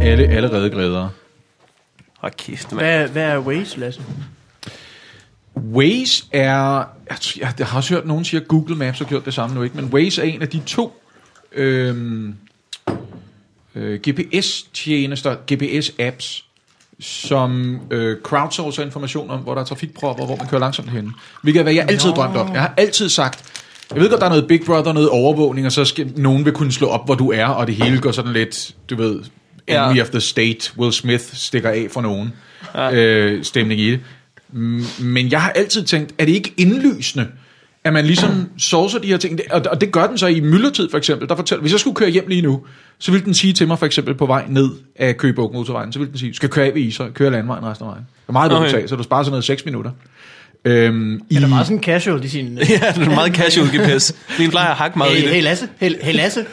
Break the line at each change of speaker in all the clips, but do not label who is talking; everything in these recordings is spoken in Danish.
alle allerede glæder.
Hold kæft, mand.
Hvad, hvad er Waze, Lasse?
Waze er... Jeg, t- jeg, jeg har også hørt nogen sige, at Google Maps har gjort det samme nu, ikke? Men Waze er en af de to øhm, øh, GPS-tjenester, GPS-apps, som øh, crowdsourcer information om, hvor der er trafikpropper, hvor man kører langsomt henne. Hvilket er, hvad jeg altid drømte om. Jeg har altid sagt, jeg ved godt, der er noget Big Brother, noget overvågning, og så skal nogen vil kunne slå op, hvor du er, og det hele går sådan lidt, du ved,
Ja.
enemy of the state, Will Smith stikker af for nogen ja. øh, stemning i det. Mm, Men jeg har altid tænkt, er det ikke indlysende, at man ligesom sourcer de her ting? Det- Og og det gør den så i myldretid for eksempel. Der fortæller, hvis jeg skulle køre hjem lige nu, så ville den sige til mig for eksempel på vej ned af Køgebog motorvejen, så ville den sige, du skal køre af ved Ishøj, køre landvejen resten af vejen. Det er meget dumt
Okay.
okay. så du sparer sådan noget 6 minutter. Øhm, i,
Er der meget sådan casual i sin... Øh,
Ja, det er meget casual GPS. Min plejer at hakke meget i
hey,
det.
hey, Lasse. Hey, hey Lasse.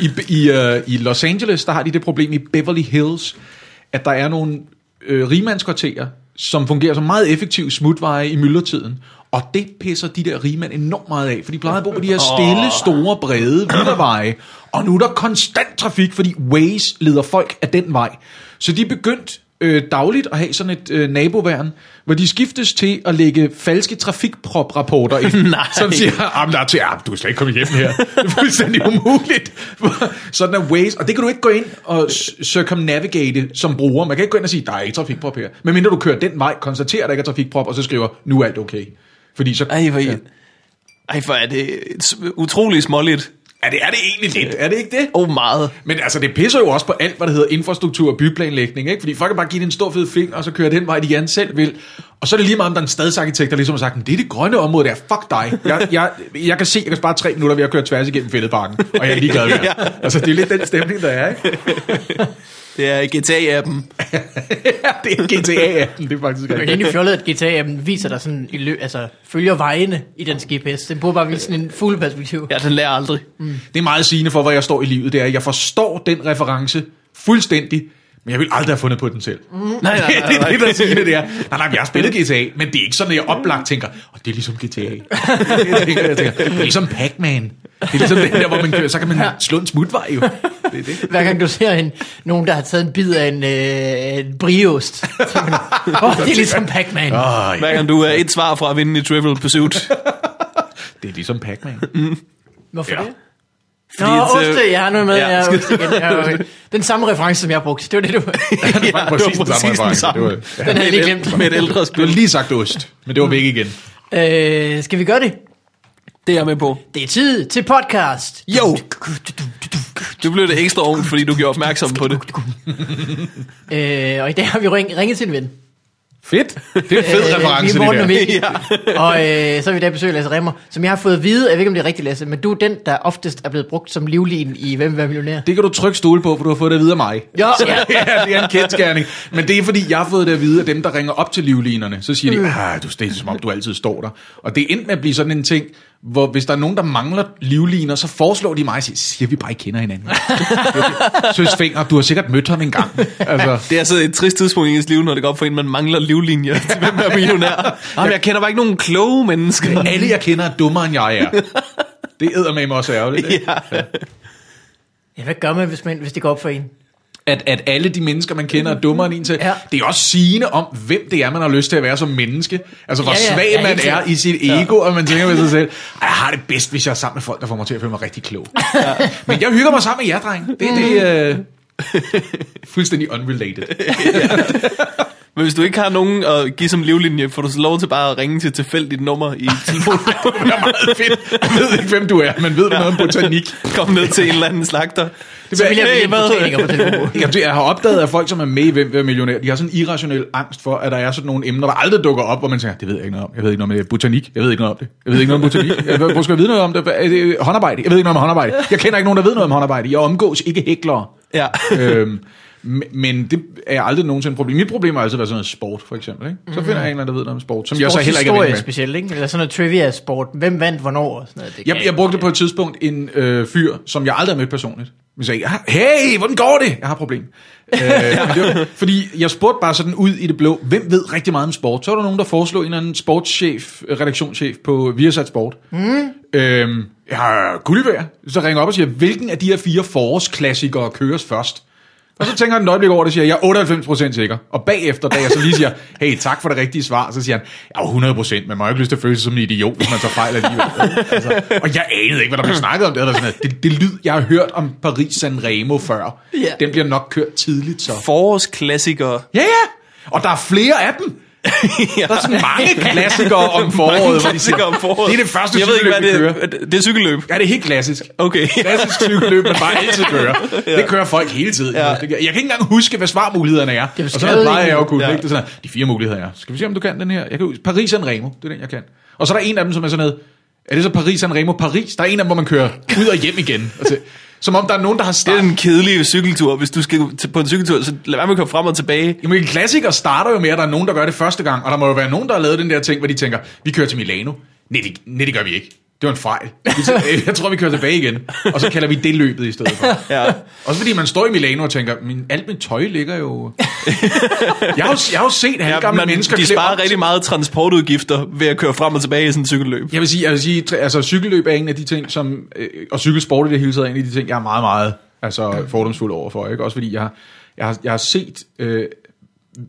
I, i, øh, I Los Angeles, der har de det problem i Beverly Hills, at der er nogle øh, rigmandskvarterer, som fungerer som meget effektive smutveje i myldretiden. Og det pisser de der rigmænd enormt meget af, for de plejer at bo på de her stille, store, brede villaveje. Og nu er der konstant trafik, fordi Waze leder folk af den vej. Så de er begyndt øh, dagligt at have sådan et øh, naboværn, hvor de skiftes til at lægge falske trafikprop-rapporter ind,
Nej.
som siger, siger, "Ah, men der er til, ah, du er slet ikke kommet hjem her. Det er fuldstændig umuligt. Sådan er Waze, og det kan du ikke gå ind og s- circumnavigate som bruger. Man kan ikke gå ind og sige, der er ikke trafikprop her. Men mindre du kører den vej, konstaterer, at der ikke er trafikprop, og så skriver, nu er alt okay. Fordi så...
Ej, hvor, ja. Ej, hvor er det et s- utroligt småligt.
Er det, er det egentlig lidt? Er det ikke det?
Oh, meget.
Men altså, det pisser jo også på alt, hvad der hedder infrastruktur og byplanlægning, ikke? Fordi folk kan bare give det en stor fed finger, og så kører den vej, de gerne selv vil. Og så er det lige meget, om der er en stadsarkitekt, der ligesom har sagt, "Men det er det grønne område der, fuck dig. Jeg, jeg, jeg kan se, jeg kan spare tre minutter ved at køre tværs igennem fældeparken, og jeg er ligeglad med det. Altså, det er lidt den stemning, der er, ikke?
Det er GTA-appen.
det er GTA-appen, det er faktisk
Men det er egentlig fjollet, at GTA-appen viser dig sådan i løb, altså følger vejene i den GPS. Den burde bare vise sådan en fuld perspektiv.
Ja, den lærer aldrig.
Det er meget sigende for, hvor jeg står i livet, det er, at jeg forstår den reference fuldstændig, men jeg vil aldrig have fundet på den selv. Mm. Nej,
nej, nej,
det er
nej.
det, der siger det der. Nej, nej, men jeg har spillet GTA, men det er ikke sådan, at jeg oplagt tænker, og det er ligesom GTA. det, er det, jeg tænker. det er ligesom Pac-Man. Det er ligesom den der, hvor man kører, så kan man slå en smutvej jo. Det er det.
Hver gang du ser en, nogen, der har taget en bid af en, øh, en briost, så man, oh, det er ligesom Pac-Man.
Åh,
Ja.
oh, ja.
Hver gang du er et svar fra at vinde i Trivial Pursuit.
Det er ligesom Pac-man.
Hvorfor
Ja.
det? Nå,
Fordi at, øh,
oste, jeg har noget med.
ja.
Ja. Jeg, igen. Ja, okay. Den samme reference, som jeg brugte. Det var det, du...
Det var præcis den samme reference. Det var, ja.
Den havde jeg lige glemt.
Med et ældre
Du har
spil.
lige sagt ost, men det var væk igen.
øh, skal vi gøre det?
Det er jeg med på.
Det er tid til podcast.
Jo! Du blev det ekstra ung, fordi du gjorde opmærksom på det.
Øh, og i dag har vi ring, ringet til en ven.
Fedt. Det er en fed
Øh,
reference,
vi er
det
Morten og
der.
Mikkel. og øh, så har vi i dag besøg af Lasse Remmer, som jeg har fået at vide, jeg ved ikke om det er rigtigt, Lasse, men du er den, der oftest er blevet brugt som livlin i Hvem vil være millionær?
Det kan du trykke stole på, for du har fået det at vide af mig.
Ja.
Så, ja det er en kendskærning. Men det er fordi, jeg har fået det at vide af dem, der ringer op til livlinerne. Så siger de, ah, du det er som om, du altid står der. Og det er endt med at blive sådan en ting, hvor hvis der er nogen, der mangler livliner, så foreslår de mig og siger, siger vi bare ikke kender hinanden. Søs Finger, du har sikkert mødt ham engang. Altså,
Det er altså et trist tidspunkt i ens liv, når det går op for en, man mangler livlinjer til, hvem er millionær. Nå, men jeg kender bare ikke nogen kloge mennesker.
alle jeg kender er dummere, end jeg er. Det æder med mig også ærgerligt. ikke?
Ja, hvad gør man, hvis, man, hvis det går op for en?
At, at alle de mennesker, man kender, er dummere end en til.
Ja.
Det er også sigende om, hvem det er, man har lyst til at være som menneske. Altså, hvor
Ja, ja,
ja, ja,
ja,
svag man
helt
er
sikkert.
i sit ego, ja. og man tænker ved sig selv, "Ej, jeg har det bedst, hvis jeg er sammen med folk, der får mig til at føle mig rigtig klog. Ja. Men jeg hygger mig sammen med jer, dreng. Det er
Mm.
det... Øh, fuldstændig unrelated.
Men hvis du ikke har nogen at give som livlinje, får du så lov til bare at ringe til et tilfældigt nummer i telefonen.
Det er meget fedt. Jeg ved ikke, hvem du er, men ved du noget om botanik?
Kom ned til en eller anden slagter.
Det
Så vil jeg
Hey,
vælge
hvad?
botaniker på telefonen.
Jamen, det- jeg har opdaget, at folk, som er med i Hvem vil være millionær, de har sådan en irrationel angst for, at der er sådan nogle emner, der aldrig dukker op, hvor man tænker, det ved jeg ikke noget om. Jeg ved ikke noget om det. Botanik. Jeg ved ikke noget om det. Jeg ved ikke noget om botanik. Jeg, ved- hvor skal jeg vide noget om det? Hvad- Er det håndarbejde? Jeg ved ikke noget om håndarbejde. Jeg kender ikke nogen, der ved noget om håndarbejde. Jeg omgås ikke hæklere.
Ja.
øhm, m- men det er aldrig nogensinde et problem. Mit problem har altid været sådan noget sport, for eksempel. Ikke? Så finder jeg en eller anden, der ved noget om sport, som jeg så heller ikke er ven
Sportshistorie
med.
specielt, ikke? Eller sådan noget trivia sport. Hvem vandt hvornår? Og sådan noget. Det
Jeg, jeg brugte på et tidspunkt en øh, fyr, som jeg aldrig har mødt personligt. Vi sagde, "Ah, hey, hvordan går det? Jeg har et problem. øh, men det var, fordi jeg spurgte bare sådan ud i det blå, hvem ved rigtig meget om sport? Så var der nogen, der foreslog en eller anden sportschef, øh, redaktionschef på Viasat Sport. Mm. Øhm, jeg har guldvejr. Så ringer jeg op og siger, hvilken af de her fire forårsklassikere køres først? Og så tænker han et øjeblik over det og siger, jeg er 98% sikker. Og bagefter, da jeg så lige siger, hey, tak for det rigtige svar, så siger han, jeg er 100%, man må jo ikke lyst til at føle sig som en idiot, hvis man så fejler alligevel. altså, og jeg anede ikke, hvad der blev snakket om det. Eller sådan noget. det, det lyd, jeg har hørt om Paris San Remo før,
Ja.
den bliver nok kørt tidligt så.
Forårsklassikere.
Ja, ja, og der er flere af dem. Der er sådan mange klassikere om foråret. hvor de
Mange
siger,
klassikere om foråret.
Det er det første
jeg ved ikke, hvad
cykelløb, vi
det
kører.
er. Det er cykelløb.
Ja, det er helt klassisk.
Okay.
Klassisk cykelløb, man bare altid kører. Det kører folk hele tiden. Ja. Jeg kan ikke engang huske, hvad svarmulighederne er.
Det er
og så
skrevet
plejer
i-
jeg jo at kunne
Ja.
ja. det er sådan, her, de fire muligheder er. Skal vi se, om du kan den her? Jeg kan, huske- Paris San Remo, det er den, jeg kan. Og så er der en af dem, som er sådan noget, er det så Paris San Remo Paris? Der er en af dem, hvor man kører ud og hjem igen. Altså, som om der er nogen, der har
Det er
startet.
den kedelige cykeltur. Hvis du skal til- på en cykeltur, så lad være med at komme frem og tilbage.
Jamen, en klassiker starter jo med, at der er nogen, der gør det første gang, og der må jo være nogen, der har lavet den der ting, hvor de tænker, vi kører til Milano. Nej, det, nej, det gør vi ikke. Det var en fejl. Vi tænker, Jeg tror, vi kører tilbage igen. Og så kalder vi det løbet i stedet for.
Ja.
Også fordi man står i Milano og tænker, min, alt mit tøj ligger jo... jeg, har, jo- jeg har jo set
Ja,
halvgamle ja,
man,
mennesker...
de
klæde
sparer
om-
rigtig meget transportudgifter ved at køre frem og tilbage i sådan en cykelløb.
Jeg vil sige, jeg vil sige tr- altså, cykelløb er en af de ting, som... Øh, og cykelsport i det hele taget er en af de ting, jeg er meget, meget altså, fordomsfuld overfor. Ikke? Også fordi jeg, har- jeg, har, jeg har set... Øh,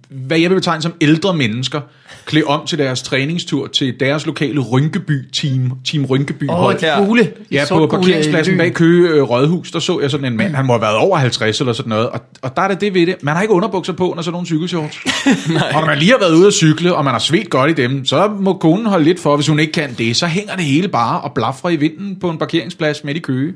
hvad jeg vil betegne som ældre mennesker, klæde om til deres træningstur til deres lokale Rynkeby-team, Team
Åh, oh,
Rynkeby-hold.
de gule. De
Ja, på
sortgule øh,
parkeringspladsen
lyn.
bag Køge øh, Rådhus, der så jeg sådan en mand, han må have været over 50 eller sådan noget, og, og der er det det ved det, man har ikke underbukser på, når sådan nogle cykelshorts. og når man lige har været ude at cykle, og man har svedt godt i dem, så må konen holde lidt for, hvis hun ikke kan det, så hænger det hele bare og blafrer i vinden på en parkeringsplads midt i Køge.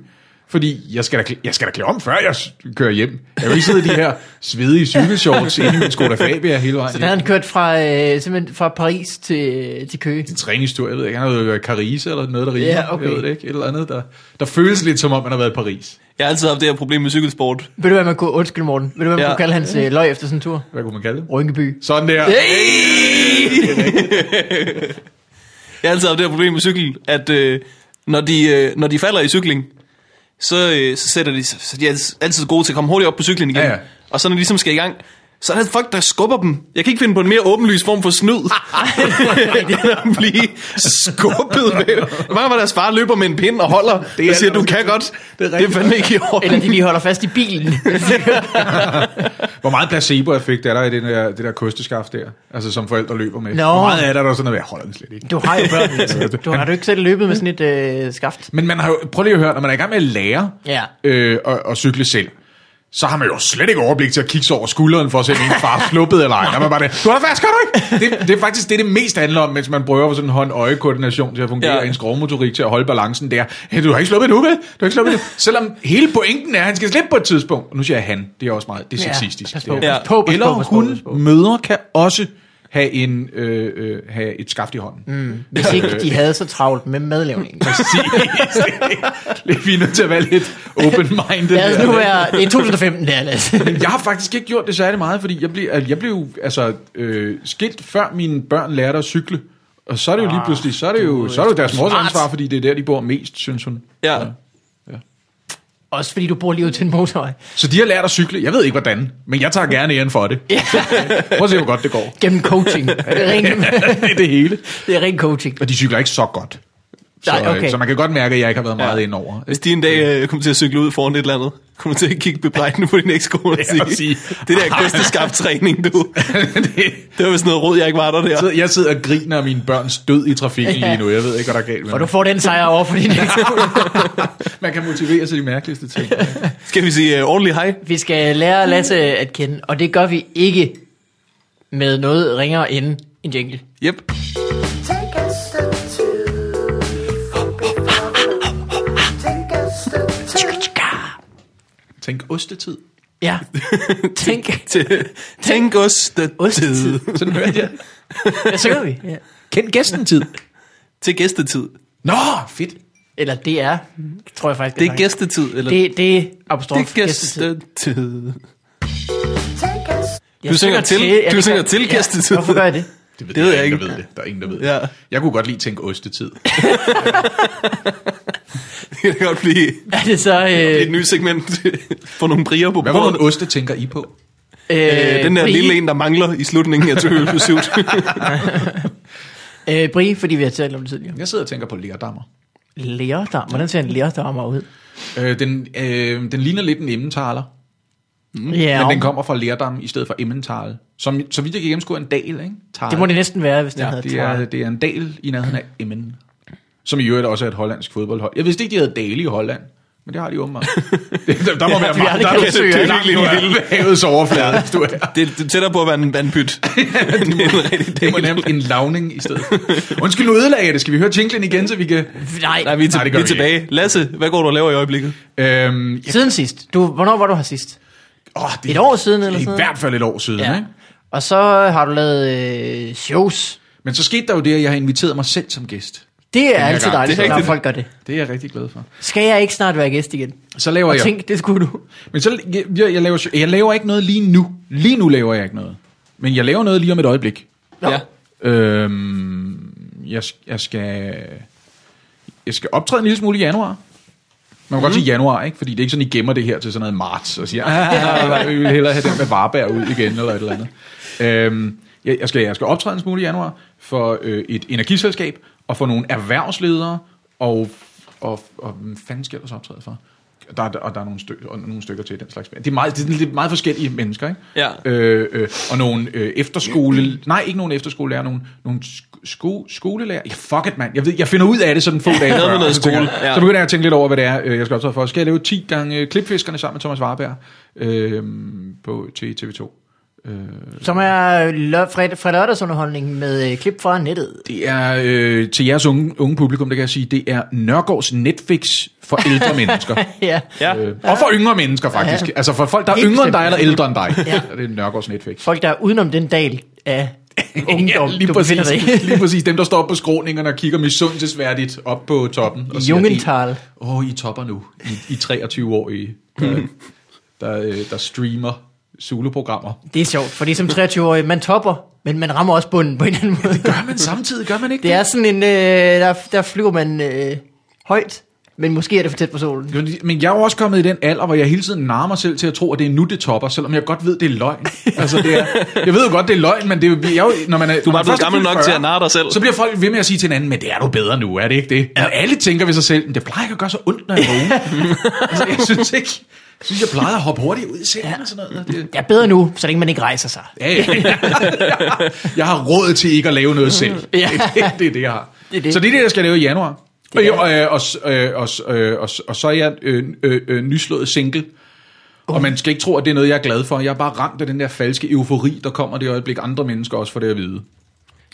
Fordi jeg skal, da, klæ- jeg skal da klæde om, før jeg s- kører hjem. Jeg vil ikke sidde i de her svedige cykelshorts inde i min Skoda Fabia hele vejen
Så der
hjem.
havde han kørt fra, øh, simpelthen fra Paris til, til Køge.
træningstur, jeg ved ikke, han har været Carise eller noget, der rimer,
Ja, okay.
jeg ved det ikke, et eller andet, der, der føles lidt som om, man har været i Paris.
Jeg har altid haft det her problem med cykelsport.
Ved du, hvad man kunne, undskyld Morten, ved du, hvad man
Ja.
ja. kunne kalde hans øh, løg efter sådan en tur?
Hvad kunne man kalde det?
Rynkeby.
Sådan der.
Jeg har altid haft det her problem med cykel, at øh, når, de, øh, når de falder i cykling, så, øh, så sætter de, så de er altid- altid gode til at komme hurtigt op på cyklen igen.
Ja, ja.
Og så når de ligesom skal i gang, så er der folk, der skubber dem. Jeg kan ikke finde på en mere åbenlys form for snyd. det er at blive skubbet med. Mange var deres far løber med en pind og holder. Det er
er
og siger,
det, der
du kan
skal
godt.
til. Det er
Det er, det er
rigtigt.
fandme ikke i
Eller
orden.
de lige holder fast i bilen.
Hvor meget placeboeffekt er der i den der, det der kosteskaft der? Altså som forældre løber med.
Nå.
Hvor meget er der, der er sådan noget, jeg holder den slet ikke.
Du har jo børn. altså. Du har du ikke selv løbet med sådan et øh, skaft?
Men man har jo, prøv lige at høre, når man er i gang med at lære
Ja.
øh, at, at, cykle selv, så har man jo slet ikke overblik til at kigge sig over skulderen for at se, om ens far er sluppet eller ej. Der er man bare det, du har fast, gør du ikke? Det, det, er faktisk det, det mest handler om, mens man prøver på sådan en hånd-øje-koordination til at fungere,
Ja.
ja. ens grovmotorik til at holde balancen der. Hey, du har ikke sluppet endnu, vel? Du har ikke sluppet endnu. Selvom hele pointen er, at han skal slippe på et tidspunkt. Og nu siger jeg han, det er også meget, det er
Ja,
sexistisk.
pas
Det er-
på.
Ja.
Pas på, pas
Eller
på, pas på,
hun,
pas på.
mødre kan også have, en, øh, øh, have et skaft i hånden. Mm.
Hvis ikke de havde så travlt med madlavningen.
Præcis. Vi er nødt til at være lidt open-minded.
Lad os nu
her.
være... Det er 2015, det er, lad os.
Jeg har faktisk ikke gjort det særlig meget, fordi jeg blev, jeg blev altså, øh, skilt, før mine børn lærte at cykle. Og så er det jo lige pludselig, så er det jo, så er det jo deres mors
smart.
ansvar, fordi det er der, de bor mest, synes hun.
Ja.
Også fordi du bor lige ud til en motorvej.
Så de har lært at cykle. Jeg ved ikke, hvordan, men jeg tager gerne æren for det. øh, Prøv at se, hvor godt det går.
Gennem coaching. Det er ren,
det er det hele.
det er ren coaching.
Og de cykler ikke så godt. Så,
Nej,
øh,
okay.
så man kan godt mærke, at jeg ikke har været meget
Ja.
ja. indover.
Hvis de en dag øh, kommer til at cykle ud foran et eller andet, kommer til at kigge bebrejdende på din ekskone og
Ja, og
sige,
sige,
det der kosteskabt træning, du. Det var vist noget råd, jeg ikke var der der.
Så jeg sidder og griner af mine børns død i trafikken lige nu. Jeg ved ikke, hvad der er galt med
Og du
mig.
får den sejr over for din
Man kan motivere sig de mærkeligste ting.
Skal vi sige uh, ordentligt hej?
Vi skal lære Lasse at kende, og det gør vi ikke med noget ringere end en jingle.
Yep.
Take a step two. Take a step two.
Tænk ostetid.
Ja, tænk.
Tænk os det
Ostetid.
tid.
Sådan hørte jeg.
Hvad synger vi? Ja.
Kend gæsten tid.
Til gæstetid.
Nå, fedt.
Eller det er, tror jeg faktisk.
Det er
faktisk.
gæstetid. Eller
Det, det er
det
apostrof
er gæstetid.
Take a step
Du synger til,
ja,
du
det
synger
gør-
til gæstetid.
Ja, hvorfor gør jeg det?
Det ved, det
Det ved
ved der er
jeg
ingen,
ikke.
der ved det. Der er ingen, der ved
Ja.
det. Jeg kunne godt lige tænke ostetid.
Det kan godt blive
Er det så... Øh,
et nyt segment. Få nogle brier på
Hvad for en
bordet.
oste tænker I på?
Øh, den der
Brie,
lille en, der mangler i slutningen af Trivial Pursuit.
Øh, Brie, fordi vi har talt om det tidligere.
Jeg sidder og tænker på lerdammer.
Lærdam. Hvordan ser en lærdammer ud?
Øh, den, øh, den ligner lidt en emmentaler.
Mm. Ja,
Men
og-
den kommer fra Lerdam i stedet for Emmental, som så vidt jeg kan gennemskue er en dal, ikke? Tal.
Det må det næsten være, hvis den ja,
ja,
hedder
det er,
Tral.
det er en dal i nærheden af Emmen, som i øvrigt også er et hollandsk fodboldhold. Jeg vidste ikke, de havde dale i Holland, men det har de åbenbart. Det, der, der må være
vi har
meget, der
aldrig
er
kaldt søer.
det er virkelig en lille havets overflade, hvis du er.
Det, det er tættere på at være en vandpyt. det er en rigtig
Det var nemt en lavning i stedet. Undskyld, nu ødelagde jeg det. Skal vi høre jinglen igen, så vi kan...
Nej,
Nej, vi er, til,
Nej,
Nej,
det
vi
gør
er
vi
tilbage. Lasse, hvad går du og laver i øjeblikket?
Øhm, ja,
siden sidst. Du, hvornår var du her sidst?
åh, det,
Et år siden eller
I
sådan
hvert fald et år siden, ja.
Ja.
ikke?
Og så har du lavet øh, shows.
Men så skete der jo det, at jeg har inviteret mig selv som gæst.
Det er
her
altid
gang.
dejligt,
Det er
når
rigtigt.
folk gør det.
Det er jeg rigtig glad for.
Skal jeg ikke snart være gæst igen?
Så laver
Og
jeg...
tænk, det skulle du.
Men så, jeg, jeg, laver, jeg laver ikke noget lige nu. Lige nu laver jeg ikke noget. Men jeg laver noget lige om et øjeblik.
Nå.
Ja.
Øhm, jeg, jeg skal... Jeg skal optræde en lille smule i januar. Man kan godt sige januar, ikke? Fordi det er ikke sådan, I gemmer det her til sådan noget marts, og siger, "Ah, vi vil hellere have den med Varberg ud igen, eller et eller andet. Øhm, jeg, jeg, skal, jeg skal optræde en smule i januar for øh, et energiselskab, og for nogle erhvervsledere, og, og, og hvem fanden skal jeg så optræde for? Der, er- og der er nogle, stykker, og nogle stykker til den slags. Det er meget, det er lidt meget forskellige mennesker, ikke?
Ja.
Øh, øh, og nogle øh, efterskole... Nej, ikke nogen efterskolelærer, nogle, nogle sk- sko, skolelærer. Ja, fuck it, mand. Jeg, ved, jeg finder ud af det sådan få dage
Noget
før,
med noget
og så tænker jeg-
skole, ja.
Så begynder jeg at tænke lidt over, hvad det er, øh, jeg skal optage for. Skal jeg lave 10 gange øh, klipfiskerne sammen med Thomas Warberg øh, på, til TV2?
Som er øh, lø- fred- fra lørdagsunderholdning med øh, klip fra nettet.
Det er øh, til jeres unge, unge publikum, der kan jeg sige, det er Nørgaards Netflix for ældre mennesker.
Ja.
Ja.
Øh, og for yngre mennesker faktisk.
Ja.
Altså for folk, der er
Helt
yngre end
bestemt.
dig eller ældre end dig.
Ja.
Det er Nørgaards Netflix.
Folk, der er udenom den dal af ungdom, ja,
lige,
du befinder
præcis,
dig i.
lige præcis. Dem, der står på skråningerne og kigger misundelsesværdigt op på toppen. Og siger,
Jungenthal.
Åh, oh, I topper nu. I, I 23 år, I,
Mm.
der, der, øh, der streamer Zulu-programmer.
Det er sjovt, fordi som 23-årig, man topper, men man rammer også bunden på en eller anden måde.
Gør man samtidig, gør man ikke
Det er sådan en, øh, der, der flyver man øh, højt, men måske er det for tæt på solen.
Jo, Men jeg er jo også kommet i den alder, hvor jeg hele tiden narrer mig selv til at tro, at det er nu, det topper, selvom jeg godt ved, det er løgn. Altså, det er, jeg ved jo godt, det er løgn, men det er, jo- jeg, er jo- når man er, du
blevet gammel nok til at narre dig selv.
Så bliver folk ved med at sige til hinanden, men det er du bedre nu, er det ikke det? Og alle tænker ved sig selv, "Men det plejer ikke at gøre så ondt, når jeg vågner. altså, jeg synes ikke, jeg synes, jeg plejer at hoppe hurtigt ud i sengen og sådan noget. Det,
Jeg er bedre nu, så længe man ikke rejser sig.
Ja, ja. jeg har råd til ikke at lave noget selv.
Ja.
Det, det er det, jeg har.
Det er det.
Så det er det, jeg skal lave i januar. Og,
Det er
og, øh, og, s- øh, og, s- øh, og, s- og så er jeg øh, øh, øh, nyslået single.
Oh.
Og man skal ikke tro, at det er noget, jeg er glad for. Jeg er bare ramt af den der falske eufori, der kommer det øjeblik, andre mennesker også får det at vide.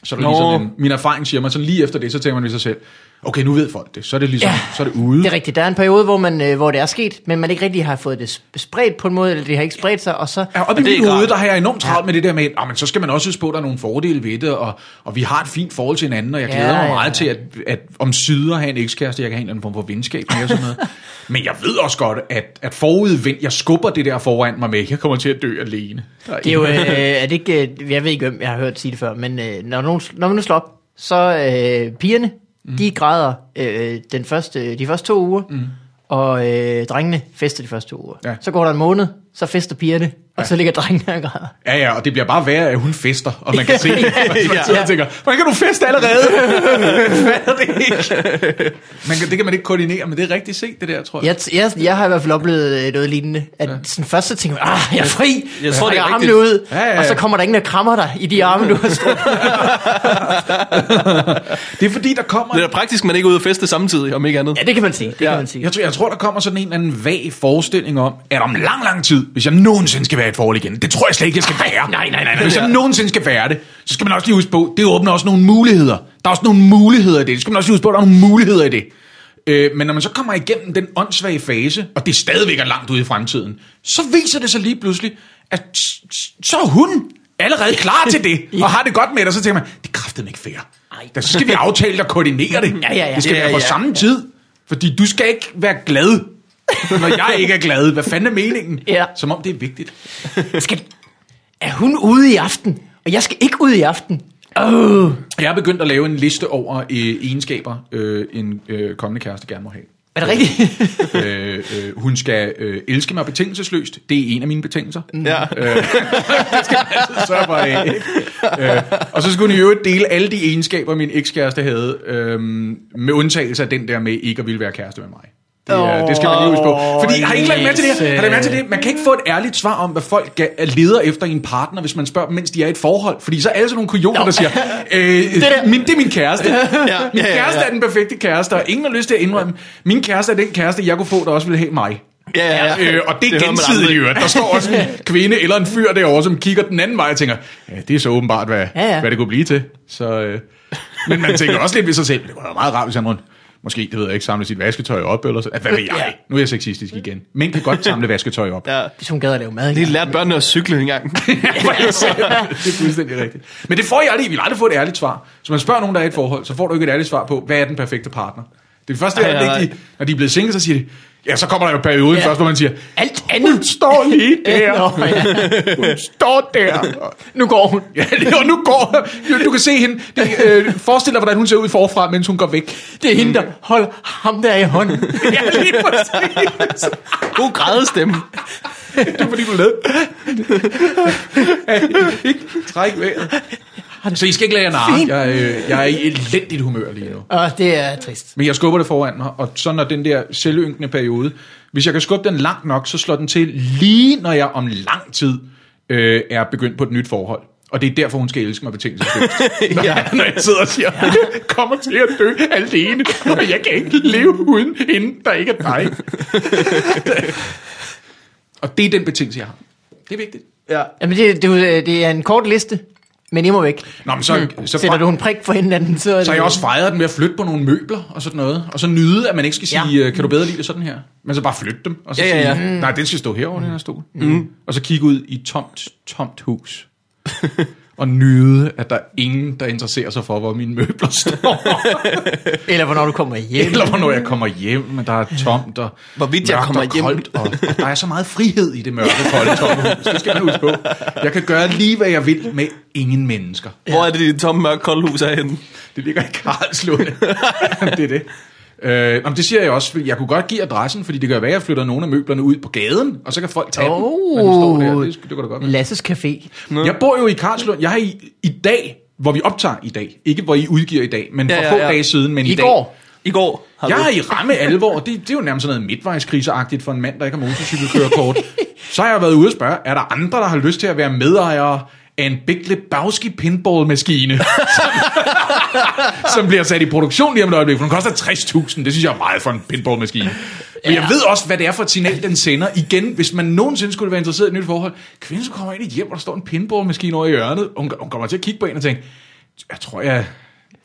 Så er det lige
Nå.
sådan en, min erfaring siger mig, sådan lige efter det, så tænker man ved sig selv, okay, nu ved folk det, så er det ligesom,
Ja.
så er det ude.
Det er rigtigt. Der er en periode, hvor, man, øh, hvor det er sket, men man ikke rigtig har fået det sp- spredt på en måde, eller det har ikke spredt sig, og så...
Ja, op i
det er
mit
klart.
hoved, der har jeg enormt travlt med det der med, at "Ah, men så skal man også huske på, at der er nogle fordele ved det, og, og vi har et fint forhold til hinanden, og jeg
Ja,
glæder mig
ja,
meget
ja.
til, at, at om sider have en ekskæreste, jeg kan have en eller anden form for venskab med og sådan noget. Men jeg ved også godt, at, at forudvendt, jeg skubber det der foran mig med, jeg kommer til at dø alene.
Det er jo, øh, er det ikke, øh, jeg ved ikke, hvem jeg har hørt sige det før, men øh, når, nogen, når man nu slår op, så øh, pigerne, mm. de græder øh, den første, de første to uger, mm. og øh, drengene fester de første to uger.
Ja.
Ja. Så går der en måned, så fester pigerne, og så ligger drengene og græder.
Ja, ja, og det bliver bare værre, at hun fester, og man kan se, det. man sidder
Ja.
og tænker, hvordan kan du feste allerede? Fatter det ikke? Man kan, det kan man ikke koordinere, men det er rigtig set, det der, tror jeg.
Jeg, t- jeg, jeg har i hvert fald oplevet øh, noget lignende, at sådan først så tænker man, ah, jeg er fri,
Jeg
jeg
tror,
tror,
det er
armene
rigtigt.
ud,
Ja, ja, ja.
og så kommer der ingen, der krammer dig i de arme, du har strukket.
Det er fordi, der kommer
Det er da praktisk, man ikke er ude og feste samtidig, om ikke andet.
Ja, det kan man sige, det ja. kan man sige.
Jeg tror, jeg tror, der kommer sådan en eller anden vag forestilling om, at om lang, lang tid, hvis jeg nogensinde skal være i et forhold igen, det tror jeg slet ikke, jeg skal være. Nej, nej, nej. nej hvis jeg nogensinde skal være det, så skal man også lige huske på, det åbner også nogle muligheder. Der er også nogle muligheder i det. Det skal man også lige huske på, der er nogle muligheder i det. Øh, men når man så kommer igennem den åndssvage fase, og det stadigvæk er langt ude i fremtiden, så viser det sig lige pludselig, at s- s- så er hun allerede klar til det, og har det godt med det, og så tænker man, det kræfter ikke fair.
Ej.
Der skal vi aftale og koordinere det.
Ja, ja, ja.
Det skal
Ja,
være på
ja.
samme samme tid. Fordi du skal ikke være glad, når jeg ikke er glad. Hvad fanden er meningen?
Ja.
Som om det er vigtigt.
Skal, er hun ude i aften? Og jeg skal ikke ud i aften. Åh,
Jeg er begyndt at lave en liste over øh, egenskaber, øh, en øh, kommende kæreste gerne må have.
er det rigtigt?
øh, øh, hun skal øh, elske mig betingelsesløst. Det er en af mine betingelser.
Ja.
Øh,
Så er jeg bare af. Øh, og så skulle hun i øvrigt dele alle de egenskaber, min ekskæreste havde, øh, med undtagelse af den der med ikke at ville være kæreste med mig. Det, er, det skal man lige huske på. Fordi har I ikke lagt mærke til det her?
Åh,
Har I lagt mærke til det? Man kan ikke få et ærligt svar om, hvad folk ga- leder efter i en partner, hvis man spørger dem, mens de er i et forhold. Fordi så er alle sådan nogle kujoner, der siger, øh, det,
der.
min, det er min kæreste.
ja,
Min
ja, ja.
kæreste er den perfekte kæreste, og ingen har lyst til at indrømme, min kæreste er den kæreste, jeg kunne få, der også ville have mig.
Ja, ja, ja.
Øh, og det er
hører man
gensidigt i
aldrig.
øvrigt. Der står også en kvinde eller en fyr derovre, som kigger den anden vej og tænker, ja, det er så åbenbart, hvad, ja,
Ja,
ja.
ja.
hvad det kunne blive til. Så, øh, men man tænker også lidt ved sig selv, det var da meget rart, hvis han rundt. Måske, det ved jeg ikke, samle sit vasketøj op, eller så. Hvad ved jeg?
Ja.
Nu er jeg sexistisk igen. Mænd kan godt samle vasketøj op.
Ja.
Hvis hun ligesom gad at lave mad.
Det
engang.
lærte børnene at cykle engang.
det er fuldstændig rigtigt. Men det får I aldrig. I vil aldrig få et ærligt svar. Så man spørger nogen, der er i et forhold, så får du ikke et ærligt svar på, hvad er den perfekte partner? Det er første
Ej, nej,
øjeblik, de,
nej.
når de er blevet single, så siger de, ja, så kommer der jo perioden ja.
Ja.
først, hvor man siger,
Alt
hun
andet.
står lige der.
Nå, ja.
Hun står der. Og-
Nu går hun.
Ja, og nu går du, du kan se hende. Det, øh, forestil dig, hvordan hun ser ud forfra, mens hun går væk.
Det er hende, der holder ham der i hånden.
Ja, lige præcis.
God grædestemme.
Det er fordi, du lavede. Ikke træk vejret. Så I skal ikke lade jer narre.
Fint.
Jeg, øh, jeg er i elendigt humør lige nu.
Og det er trist.
Men jeg skubber det foran mig, og så når den der selvynkende periode, hvis jeg kan skubbe den langt nok, så slår den til lige når jeg om lang tid øh, er begyndt på et nyt forhold. Og det er derfor, hun skal elske mig betingelsesløst. når, ja. når jeg sidder og siger, jeg kommer til at dø alene, og jeg kan ikke leve uden hende, der ikke er dig. og det er den betingelse, jeg har. Det er vigtigt.
Ja.
Jamen, det, det, er jo- det er en kort liste, men I må væk.
Nå, men så, mm. så,
Sætter du en prik for hinanden, så er
Så har jeg også fejret den ved at flytte på nogle møbler og sådan noget. Og så nyde, at man ikke skal
Ja.
sige, ja. kan du bedre lide det sådan her? Men så bare flytte dem. Og så
Ja, ja, ja.
sige, nej, den skal stå herovre, den her stol. Mm. Og så kigge ud i et tomt, tomt hus. og nyde, at der er ingen, der interesserer sig for, hvor mine møbler står.
Eller hvornår du kommer hjem.
Eller hvornår jeg kommer hjem, men der er tomt og
Hvorvidt jeg
mørkt
kommer
og
hjem.
koldt. Og, og der er så meget frihed i det mørke, kolde, tomme hus. Det skal man huske på. Jeg kan gøre lige, hvad jeg vil med ingen mennesker.
Hvor er det, det tomme mørke kolde hus er henne?
Det ligger i Karlslunde. det er det. Øh, nå, men det siger jeg også. fordi Jeg kunne godt give adressen, fordi det kan være, at jeg flytter nogle af møblerne ud på gaden, og så kan folk tage dem, når de står der. Det, det kunne da godt være.
Lasses Café.
Jeg bor jo i Karlslund. Jeg har i, i dag, hvor vi optager i dag, ikke hvor I udgiver i dag, men for
Ja, ja,
få
ja.
dage siden, men i,
I
dag.
går.
I går har
Jeg
du-
er i ramme alvor, og det, det er jo nærmest sådan noget midtvejskriseagtigt for en mand, der ikke har motorcykelkørekort. så har jeg været ude og spørge, er der andre, der har lyst til at være medejere af en Big Lebowski pinballmaskine, som, som bliver sat i produktion lige om et øjeblik, for den koster 60.000, det synes jeg er meget for en pinballmaskine. Men jeg ved også, hvad det er for et signal, den sender. Igen, hvis man nogensinde skulle være interesseret i et nyt forhold, kvinden så kommer ind i et hjem, og der står en pinballmaskine over i hjørnet, og hun, hun kommer til at kigge på en og tænke, jeg tror, jeg, jeg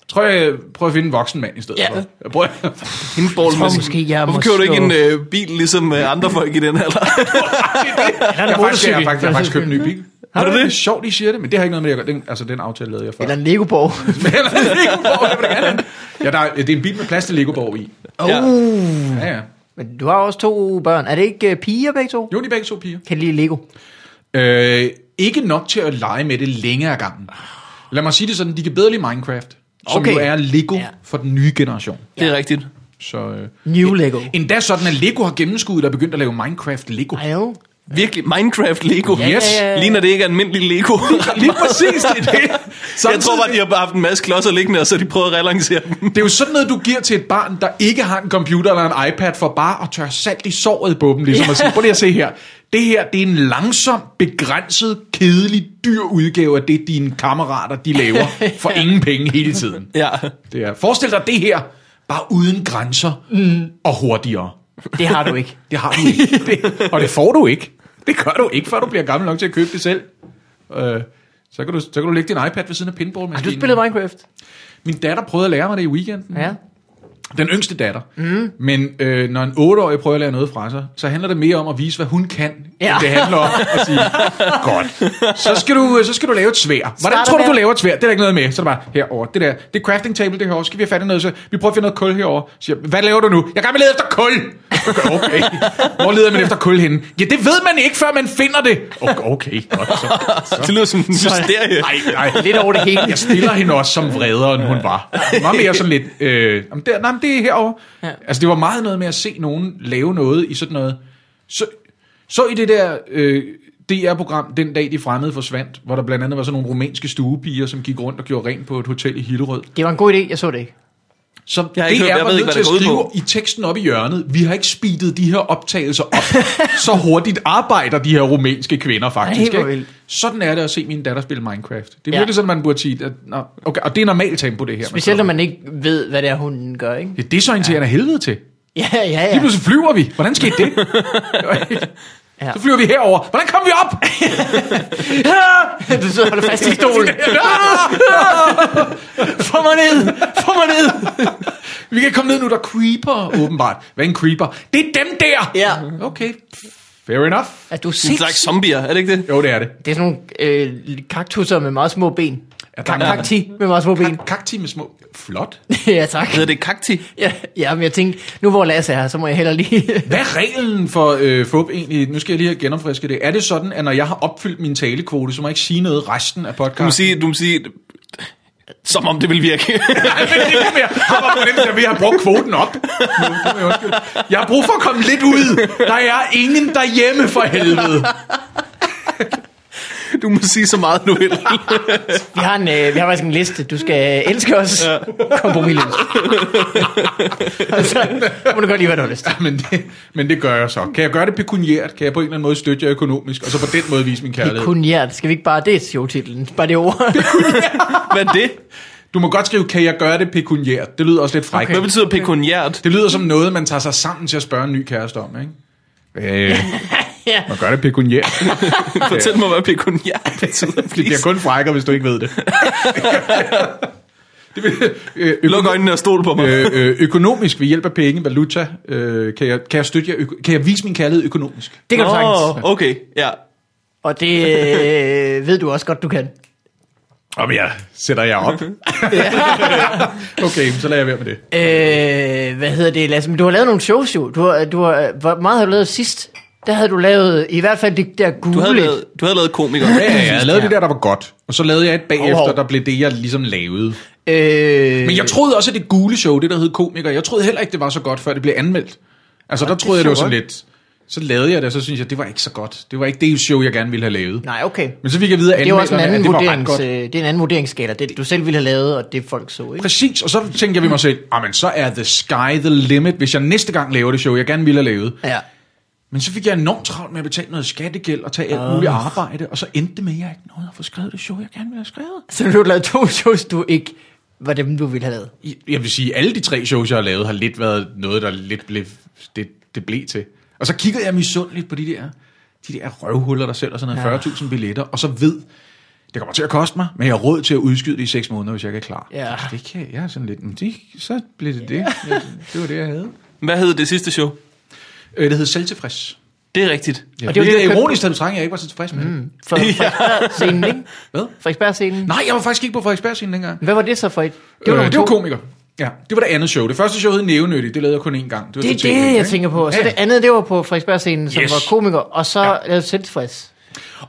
tror, jeg prøver at finde en voksen mand i stedet
Ja.
for. Jeg prøver,
Hende
Jeg tror måske, jeg
Hvorfor
må
kører du ikke
slå-
en øh, bil ligesom øh, andre folk i den
Jeg
alder?
har faktisk, jeg har faktisk, jeg har faktisk købt en ny bil. Har
du det?
Det er sjovt, I siger det, men det har ikke noget med det at gøre. Den, altså, den aftale lavede jeg før.
Eller en Legoborg.
ja, der, er- det er en bil med plads til Legoborg i.
Ja.
Ja, ja.
Men du har også to børn. Er det ikke øh, piger begge to?
Jo, de er begge to piger.
Kan de lide Lego?
Øh, ikke nok til at lege med det længe af gangen. Lad mig sige det sådan, de kan bedre lide Minecraft, som
Okay.
jo er Lego
Ja.
for den nye generation.
Det er rigtigt.
Så, øh,
New Lego.
endda sådan, at Lego har gennemskuddet og begyndt at lave Minecraft Lego.
Ej, jo.
Virkelig Minecraft Lego.
Ja, Yes.
ja, ja.
Ligner det ikke almindelig Lego?
Lige præcis, det er det.
jeg tror bare, de har bare haft en masse klodser liggende, og så har de prøvet at relancere dem.
Det er jo sådan noget, du giver til et barn, der ikke har en computer eller en iPad, for bare at tørre salt i såret på dem, ligesom at sige, prøv lige at se her. Det her, det er en langsom, begrænset, kedelig, dyr udgave af det, dine kammerater, de laver for ingen penge hele tiden.
Ja.
Det er, forestil dig det her, bare uden grænser mm. og hurtigere.
Det har du ikke.
Det har du ikke. Det, og det får du ikke. Det gør du ikke, før du bliver gammel nok til at købe det selv. Øh, så kan, du, så kan du lægge din iPad ved siden af
Har
pinballmaskinen.
du spillet Minecraft?
Min datter prøvede at lære mig det i weekenden.
Ja.
Den yngste datter. Mm. Men øh, når en otteårig prøver at lære noget fra sig, så handler det mere om at vise, hvad hun kan, ja.
Ja.
end det handler om at sige, godt, så skal du, øh, så skal du lave et svær. Hvordan
Starter
tror du,
med-
du laver et svær? Det er der ikke noget med. Så er det bare herover. Det der, det er crafting table det herovre. Skal vi have fat i noget? Så vi prøver at finde noget kul herover. Så siger, jeg, hvad laver du nu? Jeg er i gang med at lede efter kul. Okay. Hvor leder man efter kul henne? Ja, det ved man ikke, før man finder det. Okay, okay godt. Så,
Det lyder som en mysterie.
nej, nej.
Lidt over det hele.
Jeg stiller hende også som vredere, end hun var. Hun var mere sådan lidt, øh, jamen, der, nej, men det er herovre. Ja. Altså, det var meget noget med at se nogen lave noget i sådan noget. Så, så i det der øh, DR-program, Den dag de fremmede forsvandt, hvor der blandt andet var sådan nogle rumænske stuepiger, som gik rundt og gjorde rent på et hotel i Hillerød.
Det var en god idé, jeg så det ikke.
som
Jeg har ikke
det
hørt-
er
jeg
man
ved ikke,
nødt
hvad
til at
det går ud
skrive
på.
i teksten op i hjørnet. Vi har ikke speedet de her optagelser op. så hurtigt arbejder de her rumænske kvinder
Ej,
faktisk.
hvor
ikke?
vildt.
Sådan er det at se min datter spille Minecraft. Det er
Ja.
virkelig sådan, man burde sige. At, nå, okay, og det er normalt tempo, det her. man
Specielt
kører.
når man ikke ved, hvad det er, hunden gør, ikke?
Det er desorienterende ja. helvede til.
Ja, ja,
Lige
ja.
pludselig flyver vi. Hvordan skete det?
Ja.
Så flyver vi herover. Hvordan kom vi op?
Du sidder og holder fast i stolen.
Få mig ned! Få mig ned! Vi kan komme ned nu, der er creeper, åbenbart. Hvad er en creeper? Det er dem der!
Ja.
Okay, fair enough.
Er du
En slags
sindssyg?
zombier, er det ikke det?
Jo, det er det.
Det er sådan nogle øh, kaktusser med meget små ben.
Er der
Kak-
en-
Kakti med meget små ben.
Kak- Kakti med små... Flot.
ja, tak.
Hedder det kakti?
Ja, ja, men jeg tænkte, nu hvor Lasse er her, så må jeg heller lige...
Hvad er reglen for øh, FUB egentlig? Nu skal jeg lige have genopfrisket det. Er det sådan, at når jeg har opfyldt min talekvote, så må jeg ikke sige noget resten af
Du må
podcasten?
sige, du må sige som om det vil virke.
Nej, men det er ikke mere. Jeg har bare fornemmelse af, at vi har brugt kvoten op. Nu må jeg undskylde. Jeg har brug for at komme lidt ud. Der er ingen derhjemme for helvede.
Du må sige så meget, du vil.
Vi har, en, øh, vi har faktisk en liste. Du skal øh, elske os. Ja. Kompromilløs. så må du godt lige, hvad du har lyst til.
Men det, men det gør jeg så. Kan jeg gøre det pekuniært? Kan jeg på en eller anden måde støtte jer økonomisk? Og så på den måde vise min kærlighed?
Kun hjert. Skal vi ikke bare... Det er showtitlen. Bare det ord.
Hvad er det?
Du må godt skrive, kan jeg gøre det pekuniært? Det lyder også lidt frækt.
Hvad
Okay.
betyder pekuniært?
Det lyder som noget, man tager sig sammen til at spørge en ny kæreste om, ikke? Øh,
Ja.
man gør det pekuniært.
Fortæl mig, hvad pekuniært betyder,
Det bliver
please.
kun frækker, hvis du ikke ved det. det vil, øh, økonom-
Luk øjnene og stol på mig.
øh, øh, økonomisk ved hjælp af penge, valuta, øh, kan, jeg, kan jeg støtte jer, øko- kan jeg vise min kærlighed økonomisk?
Det kan du sagtens.
Åh, okay, ja.
Og det øh, ved du også godt, du kan.
Om jeg sætter jer op. okay, så lader jeg være med det.
Øh, hvad hedder det, Lasse? Men du har lavet nogle shows jo. Du har, du har, hvor meget har du lavet sidst? Der havde du lavet, i hvert fald det der gule.
Du havde lavet, du havde lavet komiker.
Ja, ja, jeg lavede det der, der var godt. Og så lavede jeg et bagefter,
Hov, hov.
der blev det, jeg ligesom lavede.
Øh,
Men jeg troede også, at det gule show, det der hed komiker, jeg troede heller ikke, det var så godt, før det blev anmeldt. Altså, der troede jeg, det var sådan lidt... Så lavede jeg det, og så synes jeg, det var ikke så godt. Det var ikke det show, jeg gerne ville have lavet.
Nej, okay.
Men så fik jeg videre
Det er jo også en
anmelderne, at det
anden,
var ret
vurderings,
godt.
øh, det er en anden vurderingsskala. Det, du selv ville have lavet, og det folk så, ikke?
Præcis, og så tænkte jeg ved mig selv, "Ah, men så er the sky the limit, hvis jeg næste gang laver det show, jeg gerne ville have lavet.
Ja.
Men så fik jeg enormt travlt med at betale noget skattegæld og tage alt muligt
Ah.
arbejde, og så endte det med, at jeg ikke nåede at få skrevet det show, jeg gerne ville have skrevet.
Så du har lavet to shows, du ikke var dem, du ville have lavet.
Jeg vil sige, alle de tre shows, jeg har lavet, har lidt været noget, der lidt blev, det, det blev til. Og så kiggede jeg misundeligt på de der, de der røvhuller, der sælger sådan noget 40.000 billetter, og så ved, det kommer til at koste mig, men jeg har råd til at udskyde det i 6 måneder, hvis jeg ikke er klar.
Ja.
Så Det kan jeg, jeg er sådan lidt, "Men det, så blev det det. Ja, Det var det, jeg havde.
Hvad hed det sidste show?
Øh, det hed selvtilfreds.
Det er rigtigt.
Ja,
Og
og
det
det
var det,
er
jeg købte.
ironisk, at du trænger, jeg ikke var så tilfreds med mm.
For Frederiksberg-scenen, ikke?
Hvad?
Frederiksberg-scenen.
Nej, jeg var faktisk ikke på Frederiksberg-scenen dengang.
Hvad var det så for et?
Det var,
nummer
øh, det var
to.
komiker. Ja, det var det andet show. Det første show hed Nævnyttig, det lavede jeg kun én gang. var
Det er
til tv,
det, jeg
ikke?
tænker på. Så
Ja.
det andet, det var på Frederiksberg-scenen, som
Yes.
var komiker, og så ja. lavede selvtilfreds.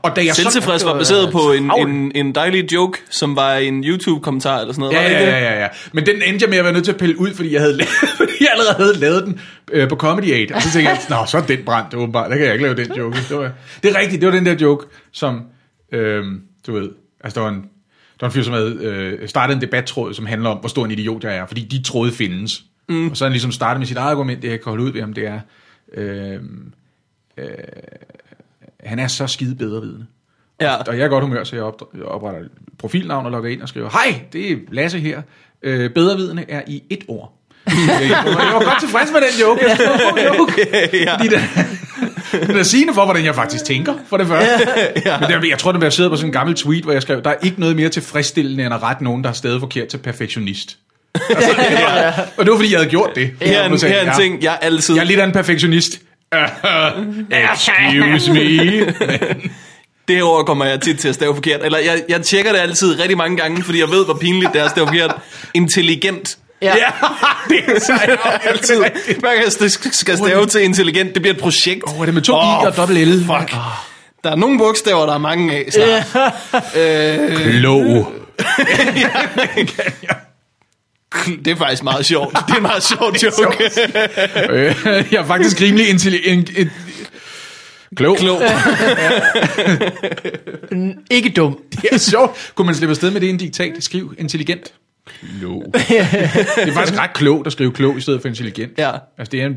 Og da jeg
Selvtilfreds
så...
var baseret på en,
travlt.
en, en dejlig joke, som var en YouTube-kommentar eller sådan noget.
Ja,
var det
ja,
ikke det?
ja, ja, ja. Men den endte jeg med at være nødt til at pille ud, fordi jeg, havde, lavet- fordi jeg allerede havde lavet den øh, på Comedy 8. Og så tænkte jeg, nå, så er den brændt, åbenbart. Der kan jeg ikke lave den joke. Det, var, det er rigtigt, det var den der joke, som, øh, du ved, altså der var en, der var en fyr, som havde øh, startet en debattråd, som handler om, hvor stor en idiot jeg er, fordi de tråde findes. Mm. Og så har han ligesom startet med sit eget argument, det jeg kan holde ud ved ham, det er, øh, øh, han er så skide bedrevidende.
Ja.
Og jeg er i godt humør, så jeg opdr- jeg opretter et profilnavn og logger ind og skriver, hej, det er Lasse her. Øh, bedrevidende er i et ord. Okay, jeg var godt tilfreds med den joke. Det var en god joke. Fordi det, det er sigende for, hvordan jeg faktisk tænker, for det første. Men det, er- jeg tror, det var baseret på sådan en gammel tweet, hvor jeg skrev, der er ikke noget mere tilfredsstillende, end at rette nogen, der er stadig forkert til perfektionist. Altså, det var, og det var, fordi jeg havde gjort det.
Her er
Og
en,
så
her
tænkte
er en
jeg,
ting, jeg altid...
Jeg er lidt af en perfektionist. Excuse me.
Det her ord kommer jeg tit til at stave forkert. Eller jeg, jeg tjekker det altid rigtig mange gange, fordi jeg ved, hvor pinligt det er at stave forkert. Intelligent.
Ja.
Ja, det er sejt.
Altid. Hver gang jeg st- skal stave til intelligent, det bliver et projekt.
Åh, er det med to i og dobbelt L? Ah.
Fuck. Der er nogle bogstaver, der er mange af. snart.
Øh. Klog.
Det er faktisk meget sjovt. Det er en meget sjov joke.
Øh, jeg er faktisk rimelig intelligent. En, en, klog. klog.
Klog.
Ikke dum.
Det er sjovt. Kunne man slippe afsted med det i en diktat? Skriv intelligent. Klog. det er faktisk ret klogt at skrive klog i stedet for intelligent.
Ja.
Altså det er en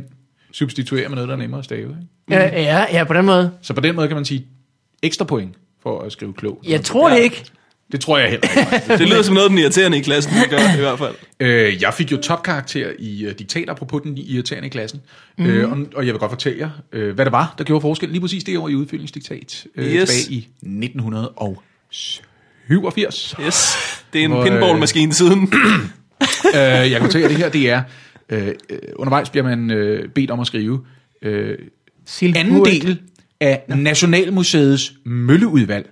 substituerer med noget, der er nemmere at stave. Ikke?
Ja, ja, ja, på den måde.
Så på den måde kan man sige ekstra point for at skrive klog.
Jeg tror det ikke.
Det tror jeg heller ikke.
Det lyder som noget, den irriterende i klassen, det gør i hvert fald.
Øh, jeg fik jo topkarakter i uh, diktater, apropos den irriterende i klassen. Mm. Øh, og, og jeg vil godt fortælle jer, øh, hvad det var, der gjorde forskel lige præcis det år i udfyldningsdiktat. Øh,
Yes.
Tilbage i 1987.
Yes, det er en
Hvor, øh,
pinballmaskine siden.
øh, jeg kan fortælle jer, det her det er, øh, øh, undervejs bliver man øh, bedt om at skrive øh,
Silke
anden
Burt.
del af Nationalmuseets Mølleudvalg.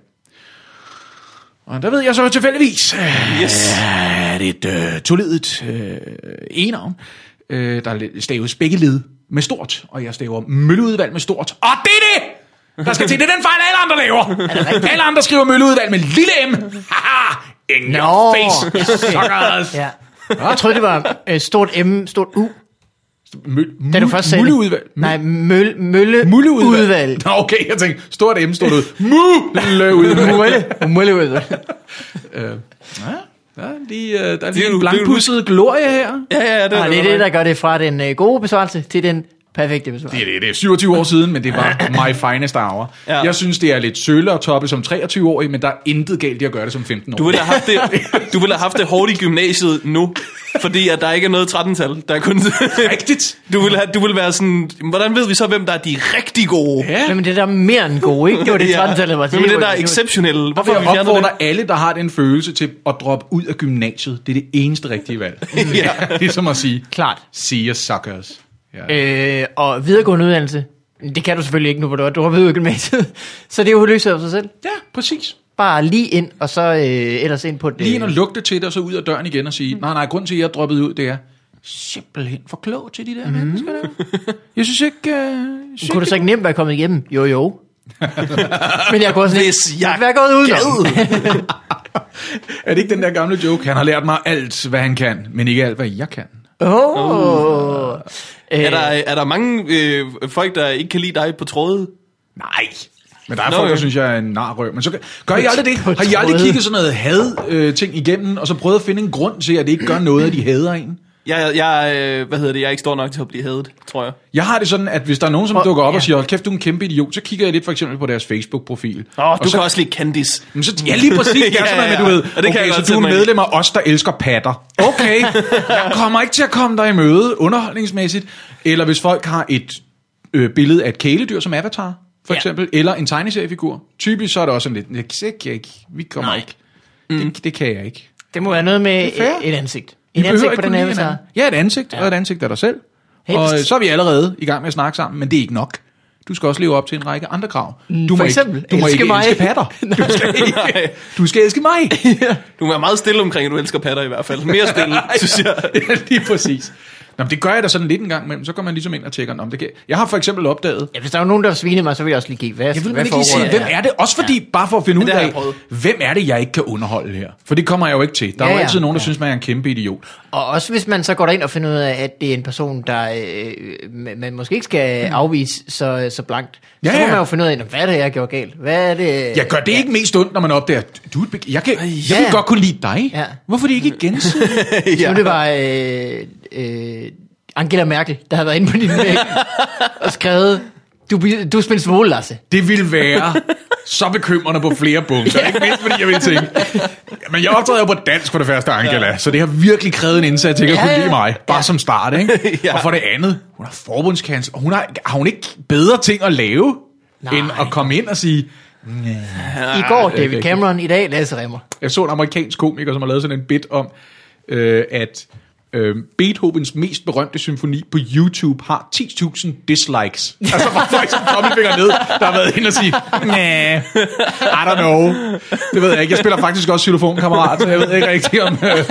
Og der ved jeg så tilfældigvis, øh,
Yes.
er det et øh, tolidet øh, enarm, øh, der staves begge led med stort, og jeg staver mølleudvalg med stort. Og det er det, der skal til. Det er den fejl, alle andre laver. alle andre skriver mølleudvalg med lille m. Haha, in no. your
Nå.
face, suckers.
Ja. Jeg troede, det var øh, stort M, stort U,
Møl,
da du først sagde det.
Mølleudvalg.
Nej, møl, mølle,
Mulleudvalg.
udvalg.
Nå, okay, jeg tænkte, stort M, stort ud. Mulleudvalg.
Mølle, mølleudvalg.
øh, ja, ja, lige, øh, der er lige
er jo-
en
det er jo-
blankpudsede glorie her.
Ja, ja, Ah, det,
Og det er det, der gør det fra den øh, gode besvarelse til den perfekte besvarelse.
Det er, det, det er 27 år siden, men det var my finest hour.
Ja.
Ja. Jeg synes, det er lidt sølle at toppe som 23-årig, men der er intet galt i at gøre det som 15-årig.
Du ville have haft det, du ville have haft det hårdt i gymnasiet nu, fordi at der ikke er noget 13-tal. Der er kun...
rigtigt.
Du ville, have, du ville være sådan, hvordan ved vi så, hvem der er de rigtig gode?
Ja.
Men det der er mere end gode, ikke? Det var det 13-tallet, der var
Men det der er
var-
exceptionelle.
Derfor
Hvorfor har
vil
vi
jeg
fjernet det?
opfordrer alle, der har den følelse til at droppe ud af gymnasiet. Det er det eneste rigtige valg. ja. Det er som at sige,
Klart.
see you suckers. Ja.
Øh, og videregående uddannelse, det kan du selvfølgelig ikke nu, hvor du har droppet ud af gymnasiet. Så det er jo løst af sig selv.
ja, præcis.
Bare lige ind, og så øh, ellers ind på det.
Lige ind og lugte til det, og så ud af døren igen og sige, nej, nej, grunden til, at jeg droppede ud, det er simpelthen for klog til de der mm. mennesker der. Jeg synes ikke... Uh, synes
kunne du så ikke nemt være kommet igennem? Jo, jo. Men jeg kunne også lidt,
Hvis jeg
være gået udenom.
Er det ikke den der gamle joke? Han har lært mig alt, hvad han kan, men ikke alt, hvad jeg kan.
Åh. Oh.
Er der, er der mange øh, folk, der ikke kan lide dig på tråde?
Nej. Men der er Nå,
Nå,
folk,
ja.
der synes, jeg er en narrøv. Men så gør, gør I aldrig det?
På
Har I aldrig
tråde.
kigget sådan noget had-ting igennem, og så prøvet at finde en grund til, at det ikke gør noget, at de hader en?
Jeg, jeg, øh, hvad hedder det, jeg er ikke stor nok til at blive hadet, tror jeg.
Jeg har det sådan, at hvis der er nogen, som
Og-
dukker op
ja.
og siger, hold kæft, du er en kæmpe idiot, så kigger jeg lidt for eksempel på deres Facebook-profil.
Åh, oh,
og
du
så,
kan også lide Candice.
Men så, ja, lige præcis. Det er
Ja,
sådan noget
ja,
med, du
ja.
ved,
Og det kan jeg
okay,
godt
så du er
sætte mig i.
medlem af os, der elsker patter. Okay, jeg kommer ikke til at komme dig i møde underholdningsmæssigt. Eller hvis folk har et øh, billede af et kæledyr som avatar, for
Ja.
eksempel, eller en tegneseriefigur. Typisk så er det også sådan lidt, det kan jeg ikke, vi kommer
Nej.
ikke. Det, det kan jeg ikke.
Det må være noget med
Det er fair.
et, et ansigt.
Vi
Et ansigt
behøver
på
ikke
den
kunne
her
lide
avatar.
hinanden. Ja, et ansigt, ja. og et ansigt af dig selv.
Helst.
Og øh, så er vi allerede i gang med at snakke sammen, men det er ikke nok. Du skal også leve op til en række andre krav. Du
for
må
eksempel,
ikke, du må
elske
ikke
mig.
elske patter. Du skal, ikke, du skal elske mig.
Du er meget stille omkring, at du elsker patter i hvert fald. Mere stille, synes jeg.
Ja, lige præcis. Nå, men det gør jeg da sådan lidt en gang imellem. Så går man ligesom ind og tjekker, om det kan. Jeg har for eksempel opdaget,
Ja, hvis der var nogen, der svinede mig, så ville jeg også lige give. Hvad,
jeg vil
hvad
ikke lige
foregår
sige,
der?
hvem er det? Også fordi, bare for at finde ud
det har jeg
af,
prøvet.
hvem er det, jeg ikke kan underholde her? For det kommer jeg jo ikke til. Der er
Ja,
jo
ja.
altid nogen, der
Ja.
synes, man er en kæmpe idiot.
Og også hvis man så går derind og finder ud af, at det er en person, der øh, man man måske ikke skal afvise så, så blankt,
Mm. Ja,
så må
ja.
man jo finde ud af, "Nå, hvad er det, jeg gjorde galt? Hvad er det?
Jeg gør det ikke mest ondt, når man opdager, du, er et beg- jeg, kan, jeg
ja.
vil godt kunne lide dig.
Ja.
Hvorfor er det ikke igen?
Nu det var øh, øh, Angela Merkel, der havde været inde på din væg og skrevet, du, bi- du spiller svole, Lasse.
Det ville være så bekymrende på flere punkter. Ikke mindst fordi jeg ville tænke, men jeg optræder jo på dansk for det første, Angela, ja. så det har virkelig krævet en indsats, ikke at
Ja,
kunne
ja.
lide mig. Bare som start, ikke?
Ja.
Og for det andet, hun har forbundskansler, og hun har, har hun ikke bedre ting at lave,
Nej.
Nej. end at komme ind og sige,
I går
Ah, det er
David
ikke
Cameron, i dag Lasse Remmer.
jeg så en amerikansk komiker, som har lavet sådan en bit om, øh, at øh, Beethovens mest berømte symfoni på YouTube har 10.000 dislikes. Altså bare folk som tommelfinger ned, der har været inde og sige, nej, I don't know. Det ved jeg ikke. Jeg spiller faktisk også xylofonkammerat, så jeg ved ikke rigtig, om øh,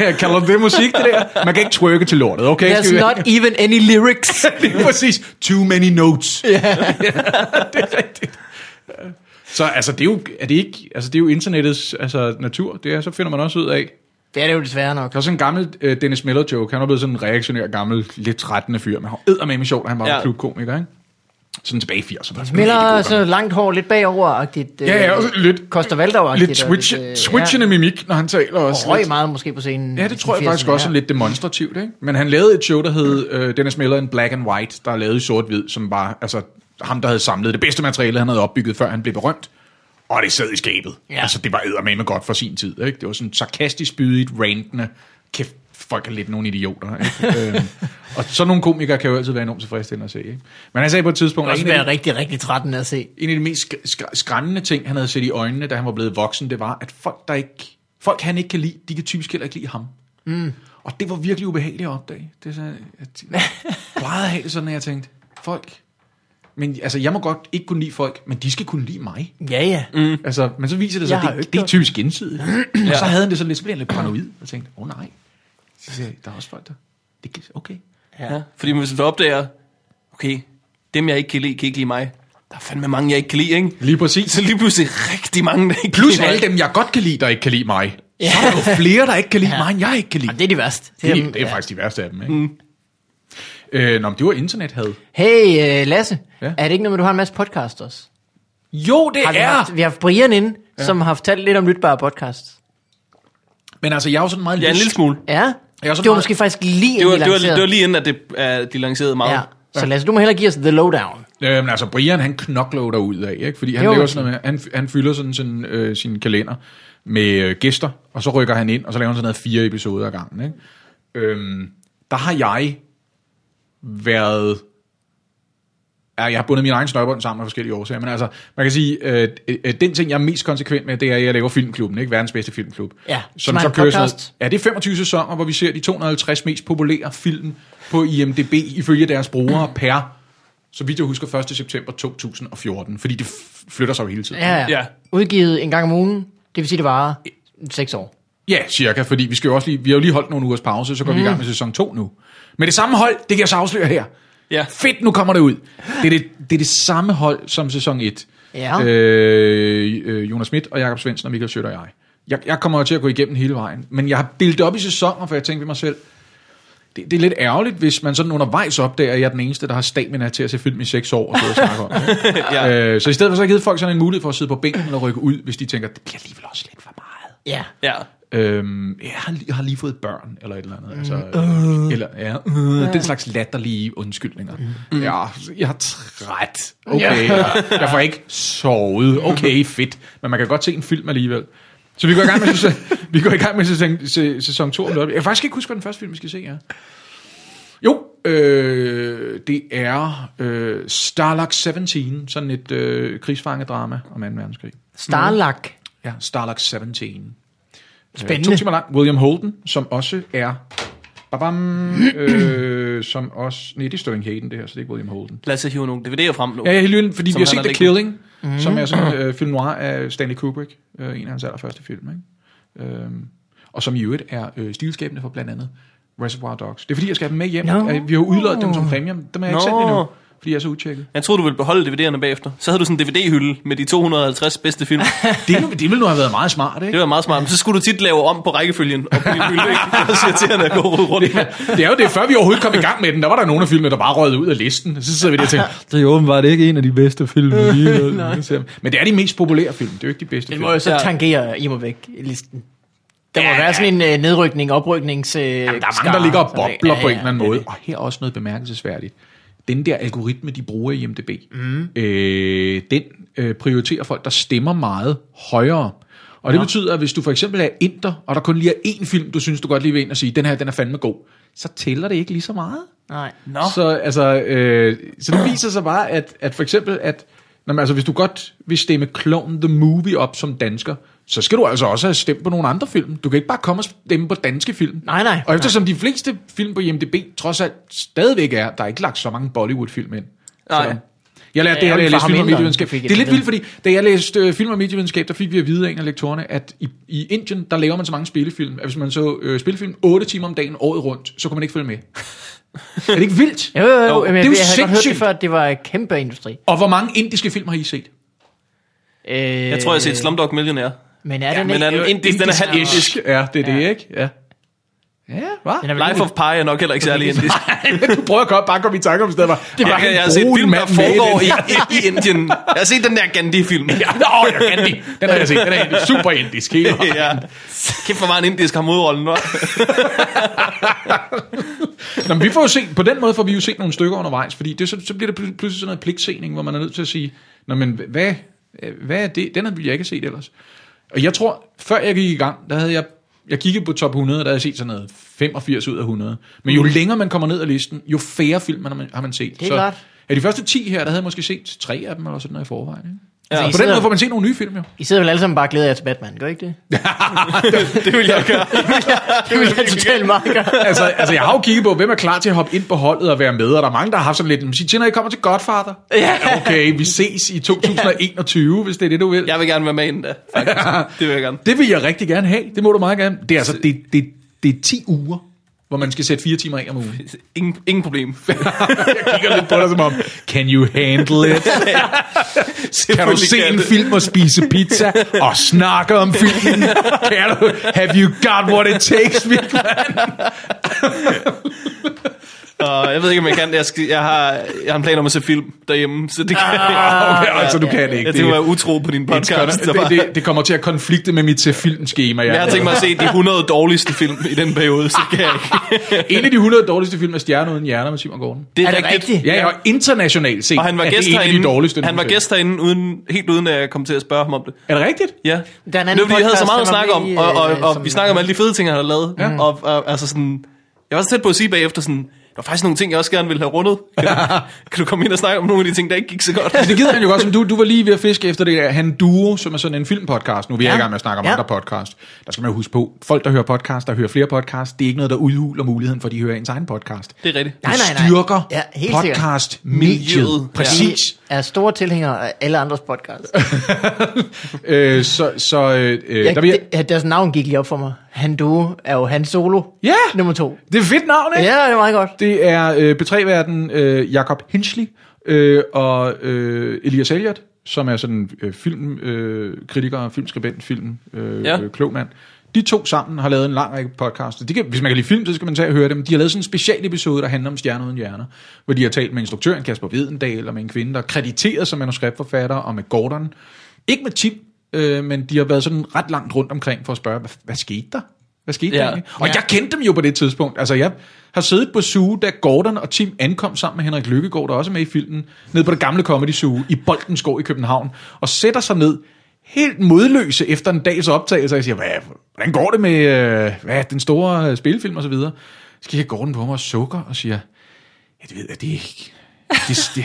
jeg kalder det musik, det der. Man kan ikke twerke til lortet, okay? Skal
There's
vi-
not even any lyrics.
det er præcis. Too many notes. Ja. ja, det er rigtigt. Så altså, det er jo, er det ikke, altså, det er jo internettets altså, natur. Det er, så finder man også ud af.
Det er det jo desværre nok.
Der er sådan en gammel øh, Dennis Miller joke. Han er blevet sådan en reaktionær, gammel, lidt trættende fyr. Men han var eddermame sjov, da han var
Ja.
ja. klubkomiker, ikke? Sådan tilbage i 80'erne.
Miller så langt hår, lidt bagover-agtigt.
Ja, ja,
øh,
også lidt-
Koster Valdau-agtigt.
Lidt
og
switch,
øh,
switchende mimik, når han taler også.
Og røg
lidt.
meget måske på scenen.
Ja, det tror
i
jeg faktisk
80'erne,
også er
ja.
lidt demonstrativt, ikke? Men han lavede et show, der hed øh, Dennis Miller in Black and White, der er lavet i sort-hvid, som var altså, ham, der havde samlet det bedste materiale, han havde opbygget, før han blev berømt. Og det sad i skabet. Ja.
Ja.
Altså, det var eddermame godt for sin tid, ikke? Det var sådan sarkastisk bydigt, rantende. Kæft, folk er lidt nogle idioter, ikke? øhm, og sådan nogle komikere kan jo altid være enormt tilfredsstillende at se, ikke? Men han sagde på et tidspunkt... at
Det også
en af de-
være rigtig, rigtig trætten at se.
en af de mest sk- sk- skræmmende ting, han havde set i øjnene, da han var blevet voksen, det var, at folk, der ikke, folk han ikke kan lide, de kan typisk heller ikke lide ham. Mm. Og det var virkelig ubehageligt at opdage. Det er så, at, jeg plejede at have det sådan, at jeg tænkte, folk, men altså, jeg må godt ikke kunne lide folk, men de skal kunne lide mig.
Ja, ja. Mm.
Mm. Altså, men så viser det sig,
Jeg har
at
jo ikke
det, det er
gjort
typisk gensidigt. ja. Og så havde han det sådan lidt, så blev han lidt paranoid, og tænkte, åh oh, nej, så siger jeg, der er også folk, der, det kan, okay.
Ja. Fordi hvis du opdager, okay, dem jeg ikke kan lide, kan ikke lide mig. Der er fandme mange, jeg ikke kan lide, ikke?
Lige præcis.
Så lige pludselig rigtig mange, der ikke
Plus
kan lide
alle
mig.
dem, jeg godt kan lide, der ikke kan lide mig. Ja. Så er der jo flere, der ikke kan lide ja.
Ja.
mig, end jeg ikke kan lide.
Jamen, det er de værste.
Det,
dem,
det er faktisk de værste af dem, ikke? Mm. Øh, nå, men det var internethad.
Hey, øh, Lasse.
Ja?
Ja? Er det ikke noget med, at du har en masse podcast også?
Jo, det
Har vi, haft, vi har haft Brian inde, ja. som har fortalt lidt om lytbare podcasts.
Men altså, jeg er jo sådan meget...
Ja, en
lys-
lille smule.
Ja,
Jeg er så
det var
meget-
måske faktisk lige
Det var,
inden
det,
de
var, det var
lancerede.
lige inden, at det, uh, de lancerede meget.
Ja. Så Lasse, du må hellere give os the lowdown.
Øh, men altså, Brian, han knokler der ud af, ikke? Fordi han,
Jo.
laver sådan noget, med- han, han fylder sådan, sådan øh, sin kalender med øh, gæster, og så rykker han ind, og så laver han sådan noget fire episoder ad gangen, ikke? Øhm, der har jeg været... Ja, jeg har bundet min egen snørbånd sammen af forskellige årsager, men altså, man kan sige, øh, øh, den ting, jeg er mest konsekvent med, det er, at jeg laver Filmklubben, ikke? Verdens bedste filmklub.
Ja,
som
som er
så
en
kører sådan noget,
podcast.
Ja, det er 25 sæsoner, hvor vi ser de 250 mest populære film på IMDb ifølge deres brugere per, så vidt jeg husker, 1. september 2014. Fordi det f- flytter sig jo hele tiden.
Ja, ja.
Ja.
ja. Udgivet en gang om ugen. Det vil sige, det varer seks år.
ja cirka, fordi vi, skal jo også lige, vi har jo lige holdt nogle ugers pause, så går mm. vi i gang med sæson 2 nu. Men det samme hold, det kan jeg så afsløre her.
Ja.
Fedt, nu kommer det ud. Det er det, det, er det samme hold som sæson 1.
Ja.
Øh, øh, Jonas Schmidt og Jakob Svendsen og Michael Schøtter og jeg. jeg. Jeg kommer jo til at gå igennem hele vejen, men jeg har delt det op i sæsoner, for jeg tænkte ved mig selv, det, det er lidt ærgerligt, hvis man sådan undervejs opdager, at jeg er den eneste, der har stamina til at se film i seks år og sidde og snakke om det.
Ja.
øh, så i stedet for så har jeg givet folk sådan en mulighed for at sidde på bænken eller rykke ud, hvis de tænker, det bliver alligevel også lidt for meget.
Ja.
Ja.
Øhm, jeg, har, lige- jeg har lige fået børn, eller et eller andet. Altså, øh, eller, ja, øh, den slags latterlige undskyldninger. Mm. Ja, jeg er træt. Okay, jeg, jeg får ikke sovet. Okay, fedt. Men man kan godt se en film alligevel. Så vi går i gang med sæson, vi går i gang med sæson, sæ- sæson 2 om lidt. Jeg kan faktisk ikke huske, hvad den første film, vi skal se er. Jo, øh, det er øh, Starlock 17, sådan et øh, krigsfangedrama om 2. verdenskrig.
Starlak.
Ja, Starlock 17.
Spændende.
Øh, To timer lang. William Holden, som også er... Babam, øh, som også... Nej, det er Sterling Hayden, det her, så det er ikke William Holden.
Lad os så hive nogle DVD'er frem nu.
Ja, ja, helt vildt, fordi
Som
vi har
han
set
har
The
liggende.
Killing, mm. som er sådan en øh, film noir af Stanley Kubrick, øh, en af hans allerførste film, ikke? Øhm, og som i øvrigt er øh, stilskabende for blandt andet Reservoir Dogs. Det er fordi, jeg skal have dem med hjem.
Nå.
Øh, Vi har udløjet dem som premium. Dem har jeg ikke
Nå.
sendt endnu, fordi jeg er så utjekket.
Jeg troede, du ville beholde DVD'erne bagefter. Så havde du sådan en DVD-hylde med de 250 bedste film.
Det, er nu- det ville nu have været meget smart, ikke?
Det var meget smart. Men så skulle du tit lave om på rækkefølgen og på din hylde, ikke? Det var så irriterende at gå rundt med.
det er jo det, før vi overhovedet kom i gang med den, der var der nogle af filmene, der bare røg ud af listen. Så sidder vi der og tænker, det er jo åbenbart ikke en af de bedste film. Men det er de mest populære film, det er jo ikke de bedste
Den
film.
må jo så
Ja.
tangere i mig væk i listen. Der må
Ja,
være sådan en øh, nedrykning, opryknings... Øh, Jamen,
Der er mange, der ligger og bobler på en eller anden måde. Og her er også noget bemærkelsesværdigt. Den der algoritme, de bruger i IMDb, mm. øh, den øh, prioriterer folk, der stemmer meget højere. Og det betyder, at hvis du for eksempel er inter, og der kun lige er én film, du synes, du godt lige vil ind og sige, den her, den er fandme god, så tæller det ikke lige så meget.
Nej.
Nå,
Så, altså, øh, så det viser sig bare, at, at for eksempel, at når man, altså, hvis du godt vil stemme Clone the Movie op som dansker, så skal du altså også have stemt på nogle andre film. Du kan ikke bare komme og stemme på danske film.
Nej, nej.
Og eftersom de fleste film på IMDb trods alt stadigvæk er, der er ikke lagt så mange Bollywood-film ind.
Nej.
Så- Jeg lærte det,
Ja,
her, da jeg
for
læste
ham
film og
ændrede
medievidenskab.
han.
Det er lidt vildt, fordi da jeg læste øh, film og medievidenskab, der fik vi at vide af en af lektorerne, at i, i Indien, der laver man så mange spillefilm, at hvis man så øh, spillefilm 8 timer om dagen året rundt, så kunne man ikke følge med. er det ikke vildt?
Jo, jo, jo. Men
det er
jeg,
jo
jeg havde godt hørt det
sindssygt.
før, at det var en kæmpe industri.
Og hvor mange indiske film har I set?
Øh,
jeg tror, jeg har set Slumdog Millionaire.
Men er den
Men
ikke...
er den indisk? Den er halv indisk.
Ja, det er det, ikke? Ja. Ja, hva?
Den er vel
Life of Pi er nok heller ikke særlig indisk.
du prøver godt bare at komme i tanke om steder, hvor det
Jeg, jeg har set film, der foregår i, i, i Indien. Jeg har set den der Gandhi-film.
Ja, nå, jeg kan det. Den har jeg set. Den er egentlig super indisk. Hele vejen.
ja. Kæft, hvor var en indisk har modrollen, hva'?
Nå, men vi får jo set, på den måde får vi jo set nogle stykker undervejs, fordi det, så, så bliver det pl- pludselig sådan noget pligtsening, hvor man er nødt til at sige, Nå, men hva- hvad, hvad er det? Den har jeg ikke set ellers. Og jeg tror, før jeg gik i gang, der havde jeg, jeg kiggede på top 100, og der havde jeg set sådan noget 85 ud af 100. Men jo
Mm.
længere man kommer ned ad listen, jo færre film man har, man- har man set. Det
er klart.
Af de første 10 her, der havde jeg måske set tre af dem, eller sådan noget i forvejen. Ikke?
Altså,
Ja.
Ja, på den måde får man set nogle nye film, jo.
I sidder vel alle sammen bare og glæder jer til Batman, gør I ikke det?
Det vil jeg gøre.
Det vil jeg totalt meget gøre.
altså, altså, jeg har jo kigget på, hvem er klar til at hoppe ind på holdet og være med, og der er mange, der har haft sådan lidt, "Men sig til, når I kommer til Godfather. Ja. Okay, vi ses i 2021, hvis det er det, du vil. Ja.
Jeg vil gerne være med inden da, faktisk. Det vil jeg gerne.
Det vil jeg rigtig gerne have, det må du meget gerne. Det er altså, det, det, det er 10 uger, hvor man skal sætte fire timer af om ugen.
Ingen, ingen problem.
Jeg kigger lidt på dig som om, can you handle it? Kan du se en film og spise pizza og snakke om filmen? Kan du, have you got what it takes, virkelig?
Og jeg ved ikke, om jeg kan. Jeg, skal, jeg, har, jeg har en plan om at se film derhjemme, så det kan jeg.
Okay, altså, du kan det ikke.
Jeg tænker, at jeg er utro på din podcast.
det, det, det, det kommer til at konflikte med mit til filmskema. Ah,
jeg har tænkt mig at se de 100 dårligste film i den periode, så det kan jeg ikke.
En af de 100 dårligste film er Stjerne uden hjerner med Simon Gordon.
Er det rigtigt?
Ja, og internationalt set
Og han var
er
gæst
det en af de dårligste.
herinde, han var
nogensinde.
gæst herinde uden, helt uden at jeg kom til at spørge ham om det.
Er det rigtigt?
Ja.
Der er en anden
det var fordi, jeg havde så
podcast,
meget at
han
snakke
var
om,
med i,
og, og,
øh,
og,
som-
vi snakker om alle de fede ting, han har lavet. Ja. Og, og, altså sådan, jeg var så tæt på at sige bagefter sådan, der var faktisk nogle ting, jeg også gerne ville have rundet. Kan, du, kan du komme ind og snakke om nogle af de ting, der ikke gik så godt?
Det gider han jo godt, som du, du var lige ved at fiske efter det der Han Duo, som er sådan en filmpodcast. Nu er vi ja.
Ja.
i gang med at snakke om ja.
Ja.
andre podcast. Der skal man jo huske på, folk der hører podcast, der hører flere podcast, det er ikke noget, der udhuler muligheden for, at de hører ens egen podcast.
Det er rigtigt.
Nej, nej, nej.
Styrker
Ja, helt sikkert.
podcast-mediet.
Miljøet.
Præcis.
Jeg er store tilhængere af alle andres podcast.
Øh, så så øh,
Jeg,
der vil jeg...
det, deres navn gik lige op for mig. Han Duo er jo Han Solo.
Ja!
Nummer to.
Det er et fedt navn, ikke?
Ja, det er meget godt.
Det er øh, betræverden øh, Jakob Hensley øh, og øh, Elias Elliot, som er sådan øh, filmkritiker, øh, filmskribent, film, øh, ja.
Ja.
øh, klog mand. De to sammen har lavet en lang række podcasts. De kan, hvis man kan lide film, så skal man tage og høre dem. De har lavet sådan en special episode, der handler om Stjerner uden hjerner, hvor de har talt med instruktøren Kasper Videndal og med en kvinde, der er krediteret som manuskriptforfatter, og med Gordon. Ikke med Tim, øh, men de har været sådan ret langt rundt omkring for at spørge, hvad, hvad skete der? Hvad skete ja.
Ja.
der egentlig? Og jeg kendte dem jo på det tidspunkt. Altså, jeg har siddet på Zoo, da Gordon og Tim ankom sammen med Henrik Lykkegaard, der også er med i filmen, ned på det gamle Comedy Zoo i Boldenskov i København, og sætter sig ned helt modløse efter en dags optagelse, og jeg siger, hvad, hvordan går det med øh, hvad, den store øh, spillefilm og så videre? Så kigger Gordon på mig og sukker og siger, ja, det ved jeg, det er ikke. Det, det,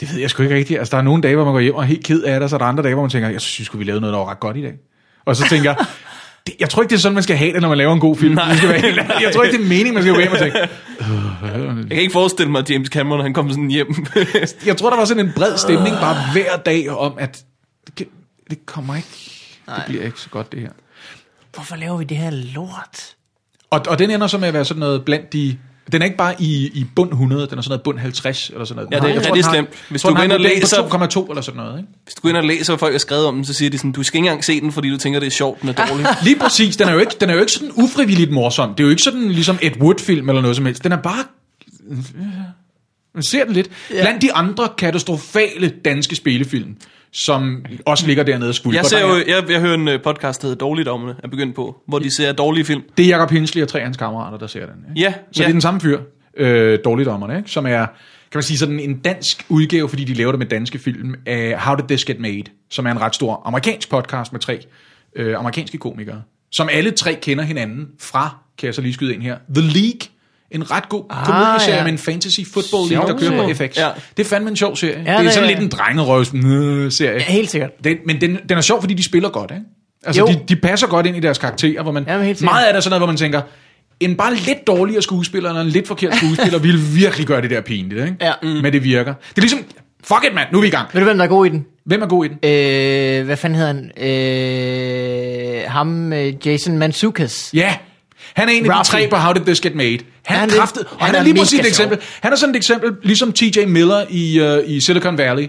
det ved jeg sgu ikke rigtigt. Altså, der er nogle dage, hvor man går hjem og er helt ked af det, og så er der andre dage, hvor man tænker, jeg synes, sgu, vi lavede noget, der var ret godt i dag. Og så tænker jeg, det, jeg tror ikke, det er sådan, man skal have det, når man laver en god film. Nej. Skal være helt, ærlig. jeg tror ikke, det er meningen, man skal gå hjem og tænke.
Jeg kan ikke forestille mig, at James Cameron han kom sådan hjem.
Jeg tror, der var sådan en bred stemning bare hver dag om, at det, kan- det kommer ikke, det bliver ikke så godt, det her.
Hvorfor laver vi det her lort?
Og, og den ender så med at være sådan noget blandt de... Den er ikke bare i, i bund 100, den er sådan noget bund 50 eller sådan noget.
Ja, det er
Jeg tror, den
rigtig
har-
slemt. Hvis
tror,
du
den har
går
en
ind og
vurdering på 2,2 eller sådan noget, ikke?
Hvis du går ind og læser, hvad folk har skrevet om, den, så siger de sådan, du skal ikke engang se den, fordi du tænker, det er sjovt, den er dårlig.
Lige præcis, den er, jo ikke, den er jo ikke sådan ufrivilligt morsom. Det er jo ikke sådan ligesom et Wood-film eller noget som helst. Den er bare... Man ser den lidt. Ja. Blandt de andre katastrofale danske spillefilm, som også ligger dernede og skvulper.
Jeg, ser
Der er-
jo, jeg, jeg hører en øh, podcast, der hedder Dårligdommene, er begyndt på, hvor de ser dårlige film.
Det er Jacob Hensley og tre af hans kammerater, der ser den. Ikke?
Ja,
Så
ja.
det er den samme fyr, øh, Dårligdommerne, ikke? som er, kan man sige, sådan en dansk udgave, fordi de laver det med danske film, af How Did This Get Made, som er en ret stor amerikansk podcast med tre øh, amerikanske komikere, som alle tre kender hinanden fra, kan jeg så lige skyde ind her, The League, en ret god ah, komedieserie
ja.
med en fantasy football league, der kører på FX.
Ja.
Det er fandme en sjov serie. Ja, det
det
er
er-
sådan lidt en drengerøvs øh, serie.
Ja, helt sikkert.
Den, men den, den er sjov, fordi de spiller godt, ikke? Altså,
Jo.
de, de passer godt ind i deres karakterer, hvor man...
Jamen, helt sikkert.
meget af det er sådan noget, hvor man tænker, en bare lidt dårligere skuespiller, eller en lidt forkert skuespiller, ville virkelig gøre det der pinligt, ikke?
Ja.
Mm. Men det virker. Det er ligesom, fuck it, mand, nu er vi i gang.
Ved du, hvem der er god i den?
Hvem er god i den?
Øh, hvad fanden hedder han? Øh, ham, øh, Jason Mantzoukas.
Ja, han er en af de
Ralphie.
tre på How Did This Get Made. Han,
Han
han
er-
kraftede, og
han
han, han er
er
lige
mega
præcis et
sjov.
eksempel. Han er sådan et eksempel, ligesom T.J. Miller i, øh, i Silicon Valley.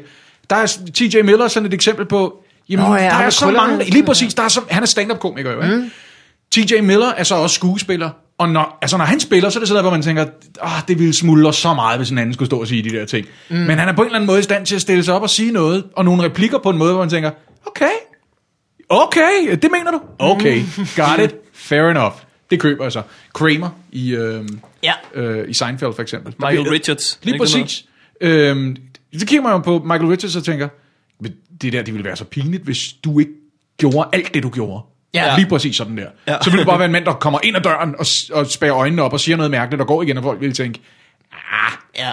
Der er s- T.J. Miller er sådan et eksempel på, jamen,
Nå
Nå,
ja,
ja, der
ham
er
med
så
krøllerne. Mm.
mange, lige præcis, der er så, han er stand-up komiker jo, ikke? T.J. Miller er så også skuespiller, Og når, altså når han spiller, så er det sådan noget, hvor man tænker, ah, det ville smuldre så meget, hvis en anden skulle stå og sige de der ting. Mm. Men han er på en eller anden måde i stand til at stille sig op og sige noget, og nogle replikker på en måde, hvor man tænker, okay, okay, det mener du? Okay,
Mm.
got it, fair enough. Det køber jeg så. Kramer i, øh,
Ja.
øh, i Seinfeld for eksempel. Der
Michael
bliver-
Richards.
Lige
Ikke sådan
præcis. Øhm, så kigger man jo på Michael Richards og tænker, "Men det der, det ville være så pinligt, hvis du ikke gjorde alt det, du gjorde.
Ja.
Lige præcis sådan der.
Ja.
Ja. Så ville du bare være en mand, der kommer ind ad døren og, s- og spærer øjnene op og siger noget mærkeligt, og går igen, og folk ville tænke,
Ja.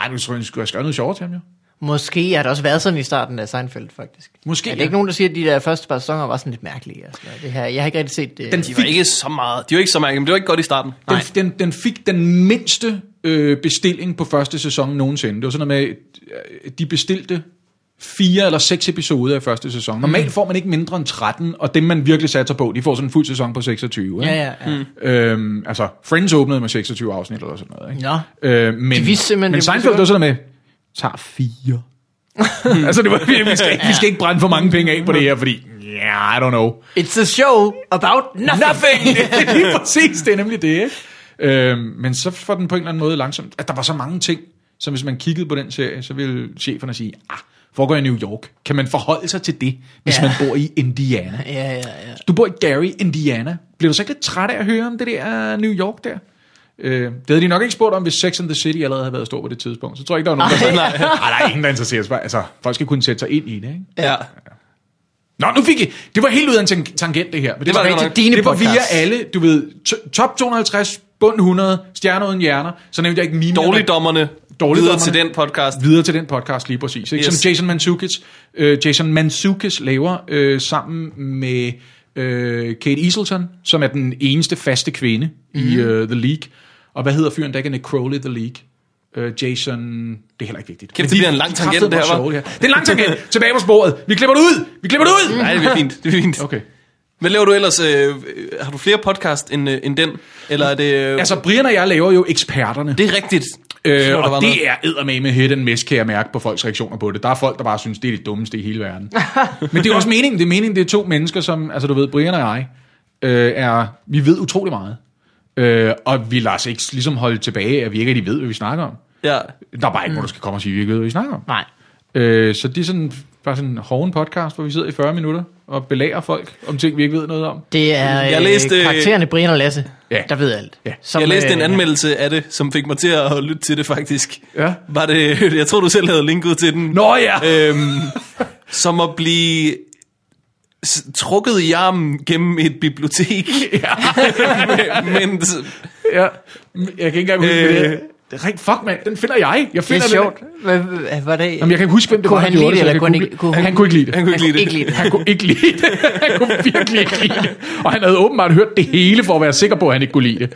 ej, du tror, jeg skulle have skrevet noget sjovere til ham jo.
Måske har det også været sådan i starten af Seinfeld, faktisk.
Måske,
Er der
ja.
ikke nogen, der siger, at de der første par sæsoner var sådan lidt mærkelige? Og sådan noget? Det her, jeg har ikke rigtig set øh, det.
Den
De var ikke så meget. De var ikke så mange, men det var ikke godt i starten.
Den, den, den fik den mindste øh, bestilling på første sæson nogensinde. Det var sådan noget med, øh, de bestilte fire eller seks episoder af første sæson.
Mm.
Normalt får man ikke mindre end 13, og dem man virkelig satser på, de får sådan en fuld sæson på 26.
Ja,
ikke?
ja, ja. Mm.
Øhm, altså, Friends åbnede med 26 afsnit eller sådan noget. Ikke?
Nå.
Øh, men,
De vidste simpelthen,
men
det var
Seinfeld
så
var sådan noget med, tager fire. altså, det var, vi, skal ikke, vi skal ikke brænde for mange penge af på det her, fordi, yeah, I don't know.
It's a show about nothing.
Nothing! Det er Lige præcis, det er nemlig det, ikke? Øhm, men så får den på en eller anden måde langsomt, at der var så mange ting, som hvis man kiggede på den serie, så ville cheferne sige, ah, foregår i New York. Kan man forholde sig til det, hvis
Ja.
ja. man bor i Indiana?
Ja, ja, ja.
Du bor i Gary, Indiana. Bliver du så ikke lidt træt af at høre om det der New York der? Øh, det havde de nok ikke spurgt om, hvis Sex and the City allerede havde været stor på det tidspunkt. Så tror jeg ikke, der var nogen, der
Ej.
sagde, nej, der er ingen, der interesserer sig. for- Altså, folk skal kunne sætte sig ind i det, ikke?
Ja.
Nå, nu fik I... Det var helt ud af en tan- tangent, det her. Men det,
var
var,
rigtig
rigtig
dine
Det var via
podcast.
alle, du ved, to- top 250, bund 100, stjerner uden hjerner. Så nævnte jeg ikke mine.
Dårligdommerne. Videre
Dårligdommerne.
til den podcast.
Altså, Videre til den podcast lige præcis. Ikke?
Yes.
Som Jason Mantzoukas, øh, Jason Mantzoukas laver øh, sammen med øh, Kate Easleton, som er den eneste faste kvinde mm.
Mhm.
i øh, The League. Og hvad hedder fyren, der ikke er Nick Crowley i The League? Øh, Jason... Det er heller ikke vigtigt.
Kæft,
Men
det er en lang tangent,
kraftedeme
det her, hva'?
sjove, Det er en lang tangent. Tilbage på sporet. Vi klipper det ud. Vi klipper det ud.
Nej, det bliver fint. Det bliver fint.
Okay.
Hvad laver du ellers? Øh, øh, har du flere podcast end, øh, end den? Eller er det... Øh,
Altså, Brian og jeg laver jo eksperterne.
det er rigtigt.
Øh,
Så der
og
var
det
noget.
er eddermame hit and miss, kan jeg mærke på folks reaktioner på det. Der er folk, der bare synes, det er det dummeste i hele verden. Men det er også meningen. Det er meningen, det er to mennesker, som, altså du ved, Brian og jeg, øh, er, vi ved utrolig meget. Øh, og vi lader os ikke ligesom holde tilbage, at vi ikke rigtig ved, hvad vi snakker om.
Ja.
Der er bare ikke, mm. hvor du skal komme og sige, at vi ikke ved, hvad vi snakker om.
Nej.
Øh, så det er sådan, bare sådan en hoven podcast, hvor vi sidder i 40 minutter og belærer folk om ting, vi ikke ved noget om.
Det er
Jeg
jeg
læste,
læste,
øh,
karaktererne Brian og Lasse,
Ja.
der ved alt.
Ja.
Som,
Jeg læste en
øh,
anmeldelse af det, som fik mig til at lytte til det faktisk.
Ja.
Var det... Jeg tror, du selv havde linket til den.
Nå ja!
Øhm, som at blive s- trukket i armen gennem et bibliotek. Ja. men,
Ja. Jeg kan ikke engang huske,
Øh.
øh, det er. Det er rent fuck, mand. Den finder jeg. Jeg
Det
finder
er
den.
sjovt. Hvad, hvad var det?
Jamen, jeg kan ikke huske, hvem det
Kunne
var, der
han
gjorde det,
lide det,
så jeg
eller kunne han
google-
ikke- kunne
han,
han-
kunne ikke lide det.
han kunne ikke lide det.
ikke lide det.
Han kunne ikke lide det. Han kunne virkelig ikke lide det. Og han havde åbenbart hørt det hele for at være sikker på, at han ikke kunne lide det.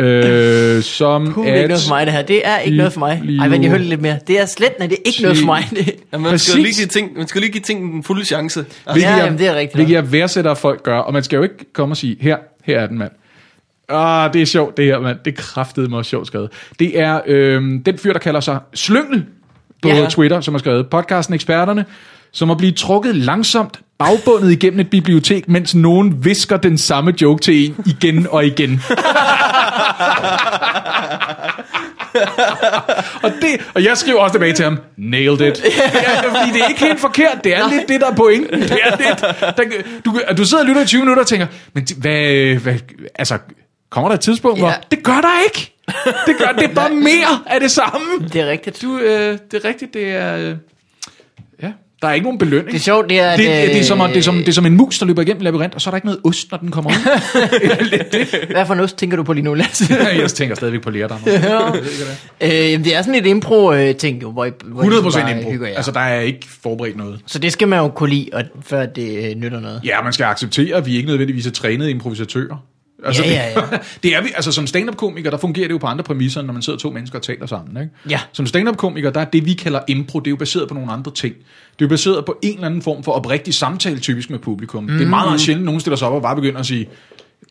Øh, som
Puh, det er ikke noget for mig, det her. Det er ikke noget for mig. Ej, men jeg hørte lidt mere. Det er slet nej, det er ikke noget for mig. Det.
Ja, man, skal jo lige
Præcis.
give ting, man skal jo lige give ting den fulde chance. Altså,
Hvilket
Ja,
jeg-
jamen, det er rigtigt.
Hvilket jeg værdsætter, at folk gør. Og man skal jo ikke komme og sige, her, her er den, mand. Ah, det er sjovt, det her, mand. Det kræftede mig sjovt skrevet. Det er øhm, den fyr, der kalder sig Slyngel på
Ja.
ja. Twitter, som har skrevet podcasten Eksperterne, som at blive trukket langsomt bagbundet igennem et bibliotek, mens nogen visker den samme joke til en igen og igen. og, det, og jeg skriver også tilbage til ham, nailed it. Ja, fordi det er ikke helt forkert, det er Nej. lidt det, der er pointen. Det er lidt, der, du, du sidder og lytter i 20 minutter og tænker, men det- hvad, hvad altså, kommer der et tidspunkt, hvor
Ja.
det gør der ikke. Det gør det er bare mere af det samme.
Det er rigtigt.
Du, øh, det er rigtigt, det er... Øh, ja, der er ikke nogen belønning.
Det er sjovt, det er, at,
Det, det, det, er som, at- det, er som,
øh,
det er som en mus, der løber igennem en labyrint, og så er der ikke noget ost, når den kommer ud.
Hvad for en ost tænker du på lige nu, Lasse?
jeg tænker stadigvæk på lærdammer.
øh, jamen, det er sådan et impro-ting, jo, hvor, I- hvor I
100 procent
bare
impro.
hygger jer.
Altså, der er ikke forberedt noget.
Så det skal man jo kunne lide, og, før det øh, nytter noget.
Ja, man skal acceptere, at vi ikke nødvendigvis er trænede improvisatører. Altså,
Ja, ja, ja.
Det, det er vi, altså som stand-up-komiker, der fungerer det jo på andre præmisser, end når man sidder to mennesker og taler sammen. Ikke?
Ja.
Som stand-up-komiker, der er det, vi kalder impro, det er jo baseret på nogle andre ting. Det er jo baseret på en eller anden form for oprigtig samtale, typisk med publikum. Mm. Det er meget, meget sjældent, at nogen stiller sig op og bare begynder at sige,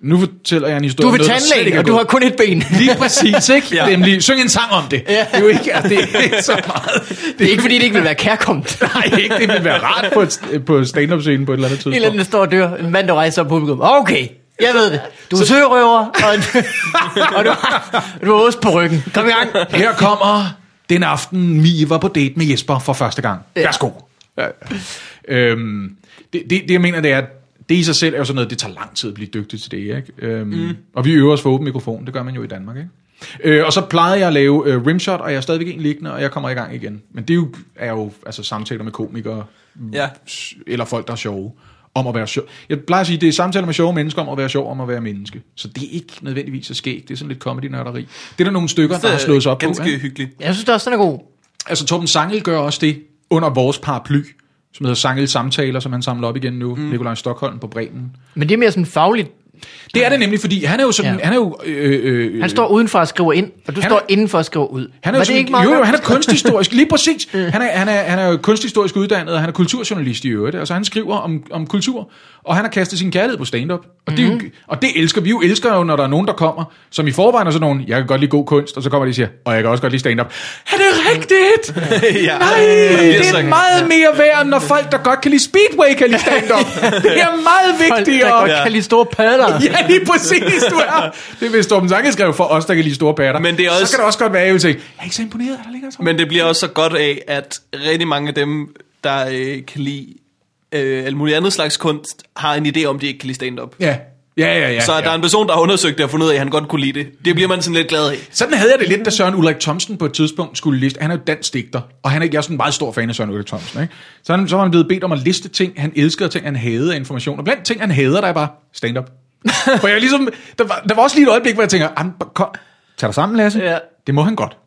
nu fortæller jeg en historie.
Du
om
vil
noget, der slet ikke
tandlæge,
er
og du
god."
har kun et ben. Det
Lige præcis, ikke?
Ja.
ja. Nemlig, syng en sang om det. Ja. Det er jo ikke, altså, det er ikke så meget. Det
er ikke, fordi det ikke vil være kærkomt.
Nej, ikke. Det ville være rart på, et, på stand-up-scenen på et eller andet tidspunkt.
En eller anden, der står og dør. En mand, der rejser op på publikum. Okay, Jeg ved det. Du er sørøver, og, og du, har, du har ost på ryggen. Kom i gang.
Her kommer den aften, Mie var på date med Jesper for første gang.
Ja.
Værsgo. Ja. Øhm, det, det, det, jeg mener, det er, at det i sig selv er jo sådan noget, det tager lang tid at blive dygtig til det, ikke? Øhm, mm. Og vi øver os for åben mikrofon, det gør man jo i Danmark, ikke? Øh, og så plejede jeg at lave øh, rimshot, og jeg er stadigvæk en liggende, og jeg kommer i gang igen. Men det er jo, er jo altså, samtaler med komikere,
Ja.
s- eller folk, der er sjove, om at være sjov. Jeg plejer at sige, det er samtaler med sjove mennesker om at være sjov, om at være menneske. Så det er ikke nødvendigvis så skægt, det er sådan lidt comedy-nørderi. Det er der nogle stykker, der har slået sig op
ganske
på. ikke?
hyggeligt.
Jeg synes, det også, den er god.
Altså Torben Sangel gør også det under vores paraply, som hedder Sangel Samtaler, som han samler op igen nu, mm. Nikolaj Stockholm på Bremen.
Men det er mere sådan fagligt.
Det er det nemlig, fordi han er jo sådan,
Ja.
ja. han er jo, øh, øh,
Han står udenfor og skriver ind, og du
Han
han
er-
står indenfor og skriver ud.
han er
Var
jo,
det
sådan,
ikke Mm. meget
jo, jo,
godt?
han er kunsthistorisk, lige præcis. Han er, han, er, han er jo kunsthistorisk uddannet, og han er kulturjournalist i øvrigt. Altså han skriver om, om kultur, og han har kastet sin kærlighed på stand-up. Og, det, er
Mhm.
jo- og det elsker vi jo. elsker jo, når der er nogen, der kommer, som i forvejen er sådan nogen, jeg kan godt lide god kunst, og så kommer de og siger, og jeg kan også godt lide stand-up. Er det rigtigt?
ja.
Nej, det er meget mere værd, end når folk, der godt kan lide Speedway, kan lide stand-up. Det er meget
Folk, der
vigtigere.
godt kan lide store padder.
Ja, lige præcis, du er. Det er, hvis Torben Sange skrev for os, der kan lide store patter.
Men det er
Så
også-
kan det også godt være, at jeg vil sige, jeg er ikke så imponeret, er der ligger så
Men det bliver også så godt af, at rigtig mange af dem, der øh, kan lide øh, alt muligt andet slags kunst, har en idé om, at de ikke kan lide stand-up.
Ja, ja, ja. ja
Så
ja.
der er en person, der har undersøgt det og fundet ud af, at han godt kunne lide det. Det bliver man sådan lidt glad af.
Sådan havde jeg det lidt, da Søren Ulrik Thomsen på et tidspunkt skulle liste. Han er jo dansk digter, og han er, jeg er sådan en meget stor fan af Søren Ulrik Thomsen. Ikke? Så, han, så var han blevet bedt om at liste ting, han elskede, og ting, han havde af information. Og blandt ting, han hader, der er bare stand-up. For jeg ligesom, der, var, der var også lige et øjeblik, hvor jeg tænker, "Am, kom, tag dig sammen, Lasse.
Ja.
Det må han godt.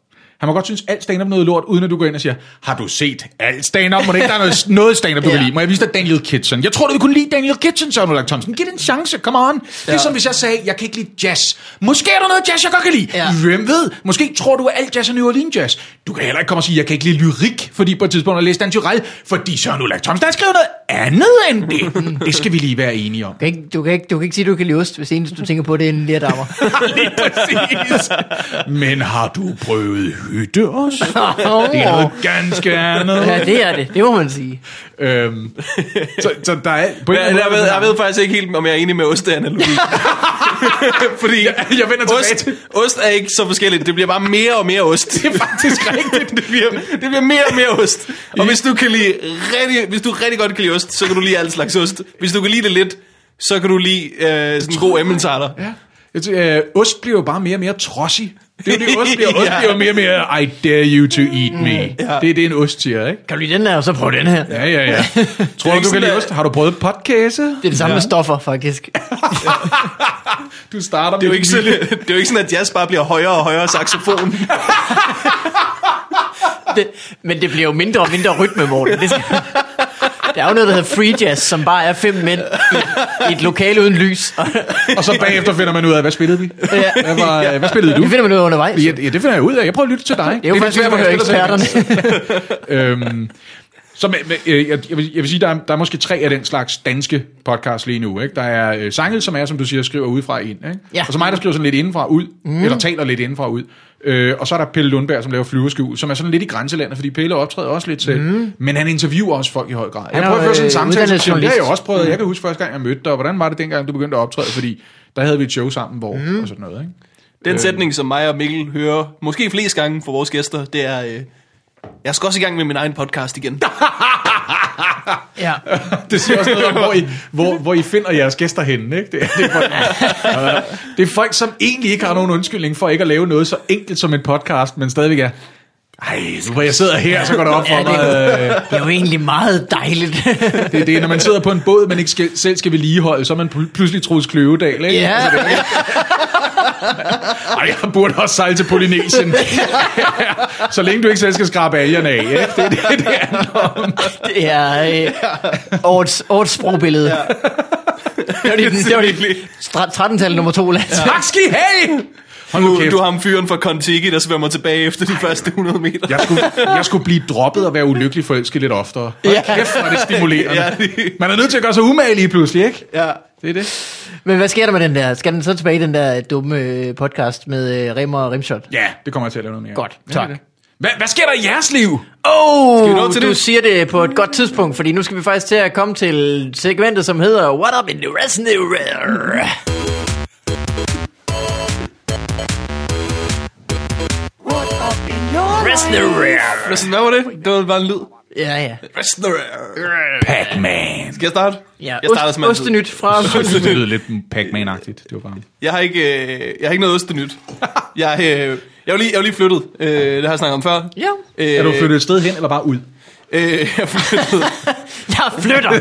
Han må godt synes, alt stand-up er noget lort, uden at du går ind og siger, har du set alt stand-up? Må det ikke, der er noget, noget stand-up, du ja.
Ja.
kan lide? Må jeg vise dig Daniel Kitson? Jeg tror, du vil kunne lide Daniel Kitson, Søren Ulrik Thomsen. Giv det en chance, come on. Ja. Det er som hvis jeg sagde, jeg kan ikke lide jazz. Måske er der noget jazz, jeg godt kan lide.
Ja.
Hvem ved? Måske tror du, at alt jazz er New Orleans jazz. Du kan heller ikke komme og sige, jeg kan ikke lide lyrik, fordi på et tidspunkt har jeg læst Dan Tyrell, fordi Søren Ulrik Thomsen har skrevet noget andet end det. Det skal vi lige være enige om.
Du kan, ikke, du, kan ikke, du kan ikke sige, du kan lide ost, hvis eneste du tænker på, det er en lærdammer.
Lige præcis. Men har du prøvet hytte også? Det er noget ganske andet.
ja, det er det. Det må man sige.
Øhm, så, så der er... På en
Jeg,
eller
jeg,
anden
ved,
måde-
jeg ved faktisk ikke helt, om jeg er enig med osteanalogien. Fordi
Jeg- jeg vender tilbage
ost,
til-
ost er ikke så forskelligt. Det bliver bare mere og mere ost. Det er faktisk rigtigt. det, bliver, det bliver mere og mere ost. Og hvis du, kan lide rigtig, hvis du rigtig godt kan lide ost, så kan du lide alt slags ost. Hvis du kan lide det lidt, så kan du lide øh, sådan en god emmentaler.
Ja. Jeg tænker, øh, ost bliver jo bare mere og mere trodsig. Det er jo det, ost bliver. Ost
Ja.
bliver jo mere og mere, I dare you to eat me. Ja. Det er det, en ost siger, ikke?
Kan du lide den her, og så prøv den her.
Ja, ja, ja. Tror
er
du,
ikke
du kan
sådan,
lide
at-
ost? Har du prøvet podcast?
Det er det samme med stoffer, faktisk.
Du starter
Det er, jo ikke sådan, det er jo ikke sådan, at jazz bare bliver højere og højere saxofon.
Det, men det bliver jo mindre og mindre rytme, Morten. Det skal, der er jo noget, der hedder free jazz, som bare er fem mænd i, i et lokale uden lys. Og,
Og så bagefter finder man ud af, hvad spillede vi?
Ja.
Hvad, var, øh, hvad spillede du?
det finder man ud af undervejs.
Ja, ja, det finder jeg ud af. Jeg prøver at lytte til dig.
Det er jo faktisk,
lidt
vi hører
svært, hvor jeg
eksperterne.
stiller sig ind. øhm, så med, med, øh, jeg, jeg, vil, jeg vil sige, der er, der er måske tre af den slags danske podcasts lige nu. Ikke? Der er øh, Sangel, som er, som du siger, skriver udefra og ind. Ikke?
Ja. Mhm.
Og så mig, der skriver sådan lidt indenfra og ud, mm. eller taler lidt indenfra og ud. Øh, og så er der Pelle Lundberg, som laver flyveskjul, som er sådan lidt i grænselandet, fordi Pelle optræder også lidt selv. Mm. Men han interviewer også folk i høj grad. Jeg
Mhm. er
prøver at
jo,
føre sådan en
øh,
samtale.
uddannet
så siger jeg, Det har jeg
journalist. Mhm.
også prøvet. Jeg kan huske første gang, jeg mødte dig, og hvordan var det dengang, du begyndte at optræde? Fordi der havde vi et show sammen, hvor...
Mhm.
Mm. Og sådan noget, ikke?
Den sætning, som mig og Mikkel hører måske flest gange fra vores gæster, det er, øh, jeg skal også i gang med min egen podcast igen.
Ja.
Det siger også noget om, hvor I, hvor, hvor I finder jeres gæster henne. Ikke? Det, er- det, er folk, Ja. det er folk, som egentlig ikke har nogen undskyldning for ikke at lave noget så enkelt som en podcast, men stadigvæk er, ej, nu hvor jeg sidder her, så går det op for
Ja, det,
mig. øh,
er, det er jo egentlig meget dejligt.
Det, det er, når man sidder på en båd, man ikke skal, selv skal vedligeholde, så er man pl- pludselig Troels Kløvedal. Ikke? Altså,
ja,
Ej, jeg burde også sejle til Polynesien. så længe du ikke selv skal skrabe algerne af. Ikke? Det, er det, det handler om.
det er øh, årets, årets sprogbillede. Ja. Det var dit, det var dit stra- 13-tal nummer to, Lasse. Ja.
Tak skal I have! Hold nu
Du,
kæft.
du har ham fyren fra Kontiki, der svømmer tilbage efter de første 100 meter.
Jeg skulle, jeg skulle blive droppet og være ulykkelig forelsket lidt oftere. Hold
Ja.
kæft, hvor er det stimulerende.
Ja, det-
Man er nødt til at gøre sig umage lige pludselig, ikke?
Ja.
Det er det.
Men hvad sker der med den der? Skal den så tilbage i den der dumme øh, podcast med øh, Remmer og Rimshot?
Ja, det kommer jeg til at lave noget mere. af.
Godt,
Ja,
tak.
det er det. Hvad, hvad sker der i jeres liv?
vi nå
Oh,
til
du
det?
siger det på et godt tidspunkt, fordi nu skal vi faktisk til at komme til segmentet, som hedder What Up in the Reservoir. Restaurant.
Men sådan, hvad var det? Det var bare en lyd.
Ja, ja.
Pac-Man.
Skal jeg starte?
ja.
Jeg starter som altid.
ost, ostenyt fra...
Det lyder lidt Pac-Man-agtigt. Det var bare...
Jeg har ikke, øh, jeg har ikke noget ost nyt. Jeg, øh, jeg var lige, jeg var lige flyttet. Øh, det har jeg snakket om før.
Ja,
Øh,
Er du flyttet et sted hen, eller bare ud?
Øh, jeg flyttede,
jeg flytter.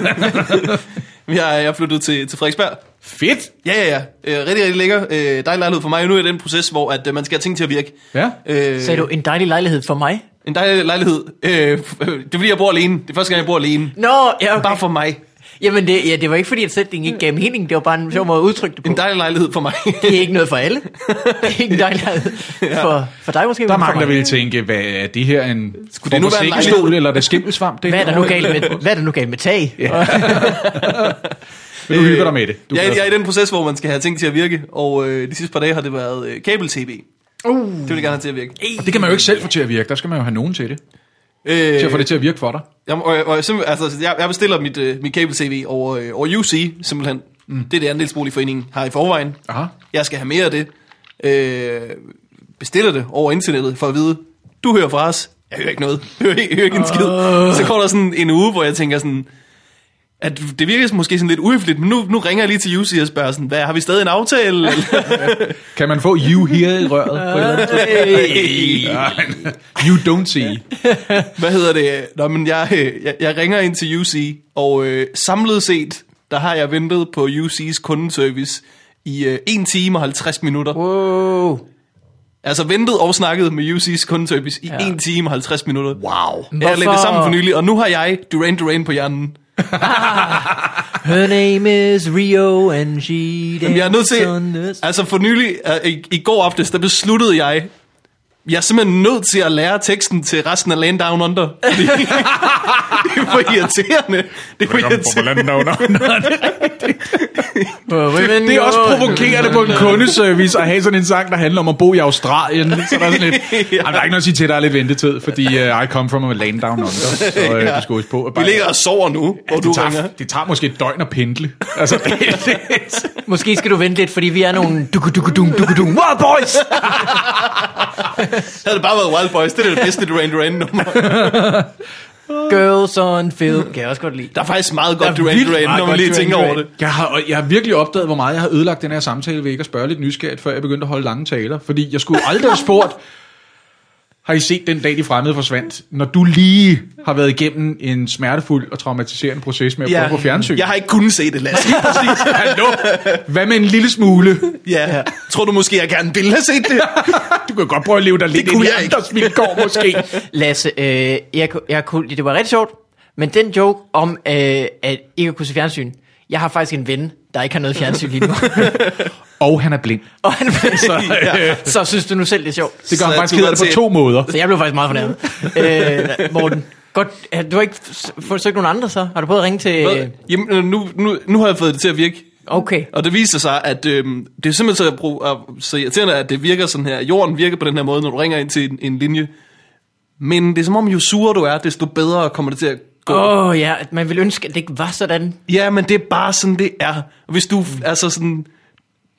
Øh. jeg, jeg flyttede til, til Frederiksberg.
Fedt!
Ja, ja, ja. Øh, rigtig, rigtig lækker. Øh, dejlig lejlighed for mig. Nu er jeg i den proces, hvor at, øh, man skal have ting til at virke.
Ja.
Øh,
Sagde du, en dejlig lejlighed for mig?
En dejlig lejlighed. Øh, f- øh, det er fordi, jeg bor alene. Det er første gang, jeg bor alene.
Nå, ja, okay.
Bare for mig.
Jamen, det, ja, det var ikke fordi, at sætningen ikke gav mening. Det var bare en sjov måde at udtrykke det på.
En dejlig lejlighed for mig.
Det er ikke noget for alle. Det er ikke en dejlig lejlighed. For, for dig måske.
Der er
men for
mange, der
mig.
vil tænke, hvad er det her en Skulle
det nu være en lejlighed?
eller er det skimmelsvamp? Det
Hvad er der nu galt med, hvad er der nu galt med tag? Ja.
Men du
Øh,
hygger dig med det. Du
jeg, er-
glæder
jeg er i
dig.
den proces, hvor man skal have ting til at virke. Og øh, de sidste par dage har det været øh, kabel-tv. Det
Uh,
vil jeg gerne have til at virke.
Og det kan man jo ikke selv få til at virke. Der skal man jo have nogen til det.
Øh,
Til at få det til at virke for dig.
Jamen, og, jeg- og jeg, simpel- altså, jeg, jeg bestiller mit, øh, mit kabel-tv over, øh, over UC, simpelthen. Mm. Det er det andelsboligforeningen har i forvejen.
Aha.
Jeg skal have mere af det. Øh, bestiller det over internettet for at vide, du hører fra os. Jeg hører ikke noget. Jeg hører, ikke- jeg hører ikke en skid. Så går der sådan en uge, hvor jeg tænker sådan, at det virker måske sådan lidt uhøfligt, men nu, nu ringer jeg lige til UC og spørger sådan, hvad, har vi stadig en aftale?
Kan man få you here i røret? På et eller andet tidspunkt?
Eller-
you don't see.
hvad hedder det? Nå, men jeg, øh, jeg, jeg ringer ind til UC, og øh, samlet set, der har jeg ventet på UC's kundeservice i øh, 1 time og 50 minutter.
wow.
Altså ventet og snakket med UC's kundeservice i ja. 1 time og 50 minutter. Wow. Jeg har lagt det
Hvorfor?
sammen for nylig, og nu har jeg Duran Duran på hjernen.
Her name is Rio, and she
Jamen, jeg er nødt
dances on the
til... Altså for nylig, øh, i, i går aftes, der besluttede jeg, jeg er simpelthen nødt til at lære teksten til resten af Land Down Under. Fordi, det er for irriterende. Det er for irriterende.
Women
Det er også
go-
provokerende på en kundeservice at have sådan en sang, der handler om at bo i Australien. Så der er sådan lidt, ja. der er ikke noget at sige til, at der er lidt ventetid, fordi uh, I come from a land down under, så uh, ja. du skal huske på. at
Vi
Bare,
ligger og sover nu, hvor du
det,
ringer.
tager, det tager måske et døgn at pendle. Altså, det, det,
Måske skal du vente lidt, fordi vi er nogle dukudukudum, dukudum, wow boys!
Havde det bare været Wild Boys, det er det bedste Duran Duran-nummer.
Girls on film, kan jeg også godt lide.
Der er faktisk meget godt
Der er
Duran
vildt
Duran,
meget
når man
godt
lige
Duran
tænker over
Duran.
det.
Jeg har, og jeg har virkelig opdaget, hvor meget jeg har ødelagt den her samtale ved ikke at spørge lidt nysgerrigt, før jeg begyndte at holde lange taler. Fordi jeg skulle aldrig have spurgt, har I set den dag, de fremmede forsvandt, når du lige har været igennem en smertefuld og traumatiserende proces med at prøve på fjernsyn?
Jeg har ikke kunnet se det, Lasse.
Hallo? Hvad med en lille smule?
ja. Tror du måske, jeg gerne ville have set det?
Du kan godt prøve at leve dig lidt ind
kunne
i
jeg ikke.
andres vilkår, måske.
Lasse, øh, jeg, ku- jeg kunne, det var rigtig sjovt, men den joke om øh, at ikke at kunne se fjernsyn, jeg har faktisk en ven, der ikke har noget fjernsyn lige nu.
Og han er blind.
og han, så,
ja.
så synes du nu selv, det er sjovt.
øh, Det gør
Så
han faktisk
du
ked
er
af det på
til-
to måder.
Så jeg blev faktisk meget fornærmet. øh, Morten, godt, ja, du har ikke s- forsøgt nogen andre så? Har du prøvet at ringe til...
Hvad? Jamen, øh, nu, nu, nu har jeg fået det til at virke.
Okay.
Og det viser sig, at øh, det er simpelthen så, pro- og så irriterende, at det virker sådan her. Jorden virker på den her måde, når du ringer ind til en, en linje. Men det er som om, jo surere du er, desto bedre kommer det til at gå.
Åh oh, ja, at man ville ønske, at det ikke var sådan.
Ja, men det er bare sådan, det er. Hvis du, altså sådan,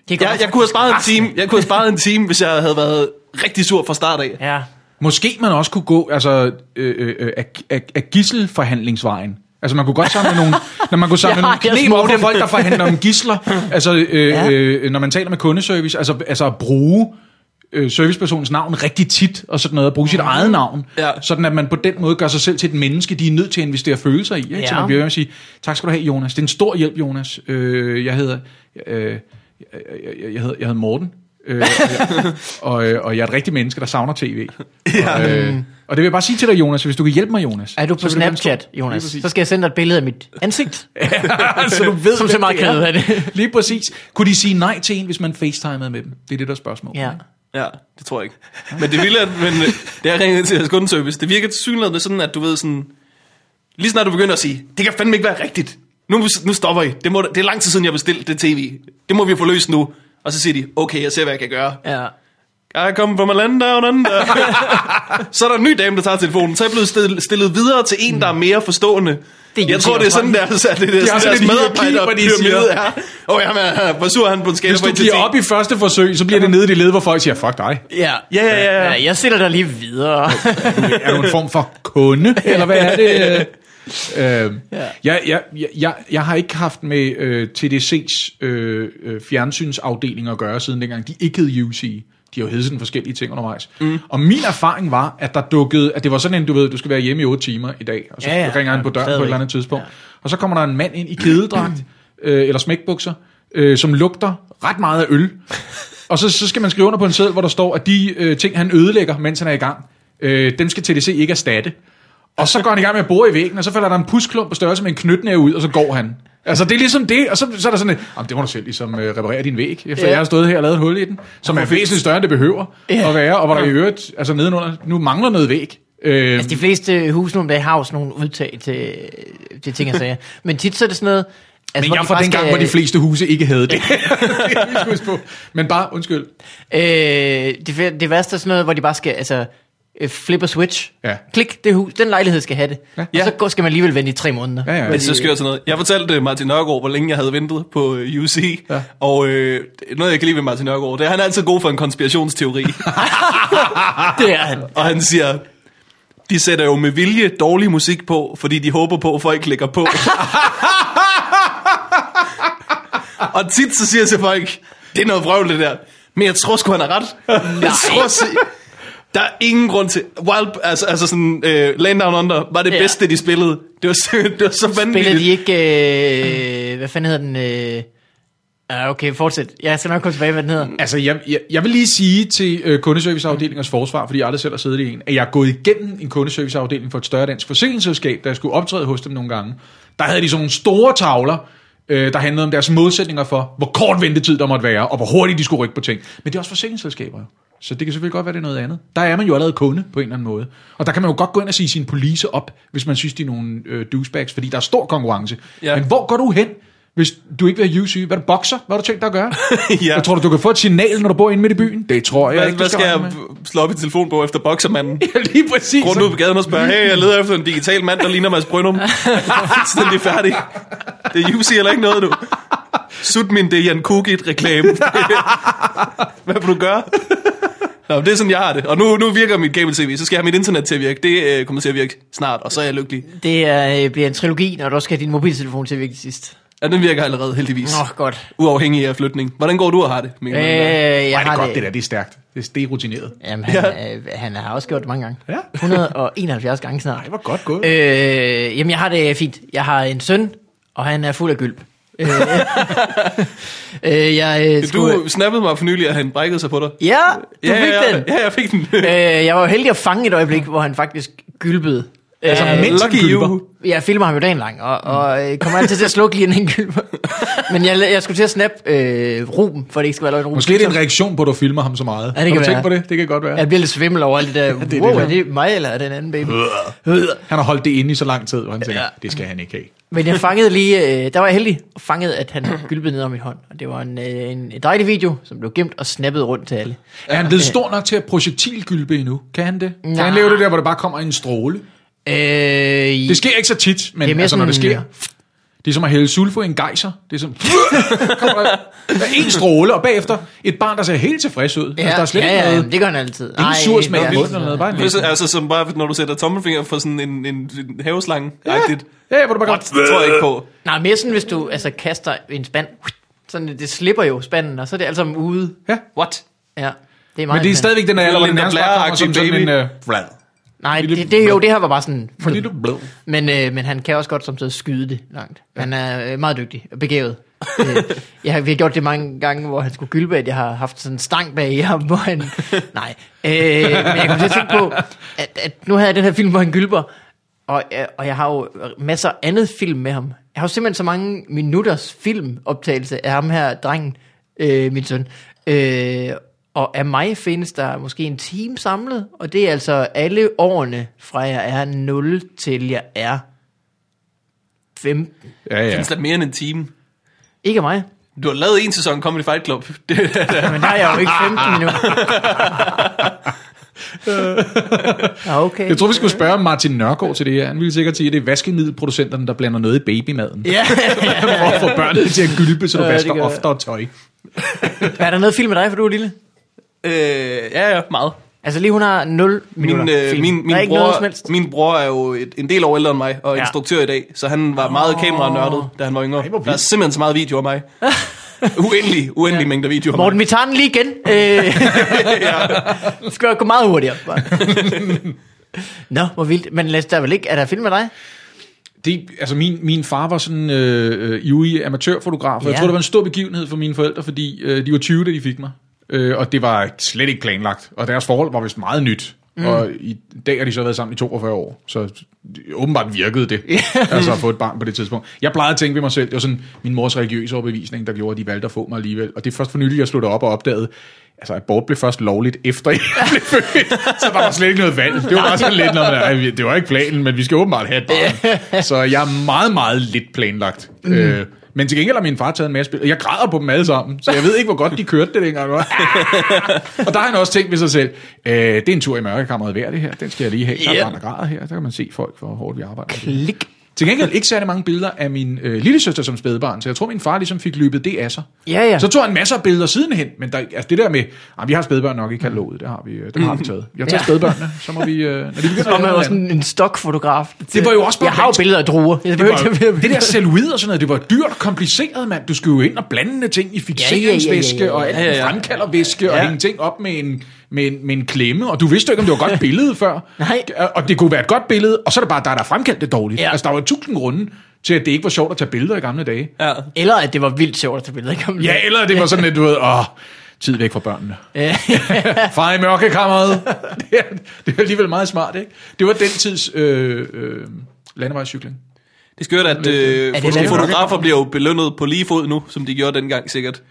Det er
jeg, jeg, kunne have
Ah.
sparet en time, jeg kunne have sparet en time, hvis jeg havde været rigtig sur fra start af.
Ja.
Måske man også kunne gå altså, øh, øh, af, af, af gisselforhandlingsvejen. Altså man kunne godt samle nogle, når man kunne samle
Ja,
nogle
jeg
knep
smutter.
over det er folk, der forhandler om gisler. Altså øh,
Ja.
ja. øh, når man taler med kundeservice, altså, altså at bruge øh, servicepersonens navn rigtig tit og sådan noget, at bruge
Mm.
sit eget navn,
Ja.
ja. sådan at man på den måde gør sig selv til et menneske, de er nødt til at investere følelser i. Ikke?
Ja.
Så man bliver ved med at sige, tak skal du have Jonas, det er en stor hjælp Jonas, øh, jeg hedder... Øh, jeg, jeg, jeg, hedder, jeg hedder Morten, øh, og, jeg, og, øh, og jeg er et rigtigt menneske, der savner tv. Og, øh, og det vil jeg bare sige til dig, Jonas, hvis du kan hjælpe mig, Jonas.
Er du på
så vil det være en stor-
Snapchat, Jonas?
Lige
Så
præcis.
skal jeg sende dig et billede af mit ansigt.
så du ved,
Som så
hvem
meget
det er.
kan af det.
Lige præcis. Kunne de sige nej til en, hvis man facetimede med dem? Det er det, der er spørgsmålet.
Ja.
Ja, det tror jeg ikke. Men det ville, at men, øh, det har ringet til jeres kundeservice. Det virker tilsyneladende sådan, at du ved sådan... Lige snart du begynder at sige, det kan fandme ikke være rigtigt. Nu, må- nu stopper I. Det, må, det er lang tid siden, jeg bestilte det tv. Det må vi få løst nu. Og så siger de, okay, jeg ser, hvad jeg kan gøre.
ja.
I come from a land down under. så er der en ny dame, der tager telefonen. Så er jeg blevet stillet, stillet videre til en, der er mere forstående.
Det er
jeg tror, det er sådan, der, så er altså, det, det er
har
sådan,
sådan
deres
et hierarki,
medarbejder
hvor de siger-
pyramide er. Åh, oh, jamen, hvor sur er han på en skala
Hvis
fra
du
1 til 10?
giver op i første forsøg, så bliver det nede i det led, hvor folk siger, fuck dig.
Ja.
Ja, ja, ja.
ja jeg stiller dig lige videre.
Er du en form for kunde, eller hvad er det? Øh, ja. jeg, jeg, jeg, jeg har ikke haft med øh, TDC's øh, øh, fjernsynsafdeling at gøre siden dengang. De ikke hed UC. De har jo heddet sådan forskellige ting undervejs. Mm. Og min erfaring var, at der dukkede, at det var sådan en, du ved, du skal være hjemme i 8 timer i dag, og så
Ja,
ja,
ja.
ja. ringer han på døren på et
Stadigvæk.
eller andet tidspunkt.
Ja.
Ja. Og så kommer der en mand ind i kededragt, øh, eller smækbukser, øh, som lugter ret meget af øl. Og så, så skal man skrive under på en seddel, hvor der står, at de øh, ting, han ødelægger, mens han er i gang, øh, dem skal TDC ikke erstatte. Og så går han i gang med at bore i væggen, og så falder der en pusklump på størrelse med en knytnæve ud, og så går han. Altså, det er ligesom det, og så, så er der sådan et, "Jamen, det må du selv ligesom øh, reparere din væg, efter
Ja.
ja. jeg har stået her og lavet et hul i den, som er væsentligt større, end det behøver
Ja.
at være, og hvor der i øvrigt, altså nedenunder, nu mangler noget væg. Øh,
Altså, de fleste huse nu om dagen har jo sådan nogle udtag til, til ting og sager. Men tit så er det sådan noget... Altså,
Men jeg er fra
bare
den gang, hvor de fleste huse ikke havde det. det skal vi huske på. Men bare, undskyld.
Øh, det, fæ- det værste er sådan noget, hvor de bare skal... Altså, øh, flip og switch.
Ja.
Klik, det hus, den lejlighed skal have det. Ja. Og
Ja.
så går, skal man alligevel vente i tre måneder.
Ja, ja.
Men så skørt sådan noget. Jeg fortalte øh, Martin Nørgaard, hvor længe jeg havde ventet på øh, UC, ja. og øh, noget, jeg kan lide ved Martin Nørgaard, det er, at han er altid god for en konspirationsteori.
Det er han.
og han siger, de sætter jo med vilje dårlig musik på, fordi de håber på, at folk klikker på. og tit så siger jeg til folk, det er noget vrøvl det der, men jeg tror sgu, han har ret. Jeg tror, si- der er ingen grund til... Wild, altså, altså sådan, uh, Land Down Under var det
Ja.
ja. bedste, de spillede. Det var, så- det var så vanvittigt.
Spiller de ikke... Øh, hvad fanden hedder den... Øh, ja, okay, fortsæt. Jeg skal nok komme tilbage, hvad den hedder.
Altså, jeg, jeg, jeg vil lige sige til øh, kundeserviceafdelingers forsvar, fordi jeg aldrig selv har siddet i en, at jeg er gået igennem en kundeserviceafdeling for et større dansk forsikringsselskab, da jeg skulle optræde hos dem nogle gange. Der havde de sådan nogle store tavler, øh, der handlede om deres modsætninger for, hvor kort ventetid der måtte være, og hvor hurtigt de skulle rykke på ting. Men det er også forsikringsselskaber jo. Så det kan selvfølgelig godt være, det er noget andet. Der er man jo allerede kunde på en eller anden måde. Og der kan man jo godt gå ind og sige sin police op, hvis man synes, de er nogle øh, douchebags, fordi der er stor konkurrence.
Ja.
Ja. Men hvor går du hen, hvis du ikke vil have UC? Hvad er du bokser? Hvad har du tænkt dig at gøre?
Ja.
ja. Tror du, du kan få et signal, når du bor inde midt i byen? Det tror jeg
Hvad,
ikke,
hvad skal jeg
regne
slå op i telefonbog efter boksermanden?
med. Lige præcis.
Rundt
Ligesom-
ud på gaden og spørge, hey, jeg leder efter en digital mand, der ligner Mads Brønum. Fuldstændig færdig. Det er UC eller ikke noget nu. Sut min det er Jan Kugit reklame. Hvad vil du gøre? Nå, men det er sådan, jeg har det. Og nu, nu virker mit kabel-tv, så skal jeg have mit internet til at virke. Det øh, kommer til at virke snart, og så er jeg lykkelig.
Det er, øh, bliver en trilogi, når du også skal have din mobiltelefon til at virke til sidst.
Ja, den virker allerede heldigvis.
Nå, godt.
Uafhængig af flytning. Hvordan går du og har det,
Øh,
Mikkel?
jeg
Ja, det
har
er godt, det der. Det er stærkt. Det er, det er rutineret.
Jamen, han, ja. øh, han har også gjort det mange gange.
Ja.
171 gange snart.
Ej, hvor godt gået.
Øh, jamen, jeg har det fint. Jeg har en søn, og han er fuld af gylp. Øh, øh, jeg, øh, skulle,
Du snappede mig for nylig, at han brækkede sig på dig.
Ja, du
ja,
fik
ja, ja,
den.
Ja, jeg fik den.
Øh, jeg var jo heldig at fange et øjeblik, hvor han faktisk gylpede.
Altså,
Øh,
mens
Lucky
den gylper.
you.
jeg filmer ham jo dagen lang, og, og øh, kommer altid til at slukke lige en enkelt. Men jeg, jeg skulle til at snappe øh, Ruben, for det ikke skal være løgn. Ruben
Måske det er en reaktion på, at du filmer ham så meget.
Ja, det
Har
kan
du
være.
tænkt på det? Det kan godt være.
Jeg bliver lidt svimmel over alt det der.
det er
wow,
det.
er det mig eller er det en anden baby?
Han har holdt det inde i så lang tid, og han tænker,
Ja.
ja. det skal han ikke have.
Men jeg fangede lige, øh, der var jeg heldig, og fangede, at han gylpede ned om min hånd. Og det var en, øh, en en dejlig video, som blev gemt og snappet rundt til alle.
Er han blevet stor nok til at projektilgylpe endnu? Kan han det? Kan
Nej.
han leve det der, hvor det bare kommer en stråle?
Øh,
Det sker ikke så tit, men
Det er mere
altså, når det
sådan-
sker... Det er som at hælde sulfo i en gejser. Det er som... Kommer der- der er en stråle, og bagefter et barn, der ser helt tilfreds ud. Ja, altså, der er slet
ja,
ikke
ja,
noget...
det gør han altid.
Ingen
Ej,
sur smag
hvor
i
vildt.
munden eller noget. Bare en
Hvis,
lille-
altså som bare, når du sætter tommelfinger for sådan en, en, en haveslange. Ja. Det
Ja, ja, hvor du bare kommer...
tror jeg ikke på.
Nej, mere sådan, hvis du altså, kaster en spand. Sådan, det slipper jo spanden, og så er det alt sammen ude.
Ja.
What? Ja, det er meget
Men det er
irriterende.
stadigvæk den alder, hvor den
Linda
nærmest bare kommer
Blair-agtig
som sådan en...
baby.
Øh,
Nej,
Lille-
det, det, jo, det her var bare sådan...
for lille blød.
Men, øh, men han kan også godt som skyde det langt. Han er øh, meget dygtig og begavet. øh, jeg, har- vi har gjort det mange gange, hvor han skulle gylde at jeg har haft sådan en stang bag i ham, hvor han... Nej. Øh, men jeg kom til at tænke på, at, at nu havde jeg den her film, hvor han gylper, og, øh, og jeg har jo masser af andet film med ham. Jeg har jo simpelthen så mange minutters filmoptagelse af ham her, drengen, øh, min søn. Øh, og af mig findes der måske en time samlet, og det er altså alle årene fra jeg er 0 til jeg er 15.
Ja, ja.
Findes der mere end en time?
Ikke af mig.
Du har lavet en sæson Comedy Fight Club. Det,
Men der er jeg jo ikke 15 endnu. ja, Ah, okay.
Jeg tror, vi skulle spørge Martin Nørgaard til det her. Han ville sikkert sige, at det er vaskemiddelproducenterne, der blander noget i babymaden.
Ja,
For at få børnene til at gylpe, så du
Ja, det
vasker
gør jeg.
oftere tøj.
er der noget film med dig, for du er lille?
øh, ja, ja, meget.
Altså lige hun har 0
Min,
minutter
øh,
film.
min,
der er
min,
ikke noget som
bror,
helst.
min bror er jo et, en del år ældre end mig, og
Ja.
ja. instruktør i dag, så han var meget kameranørdet, da han var yngre.
hvor
der er
vildt.
simpelthen så meget video af mig. Uendelig, uendelig ja. mængder video af
Morten,
mig.
vi tager den lige igen. Øh, Det skal jo gå meget hurtigere. Bare. Nå, hvor vildt. Men Lasse, der er vel ikke, er der film med dig?
Det, altså min, min far var sådan øh, øh, ivrig amatørfotograf, og ja.
Ja.
jeg tror, det var en stor begivenhed for mine forældre, fordi øh, de var 20, da de fik mig. Øh, og det var slet ikke planlagt, og deres forhold var vist meget nyt. Mm. Og i dag har de så været sammen i 42 år, så øh, åbenbart virkede det, altså at få et barn på det tidspunkt. Jeg plejede at tænke ved mig selv, det var sådan min mors religiøse overbevisning, der gjorde, at de valgte at få mig alligevel. Og det er først for nylig, jeg sluttede op og opdagede, altså abort blev først lovligt efter jeg blev født, så der var slet ikke noget valg. Det var bare sådan lidt, når man, "Ej, det var ikke planen, men vi skal åbenbart have et barn. Så jeg er meget, meget lidt planlagt. Mm. Øh, men til gengæld har min far taget en masse billeder. Jeg græder på dem alle sammen, så jeg ved ikke, hvor godt de kørte det dengang. Og der har han også tænkt ved sig selv, øh, det er en tur i mørkekammeret værd det her, den skal jeg lige have. Der
Ja.
er mange grader her, der kan man se folk, hvor hårdt vi arbejder. med det.
Klik.
Til gengæld ikke særlig mange billeder af min øh, lille søster som spædbarn, så jeg tror, min far ligesom fik løbet det af sig.
Ja, ja.
Så tog han masser af billeder sidenhen, men der, altså det der med, ah, vi har spædbørn nok i kataloget, det har vi, øh, det har vi taget. Jeg tager
Mm. Ja.
spædbørnene, så må vi... Øh, når de begynder at
Og
lave
man var
noget
sådan en stokfotograf.
Det var jo også bare
Jeg har jo
ganske-
billeder af druer. Jeg
det,
behøver
var,
ikke
jo-
tage
det der celluloid og sådan noget, det var dyrt og kompliceret, mand. Du skulle jo ind og blande ting i fixeringsvæske
Ja, ja, ja, ja, ja, ja.
og alt
Ja, ja,
ja,
ja.
fremkaldervæske og
Ja.
hænge ting op med en, med, en, med en klemme, og du vidste jo ikke, om det var et godt billede før.
Nej.
Og det kunne være et godt billede, og så er det bare dig, der har fremkaldt det dårligt.
Ja.
Ja. Altså, der var tusind grunde til, at det ikke var sjovt at tage billeder i gamle dage.
Ja.
Eller at det var vildt sjovt at tage billeder. Ikke?
Ja, eller det var sådan lidt, du ved, åh, tid væk fra børnene.
Ja.
Far i mørkekammeret. det, er, det er alligevel meget smart, ikke? Det var den tids øh, øh, landevejscykling.
Det er skørt, at øh,
det
foto-
langt?
fotografer bliver jo belønnet på lige fod nu, som de gjorde dengang sikkert.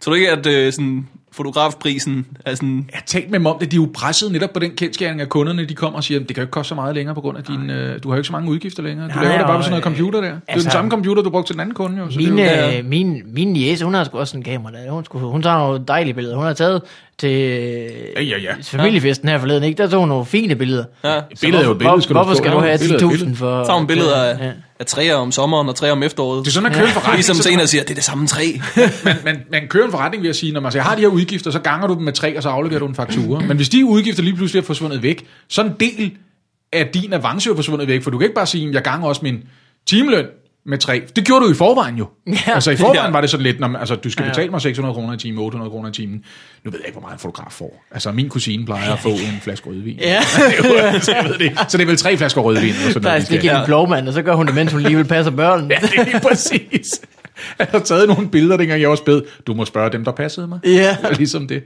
Tror du ikke, at øh, sådan, fotografprisen er sådan...
Jeg talte med dem om det, de er jo presset netop på den kendskæring, at kunderne de kommer og siger, det kan jo ikke koste så meget længere på grund af din, øh, du har jo ikke så mange udgifter længere. Du
Nej,
laver det bare
og,
på sådan noget
øh,
computer der. Altså, det er jo
altså-
den samme computer, du brugte til den anden kunde jo. Så
Min,
det er jo,
øh, min, min jæse, hun har sgu også en kamera. Der. Hun, skulle, hun tager nogle dejlige billeder. Hun har taget til øh,
Ja, ja, ja.
familiefesten her forleden. Ikke? Der tog hun nogle fine billeder.
Ja.
et billede er jo et billede,
Hvor, hvorfor
forstå.
skal
Ja,
du
et
have
billede er et
10.000
billede.
for...
Tager hun billeder af,
Ja.
af træer om sommeren og træer om efteråret.
Det er sådan at købe en forretning.
Ligesom
så-
senere siger, det er det samme træ.
man, man, man kører en forretning ved at sige, når man siger, jeg har de her udgifter, så ganger du dem med tre, og så afleverer du en faktura. Men hvis de udgifter lige pludselig er forsvundet væk, så en del af din avance er forsvundet væk, for du kan ikke bare sige, jeg ganger også min timeløn med tre. Det gjorde du i forvejen jo.
Ja.
Ja. Altså i forvejen
Ja.
var det sådan lidt, når man, altså, du skal
Ja.
betale mig 600 kroner i timen, 800 kroner i timen. Nu ved jeg ikke, hvor meget en fotograf får. Altså min kusine plejer at få en flaske rødvin.
Ja.
Så, jeg ved det. ikke. så det er vel tre flasker rødvin. Eller sådan
Der er
vi skal-
slik i en blåmand, og så gør hun det, mens hun alligevel passer børnene.
Ja, det er lige præcis. Jeg har taget nogle billeder, dengang jeg var spæd. Du må spørge dem, der passede mig.
Ja.
Det er ligesom det.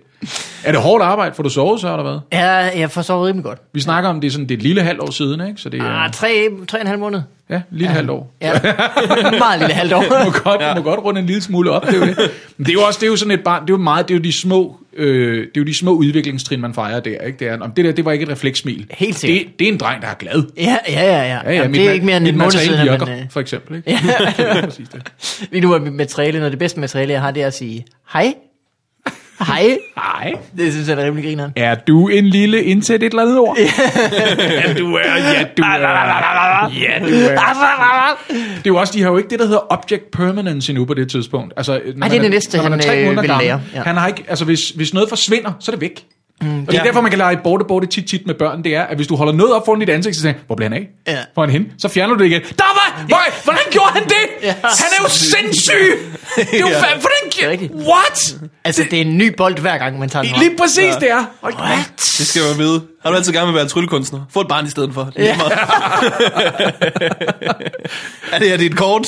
Er det hårdt arbejde? Får du sovet så, eller hvad?
Ja, jeg får sovet rimelig godt.
Vi snakker om, det er sådan det er et lille halvt år siden, ikke? Så det er
Ah, tre, tre og en halv måned.
ja, et lille ja. halvt år.
Ja, meget lille halvt år.
Du må godt, ja. må godt runde en lille smule op, det er jo det. Men det er jo også det er jo sådan et barn, det er jo meget, det er jo de små, øh, det er jo de små udviklingstrin, man fejrer der, ikke? Det er, om det der, det var ikke et reflekssmil.
Helt sikkert.
Det, det er en dreng, der er glad.
Ja, ja, ja. ja. ja, ja Jamen, det er
ma-
ikke mere end
mit
en måned
materiale
siden, at
virker,
man... øh,
for eksempel, ikke? Ja. præcis det.
Lige nu er mit materiale, noget af det bedste materiale, jeg har, det er at sige hej. Hej.
Ej.
Det synes jeg, der er rimelig grineren.
Er du en lille indsæt et eller andet ord? ja, du er, ja, du er. Ja, du er. Det er jo også, de har jo ikke det, der hedder object permanence endnu på det tidspunkt. Altså, når man
det er det næste,
når man
han,
er tre
øh,
måneder
vil
gammel,
lære. Ja.
Han har ikke, altså hvis, hvis noget forsvinder, så er det væk. Mm, og det er
ja.
derfor, man kan lege borte borte tit tit med børn, det er, at hvis du holder noget op foran dit ansigt, så siger han, hvor blev han af?
Ja.
Hvor er han hen? Så fjerner du det igen. Der var, hvor, hvordan gjorde han det?
Ja.
Han er jo sindssyg! Det er jo, fa- hvordan,
er
gjorde-
rigtigt.
what?
Altså, det er en ny bold, hver gang man tager den.
Lige præcis det er. Hold
Det skal man vide. Har du altid gerne vil være en tryllekunstner? Få et barn i stedet for. Det er, lige meget. er det her, det er et kort?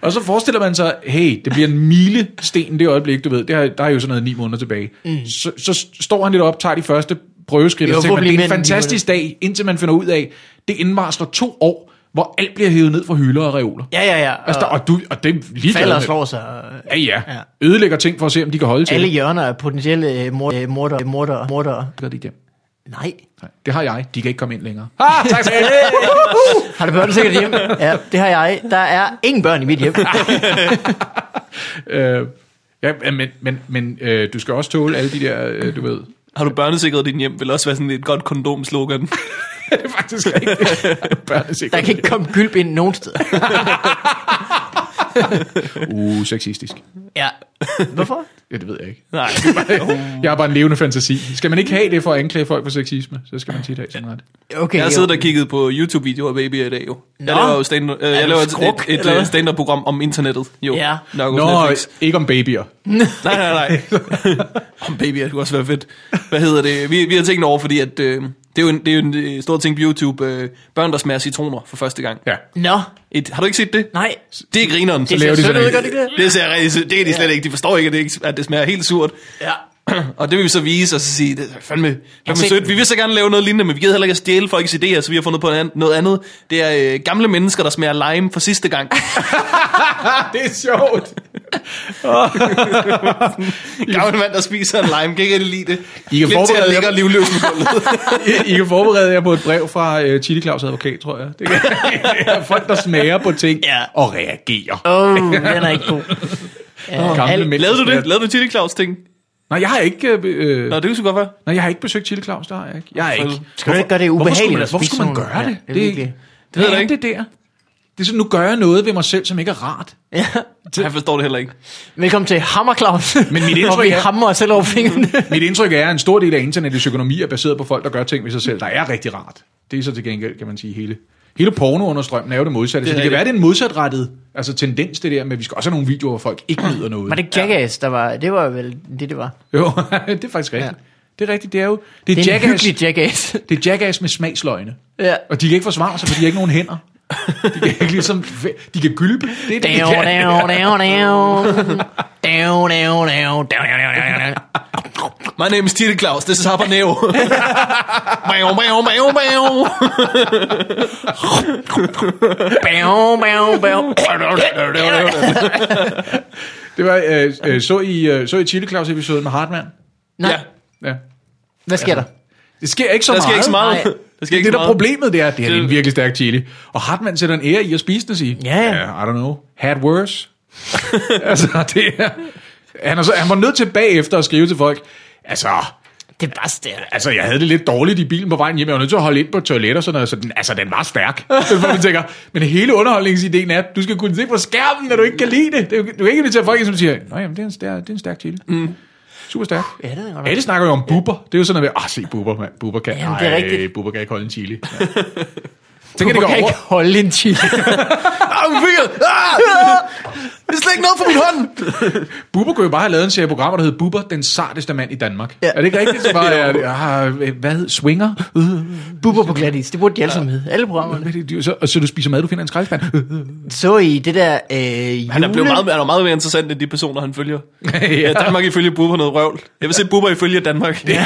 Og så forestiller man sig, hey, det bliver en milesten det øjeblik, du ved. Det har, der er jo sådan noget ni måneder tilbage. Mm. Så, så st- står han lidt op, tager de første prøveskridt,
Jo,
og så tænker man, det er en
forhåbentlig mindre end ni
fantastisk dag, indtil man finder ud af, det indvarsler to år, hvor alt bliver hævet ned fra hylder og reoler.
Ja, ja, ja. Og
Altså, der, og, du, og det er lige
falder og slår sig. og
Ja, ja,
Ja.
ja. Ødelægger ting for at se, om de kan holde til.
Alle hjørner er potentielle øh, mor- øh, mordere, mordere, mordere.
det.
Nej.
Nej, det har jeg. De kan ikke komme ind længere. Ah, tak skal du have.
Har du børn sikkert hjemme? Ja, det har jeg. Der er ingen børn i mit hjem.
Øh, ja, men, men, men øh, du skal også tåle alle de der, øh, du ved.
Har du børnesikret din hjem? Vil også være sådan et godt kondomslogan.
det er faktisk rigtigt. Børnesikkerhed.
Der kan ikke komme gylp ind nogen sted.
Uh, sexistisk.
Ja. Hvorfor?
Ja, det ved jeg ikke.
Nej.
Jeg er bare en levende fantasi. Skal man ikke have det for at anklage folk for sexisme, så skal man tit have sådan ret.
Okay,
Jeg har
jo.
siddet og kigget på YouTube-videoer af babyer i dag jo. Jeg
Nå.
laver jo stand øh,
du
jeg laver et,
skruk,
et,
eller
et,
hvad?
et stand-up-program om internettet. Jo.
Ja. øh.
Nok Nå,
Nå,
Netflix.
ikke om babyer.
Nej, nej, nej. Om babyer det kunne også være fedt. Hvad hedder det? Vi, vi har tænkt over, fordi at, øh, det er jo en, det er jo en øh, stor ting på YouTube. Øh, børn, der smager citroner for første gang.
Ja.
Nå,
Et, har du ikke set det?
nej.
Det er grineren.
Det
laver
ser
de
sødt
sådan
ud,
en-
gør det ikke det?
Det ser rigtig sødt. Det kan de slet ikke. De forstår ikke, at det, ikke, at det smager helt surt.
Ja.
Og det vil vi så vise, og så sige, det er fandme, fandme
Altså-
set-
sødt. Vi vil så gerne lave noget lignende, men vi gider heller ikke at stjæle folks idéer, så vi har fundet på an- noget andet. Det er øh, gamle mennesker, der smager lime for sidste gang.
Det er sjovt.
En gammel mand, der spiser en lime, kan ikke rigtig lide det.
I kan
Klip til, at
forberede
ligger
jer-
livløs på gulvet.
I, I kan forberede jer på et brev fra uh, Chili Claus advokat, tror jeg. Det, kan, det er folk, der smager på ting
Ja.
og reagerer.
Åh, oh, den er ikke god. Ja,
Gamle
alt-
mænd,
Lavede
der
du
smager-
det? Lavede du Tilly Claus ting?
Nej, jeg har ikke... Øh,
Nå, det kunne så godt være.
Nej, jeg har ikke besøgt Chili Claus, der har jeg ikke. Jeg har ikke.
Skal du ikke gøre det ubehageligt? at
Hvorfor
spise
skulle man, hvorfor skulle
sådan
man gøre
nogle-
det? det,
Ja, det,
er-
det,
det,
ved
er
jeg
ikke. det der. Det er sådan, nu gør jeg noget ved mig selv, som ikke er rart.
ja.
Jeg forstår det heller ikke.
Velkommen til Hammer Claus.
Men mit
Hvor
indtryk
vi
er-
hammer os selv over fingrene.
Mit indtryk er, at en stor del af internettets økonomi er baseret på folk, der gør ting ved sig selv, der er rigtig rart. Det er så til gengæld, kan man sige, hele, hele pornounderstrømmen er jo det modsatte.
Det
Det så
er
det kan
rigtigt.
være, det er en modsatrettet altså tendens, det der med, at vi skal også have nogle videoer, hvor folk ikke nyder noget.
Var det Jackass, der var... Det var vel det, det var.
Jo, det er faktisk rigtigt. Ja. Det er rigtigt, det er jo... Det er,
Det er en
jackass,
hyggelig Jackass.
det er jackass med smagsløgne.
ja.
Og de kan ikke forsvare sig, for de har ikke nogen hænder. De kan ikke ligesom... De kan gylpe. Det er det, de
Down,
kan.
down, down, down. Down, down, down, down, down, down, down.
My name is Tilly Claus, this is Habanero. Bæv, bæv, bæv, bæv.
Bæv, bæv, bæv.
Det var, øh, øh, så I, øh, så I Chili Claus episoden med Hartmann?
Nej,
Ja,
Ja.
hvad sker der?
Det sker ikke så
der
meget.
sker ikke så meget.
Nej.
Der sker
Det, er det
ikke så
der
meget.
problemet, det er, det er
Det-
en virkelig stærk chili. Og Hartmann sætter en ære i at spise den og sige,
Ja, ja.
"Yeah, I don't know, had worse. altså, det er... Han, er så, han var nødt til bagefter at skrive til folk, altså,
Det er bare stærkt.
altså, jeg havde det lidt dårligt i bilen på vejen hjem, jeg var nødt til at holde ind på toilet og sådan noget, så den, altså, den var stærk. Så man tænker, men hele underholdningsideen er, at du skal kunne se på skærmen, når du ikke kan lide det. Det er jo- Du kan ikke invitere folk ind, som siger, nej, jamen, det er en stærk, det er en stærk chili. Mm. Super stærk.
Ja, det er godt.
Alle snakker jo om buber. Det er jo sådan noget med, ah, se buber, mand. Buber kan,
Jamen, det er
Ej,
rigtigt.
buber kan ikke holde en chili. Ja. Så
Du
kan det gå
kan
over.
ikke holde en chili.
Ah, min finger! Ah! Det er slet ikke noget for min hånd!
Bubber kunne jo bare have lavet en serie programmer, der hed Bubber, den sarteste mand i Danmark. Ja. Er det ikke rigtigt? Så bare, er det, ah, hvad hed Swinger? Øh,
Bubber på glatis, det burde de alle sammen hedde. Alle programmerne.
hvad er det, du- Så, og så du spiser mad, du finder en skraldespand. Øh,
Så I det der øh, jule...
Han er blevet meget, han er meget mere interessant end de personer, han følger.
øh.
Ja, Danmark ifølge Bubber noget røvl. Jeg vil se Bubber ifølge Danmark. Ja.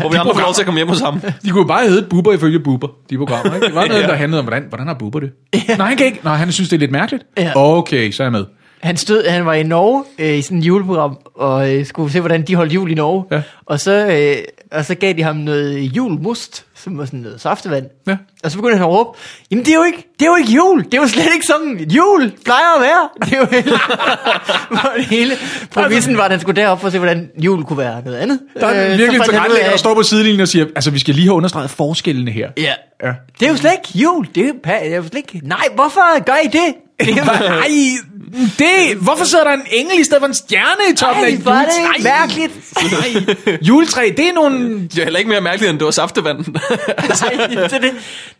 Hvor vi andre får lov til at komme hjem hos ham.
De kunne jo bare hedde Bubber ifølge Bubber, de programmer. Ikke? Det var noget,
Ja.
der handlede om, hvordan, hvordan har Bubber det? Nej, han kan ikke. Nej, han synes, det er lidt mærkeligt.
Ja.
Okay, så er jeg med.
Han, stod, han var i Norge øh, i sådan et juleprogram, og øh, skulle se, hvordan de holdt jul i Norge.
Ja.
Og, så, øh, og så gav de ham noget julmust, som var sådan noget saftevand.
Ja.
Og så begyndte han at råbe, jamen det er, jo ikke, det er jo ikke jul, det er jo slet ikke sådan, et jul plejer at være. Det er jo hele, hvor det hele præmissen var, at han skulle derop for at se, hvordan jul kunne være noget andet.
Der er øh,
så
virkelig en
fandt han ud af,
tilrettelægger, der
at-
står på sidelinjen og siger, altså vi skal lige have understreget forskellene her.
Ja.
Ja.
Det er jo slet ikke jul, det er jo, pa- det er jo slet ikke, nej, hvorfor gør I det? Det er bare-
Nej, det, hvorfor sidder der en engel i stedet for en stjerne i toppen
Ej,
af
hvor er det mærkeligt.
juletræ? Juletræ, det er nogle...
Det er heller ikke mere mærkeligt, end det var saftevand. altså,
Nej, det, er det,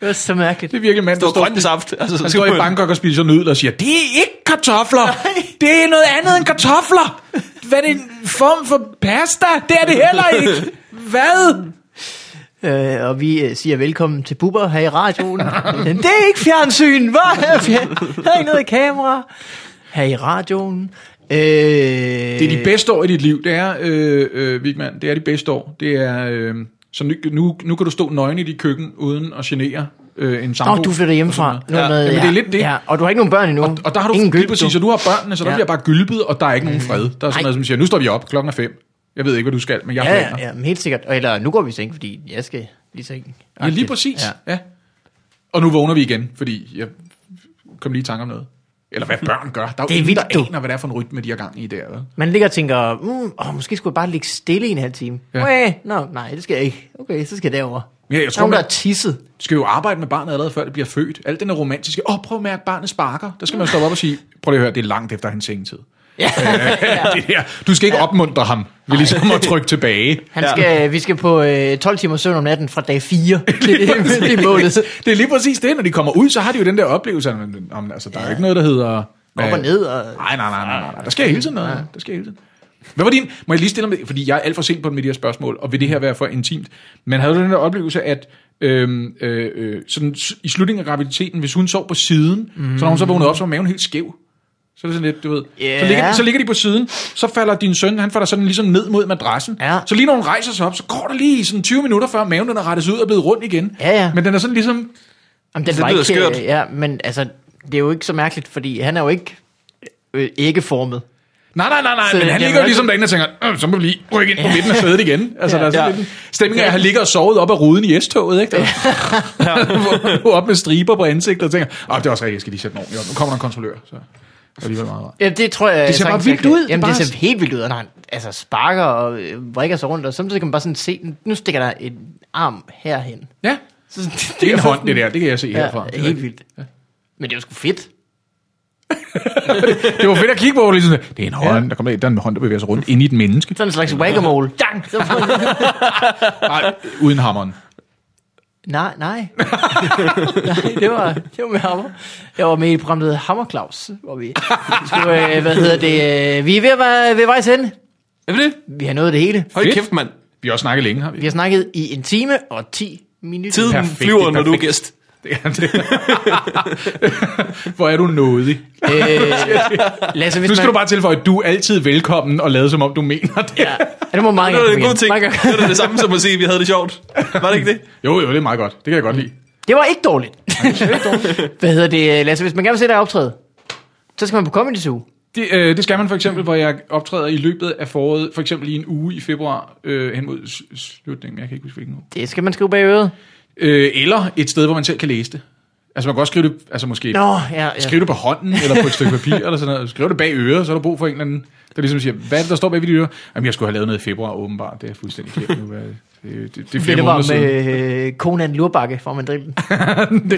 det var så mærkeligt.
Det er virkelig en mand,
det
der
var
står,
grøn saft. Altså,
han står i Bangkok og spiser nudler og siger, det er ikke kartofler. Det er noget andet end kartofler. Hvad er det en form for pasta? Det er det heller ikke. Hvad?
Øh, og vi øh, siger velkommen til Bubber her i radioen. Men det er ikke fjernsyn, hvad er fjernsyn? Der er ikke noget kamera. Her i radioen. Øh, det
Det er de bedste år i dit liv, det er, øh, øh, Vigman, det er de bedste år. Det er, øh, så nu, nu, nu kan du stå nøgen i dit køkken, uden at genere øh, en sambo.
Nå, du flytter hjemmefra. Nu er
Ja,
noget,
jamen, det er lidt det.
Ja, og du har ikke nogen børn endnu. Og,
Og der har du,
Ingen
lige
gylp,
præcis,
du.
så du har børnene, så der
Ja. Mhm.
bliver bare gylpet, og der er ikke nogen fred. Der er sådan
Nej.
noget, som siger, nu står vi op, klokken er fem. Jeg ved ikke, hvad du skal, men jeg har
Ja,
planer.
ja, ja, men helt sikkert. Og Eller nu går vi i seng, fordi jeg skal lige seng.
Ja, lige præcis.
Ja.
Ja. ja. Og nu vågner vi igen, fordi jeg kom lige i tanke om noget. Eller hvad børn gør. Der er
Det
jo
er
ingen,
vildt,
der
du.
aner, hvad det er for en rytme, de har gang i der. Vel?
Man ligger og tænker, mm, åh, måske skulle jeg bare ligge stille i en halv time.
Ja.
Ja. Okay, no, nej, det skal jeg ikke. Okay, så skal jeg derover.
Ja, jeg
der er
tror,
nogen, der
man-
er tisset.
Du skal jo arbejde med barnet allerede, før det bliver født. Alt den der romantiske, åh, oh, prøv at mærke, barnet sparker. Der skal man stoppe op og sige, prøv lige at høre, det er langt efter hans sengetid. Øh,
Ja.
Det der. Du skal ikke opmuntre ham ved ligesom at trykke tilbage.
Han skal, Vi skal på øh, 12 timer søvn om natten fra dag 4. det, er- det er målet.
Det er lige præcis det, når de kommer ud, så har de jo den der oplevelse, at men, om, altså, der er jo ikke noget, der hedder...
Op og ned. Og,
Nej, nej, nej, nej, nej, nej. Der sker hele tiden noget. Der sker hele tiden. Hvad var din... Må jeg lige stille mig... Fordi jeg er alt for sent på med de her spørgsmål, og vil det her være for intimt? Men havde du den der oplevelse, at øhm, øh, øh, sådan, s- i slutningen af graviditeten, hvis hun sov på siden, mm. så når hun så vågnede op, så var maven helt skæv? Så er det sådan lidt, du ved. Så,
Ja.
ligger, så ligger de på siden, så falder din søn, han falder sådan ligesom ned mod madrassen.
Ja.
Så lige når hun rejser sig op, så går der lige sådan 20 minutter, før maven den er rettet sig ud og blevet rundt igen.
Ja, ja.
Men den er sådan ligesom,
Jamen, den
Det
var
lyder
ikke,
skørt.
øh, Ja, men altså, det er jo ikke så mærkeligt, fordi han er jo ikke øh, æggeformet.
Nej, nej, nej, nej,
Så
men han
det er
ligger jo
nok-
ligesom derinde og tænker, "Øh, så må vi lige rykke ind på midten af sædet igen. Altså, der er sådan
Ja.
lidt en stemning af, at han ligger og sovet op af ruden i S-toget, ikke? Der, hvor, hvor op med striber på ansigtet og tænker, åh, det er også rigtigt, jeg skal lige sætte den ordentligt op. Nu kommer der en kontrollør, så det er alligevel meget rart.
Ja, det tror jeg...
Det ser bare
sagtens,
vildt
jeg kan-
ud. Det er
Jamen,
bare-
det ser helt vildt ud, og når han altså, sparker og øh, vrikker sig rundt, og samtidig kan man bare sådan se, nu stikker der en arm herhen.
Ja,
Så, det,
det er en
sådan-
hånd, det der, det kan jeg se
Ja,
herfra.
det er helt vildt. Ja. Men det er jo sgu fedt.
Det var fedt at kigge på, hvor det ligesom, det er en hånd, der kommer der, der er en hånd, der bevæger sig rundt ind i et menneske.
Sådan en slags whack-a-mole. Dang! Så får man-
Nej, uden hammeren.
nej, nej. nej det, var, det var med hammer. Jeg var med i et program, der hedder Hammer Claus, hvor vi skulle, øh, hvad hedder det, øh, vi er ved at være ved vejs ende.
Er vi det?
Vi har nået det hele.
Hold
Fedt.
kæft, mand.
Vi har også snakket længe, har vi?
Vi har snakket i en time og 10 minutter.
Tiden
Perfekt,
flyver, når du er
perfekt.
gæst.
Ja, det. hvor er du nådig.
Øh, Lasse, hvis
Nu skal
man,
du bare tilføje, at du er altid velkommen og lade som om du mener det.
Ja, ja, det må meget
Det
gerne
var en
komme
god
igen.
ting.
Meget
Det
gerne.
var da det samme som at se, at vi havde det sjovt. Var det ikke det?
Jo, jo, det er meget godt. Det kan jeg godt lide.
Det var ikke dårligt. Hvad hedder det, øh, Lasse? Hvis man gerne vil se dig optræde, så skal man på Comedy Zoo.
Det, øh, det skal man for eksempel, hvor jeg optræder i løbet af foråret, for eksempel i en uge i februar, øh, hen mod s- slutningen, jeg kan ikke huske hvilken uge.
Det skal man skrive bag øret.
Øh, eller et sted, hvor man selv kan læse det. Altså man kan også skrive det, altså måske
Nå, ja, ja.
skrive det på hånden, eller på et stykke papir, eller sådan noget. Skriv det bag øret, så er der brug for en eller anden, der ligesom siger, hvad er det, der står bag ved de ører? Jamen jeg skulle have lavet noget i februar, åbenbart. Det er jeg fuldstændig kæft nu. Hvad- Det, det, det er flere
det, det
måneder
var
siden.
med øh, Conan Lurbakke for man drille.
Det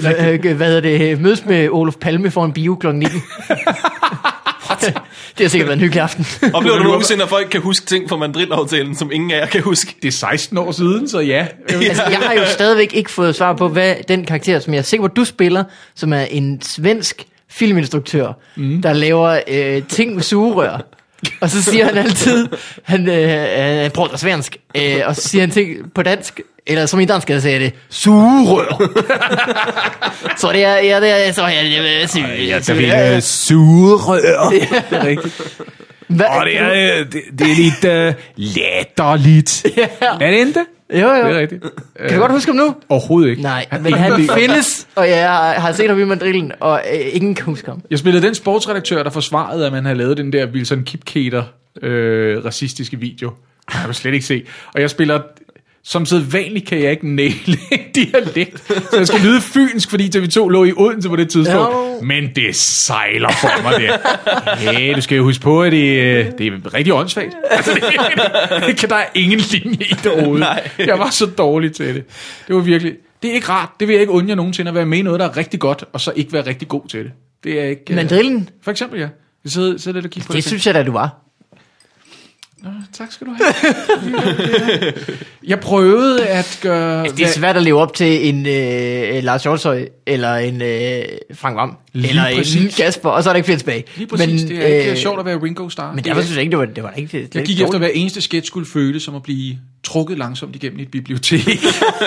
er rigtigt.
Øh, Hvad hedder det? Mødes med Olof Palme for en bio kl. 19. det har sikkert været en hyggelig aften.
Oplever du nogensinde, at folk kan huske ting fra mandrinaftalen, som ingen af jer kan huske?
Det er 16 år siden, så ja.
altså, jeg har jo stadigvæk ikke fået svar på, hvad den karakter, som jeg er sikker på, du spiller, som er en svensk filminstruktør, mm. der laver øh, ting med sugerør. Og så siger han altid, han, øh, han pratar svensk, øh, og så siger han ting på dansk, eller som i dansk, der siger det, sugerør. så det er, ja, det er, så er det, øh, syg-
Jeg vil have sugerør.
Det er rigtigt.
Hvad-
Og det er, øh, det, det er lidt uh, latterligt. Er det Øh, ikke?
Jo,
Det er
jo.
rigtigt.
Kan du godt huske ham nu?
Overhovedet ikke.
Nej,
Han-
men han findes, og jeg har- har set ham i mandrillen, og øh, ingen kan huske ham.
Jeg spillede den sportsredaktør, der forsvarede, at man havde lavet den der Wilson Kipketer øh, racistiske video. Jeg kan slet ikke se. Og jeg spiller... Som sædvanligt kan jeg ikke næle en dialekt, så jeg skal lyde fynsk, fordi TV2 lå i Odense på det tidspunkt.
Jo.
Men det sejler for mig der. Hey, du skal jo huske på, at det, øh, det er rigtig åndssvagt. Altså, det, det, kan der er ingen linje i det overhovedet. Jeg var så dårlig til det. Det var virkelig... Det er ikke rart. Det vil jeg ikke undre jer nogensinde at være med i noget, der er rigtig godt, og så ikke være rigtig god til det. Det er ikke... øh,
Mandrillen,
For eksempel, ja. Jeg sidder, sidder lidt og kigger på
det
det.
synes jeg da, du var.
Tak skal du have. jeg prøvede at gøre...
Altså, det er svært at leve op til en øh, Lars Hjortøj, eller en øh, Frank Vam,
Lige
eller en
præcis.
Kasper, og så er der ikke flere tilbage.
Lige præcis, men, det er ikke øh, sjovt at være Ringo Starr.
Men derfor synes jeg ikke, det var, det var da ikke det.
jeg gik efter, at hver eneste sketch skulle føles som at blive trukket langsomt igennem et bibliotek,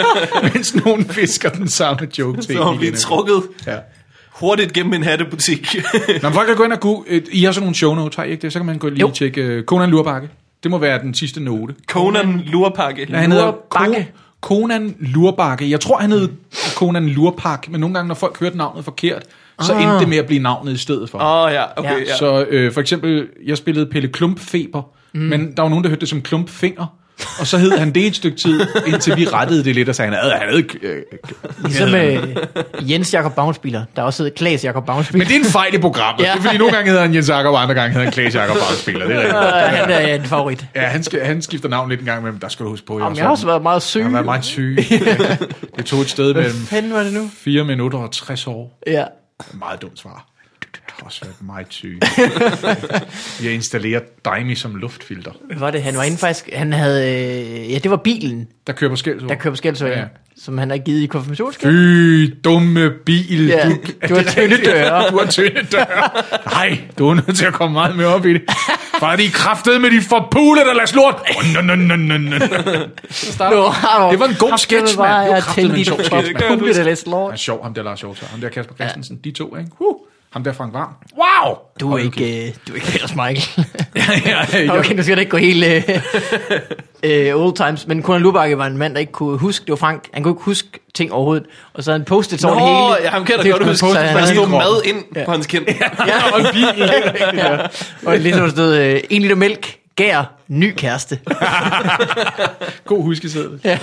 mens nogen fisker den samme joke til.
Så
en
man bliver
igen.
trukket
Ja.
hurtigt gennem en hattebutik.
Når folk kan gå ind og gå... øh, I har sådan nogle show notes, har I ikke det? Så kan man gå lige
Jo.
og tjekke øh, Conan Lurbakke. Det må være den sidste note.
Conan Lurpakke.
Ja, han hedder
Lurbakke.
Ko- Conan Lurbakke. Jeg tror, han hed Conan Lurpak, men nogle gange, når folk hørte navnet forkert, så ah. endte det med at blive navnet i stedet for.
Åh oh, Ah, ja, okay.
Ja.
Ja.
Så øh, for eksempel, jeg spillede Pelle Klumpfeber, Mm. Men der var nogen, der hørte det som klumpfinger. Og så hed han det et stykke tid, indtil vi rettede det lidt og sagde, han havde, han havde, øh,
Ligesom øh, Jens Jakob Bavnsbiler, der også hedder Klaas Jakob Bavnsbiler.
Men det er en fejl i programmet.
Ja.
ja. Det er fordi, nogle gange hedder han Jens Jakob, og andre gange hedder han Klaas Jakob Bagspiller. Det er rigtigt.
Og Øh, han er en favorit.
Ja, han, skal, han skifter navn lidt en gang imellem. Der skal du huske på.
Jamen, jeg har også været meget syg.
jeg har været meget syg. det tog et sted mellem
fanden var det nu?
4 minutter og 60 år.
Ja.
Meget dumt svar. Jeg har også været meget syg. Jeg installerer Daimi som luftfilter.
Hvad var det? Han var inde faktisk... Han havde... Øh, ja, det var bilen,
Der kører på skældsord.
der kører på Skældsøg,
Ja,
ja.
ja.
som han har givet i konfirmationsgave.
Fy, dumme bil.
Ja, du har
det er
tynde
rigtigt.
døre.
Du har tynde døre. Nej, du er nødt til at komme meget mere op i det. For de er kraftede med de forpule, der lader lort. Oh, no, no, no, no, no.
Nu har du
Det var en god
haft
sketch,
det bare,
mand. Det var
jeg
kraftedet med en
tændte
sjov
dit
sketch, mand.
pumpe, det er lidt lort.
Han er sjov, ham der Lars Hjortøj. Ham der Kasper Christensen. Ja. De to, ikke? Huh. Ham der Frank Varm. Wow!
Du er
Hold
ikke,
kæft.
øh, du er ikke Peter Michael.
ja, ja, ja.
okay, nu skal det ikke gå helt øh, øh, old times. Men Conan Lubakke var en mand, der ikke kunne huske, det var Frank, han kunne ikke huske ting overhovedet. Og så havde han postet over det
Nå,
hele.
ja, ham kan jeg
Det
da godt
var
huske.
postet,
Der
han
stod mad
havde-
ind på hans kind.
Ja, og en bil. ja. Og ligesom der stod, øh, en liter mælk, gær, ny kæreste.
God huskeseddel.
ja,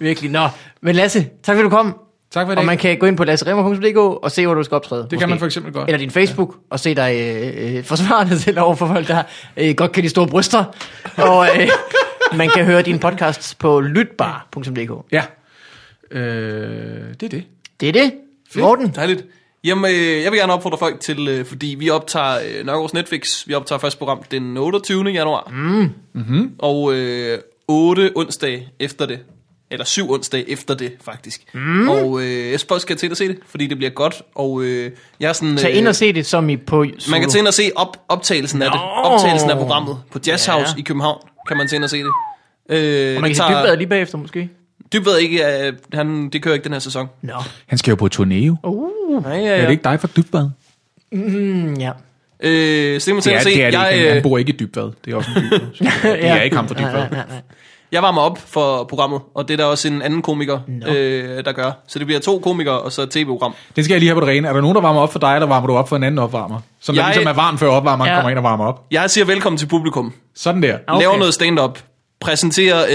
virkelig. Nå, men Lasse, tak fordi du kom.
Tak for i
Og
dag.
man kan gå ind på lasseremmer.dk og se, hvor du skal optræde.
Det kan man for eksempel godt.
Eller din Facebook, ja. og se dig øh, øh, forsvarende selv over for folk, der øh, godt kan de store bryster. Og øh, man kan høre din podcast på lytbar.dk.
Ja. Øh, det er det.
Det er det. Morten,
Dejligt. Jamen, øh, jeg vil gerne opfordre folk til, øh, fordi vi optager øh, Nørgaards Netflix. Vi optager første program den 28. januar. Mm. Mm-hmm. Og øh, 8 onsdag efter det. Eller 7 onsdag efter det, faktisk. Mm. Og øh, jeg spørger, skal jeg til at se det, fordi det bliver godt. Og øh, jeg er sådan...
tag
øh,
ind og se det som i på solo.
Man kan tage ind og se op, optagelsen af det.
Nå.
Optagelsen af programmet på Jazz
Ja.
House ja. i København. Kan man tage ind og se det. Øh,
og man kan
det
se dybbad lige bagefter måske.
Dybvad ikke, øh, han, det kører ikke den her sæson.
Nå.
Han skal jo på turné, jo. Ja,
Uh.
Nej, ja,
Er det ikke dig fra Dybbad?
Mm, ja.
Øh, så det kan
Det er,
man tage ind og se.
det er det
jeg,
ikke. Han
øh,
bor ikke i Dybvad. Det er også en by. så Det er ikke ham fra
Nej, nej,
Dybvad.
nej, nej.
Jeg varmer op for programmet, og det er der også en anden komiker, no. øh, der gør. Så det bliver to komikere og så et tv-program.
Det skal jeg lige have på det rene. Er der nogen, der varmer op for dig, eller varmer du op for en anden opvarmer? Så jeg...
Jeg-
ligesom er varm, før opvarmeren
Ja.
ja. kommer ind og varmer op.
Jeg siger velkommen til publikum.
Sådan der.
Okay.
Okay. Laver noget stand-up. Præsenterer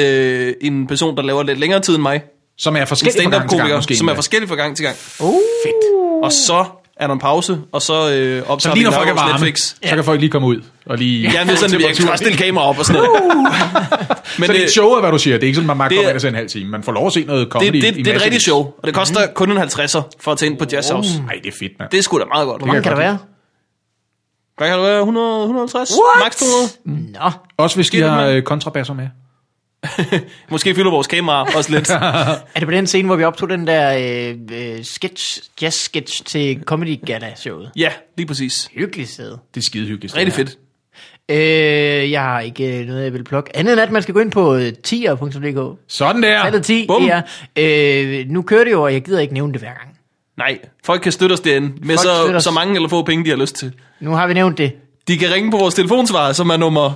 øh, en person, der laver lidt længere tid end mig.
Som er
En
forskellig fra gang til gang,
stand-up-komiker,
måske.
som er
endda.
forskellig fra gang til gang. Uh. Fedt. Og så er der en pause, og så øh, optager
Så
vi
lige når folk er
Nørgaards
varme,
Netflix.
så kan folk lige komme ud og lige...
Jeg er nødt til, at jeg skal stille kamera op og sådan noget. Men
Uh! så det er et show, er, hvad du siger. Det er ikke sådan, man magter
det er-
det, ind en halv time. Man får lov at se noget
det,
comedy
det, det,
i Mhm. Oh.
det er et
massevis.
rigtigt show, og det koster kun en 50'er for at tage ind på Jazz House.
Nej, det er fedt, mand.
Det er sgu da meget godt.
Hvor mange kan der være?
Hvad kan det være? 100, 150? Max 200?
Nå.
Også hvis de
det,
har
mand.
øh, kontrabasser med.
Måske fylder vores kamera også lidt.
Er det på den scene, hvor vi optog den der øh, øh, sketch, jazz-sketch til Comedy Gala-showet?
ja, lige præcis.
Hyggelig sæde.
Det er skide hyggeligt.
Rigtig fedt.
Øh, jeg har ikke øh, noget, jeg vil plukke. Andet end at man skal gå ind på øh, tier.dk.
Sådan
Tallet
der.
10
Bum.
er, øh, nu kører det jo, og jeg gider ikke nævne det hver gang.
Nej, folk kan støtte os derinde med
Folk støtter
så,
os.
så mange eller få penge, de har lyst til.
Nu har vi nævnt det.
De kan ringe på vores telefonsvarer, som er nummer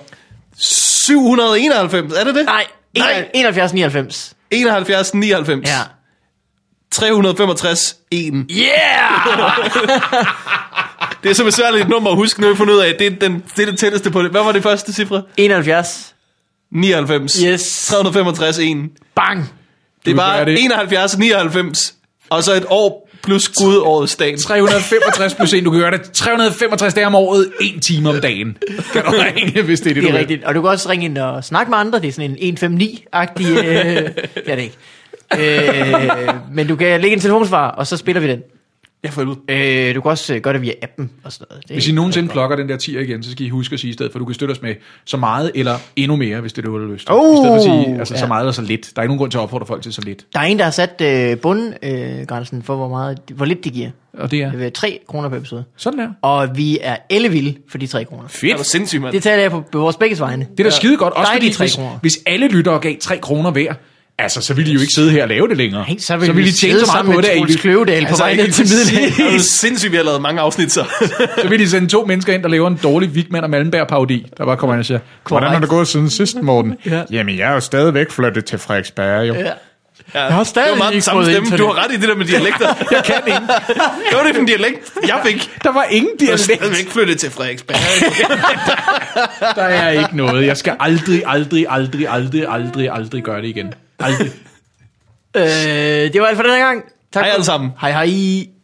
791. Er det det?
Nej,
Nej.
71, 99.
71 99.
Ja.
365 1.
Yeah!
Det er så besværligt et nummer at huske, nu har vi fundet ud af. Det er, den, det er det tætteste på det. Hvad var det første cifre?
71.
99.
Yes.
365 1.
Bang!
Det er
Du er
bare
det.
71, 99, og så et år plus Gud årets dag.
365 plus 1, du kan gøre det 365 dage om året, en time om dagen. Kan du ringe, hvis det er det,
Det
du
er
vil.
rigtigt. Og du kan også ringe ind og snakke med andre. Det er sådan en 159-agtig... Øh, det er det ikke. øh, men du kan lægge en telefonsvar, og så spiller vi den.
Jeg får ud.
Øh, du kan også øh, gøre det via appen og sådan noget. Det,
Hvis I nogensinde plukker den der 10 igen, så skal I huske at sige i stedet, for du kan støtte os med så meget eller endnu mere, hvis det er det, du har lyst til.
Oh,
I stedet for at sige altså,
ja.
så meget eller så lidt. Der er ikke nogen grund til at opfordre folk til så lidt.
Der er en, der har sat øh, bundgrænsen øh, grænsen for, hvor, meget, hvor lidt de giver.
Og det
Det
er
vil 3 kroner per episode.
sådan der.
Og vi er ellevilde for de 3 kroner.
Er du
Fedt.
sindssyg, mand?
Det taler jeg på, på vores begge vegne.
Det er da skide godt. Også fordi,
Dejlige tre
hvis,
kroner.
hvis alle lyttere gav 3 kroner hver, altså, så ville I jo ikke sidde her og lave det længere.
Nej, så vil, så vil de tjene så meget på det,
at I
at I
lyt-
Kløvedal på
Altså,
vej
ikke
ned til
præcis.
middag.
Det er jo sindssygt, vi har lavet mange afsnit, så.
Så vil de sende to mennesker ind, der laver en dårlig Vigman og Malmberg parodi Der bare kommer ind og siger, hvordan har det gået siden sidst, Morten? ja. Jamen, jeg er jo stadigvæk flyttet til Frederiksberg, jo. Ja.
Jeg har stadig
det var meget den
ikke
samme
fået
stemme.
internet.
Du har ret i det der med dialekter. jeg kan ikke. Det var det for en dialekt, jeg fik.
Der var ingen
Jeg er
dialekt.
stadigvæk flyttet til Frederiksberg.
Der er ikke noget. Jeg skal aldrig, aldrig, aldrig, aldrig, aldrig, aldrig gøre det igen. Aldrig.
Øh, det var alt for den her gang. Tak
Hej
for-
alle sammen.
Hej hej.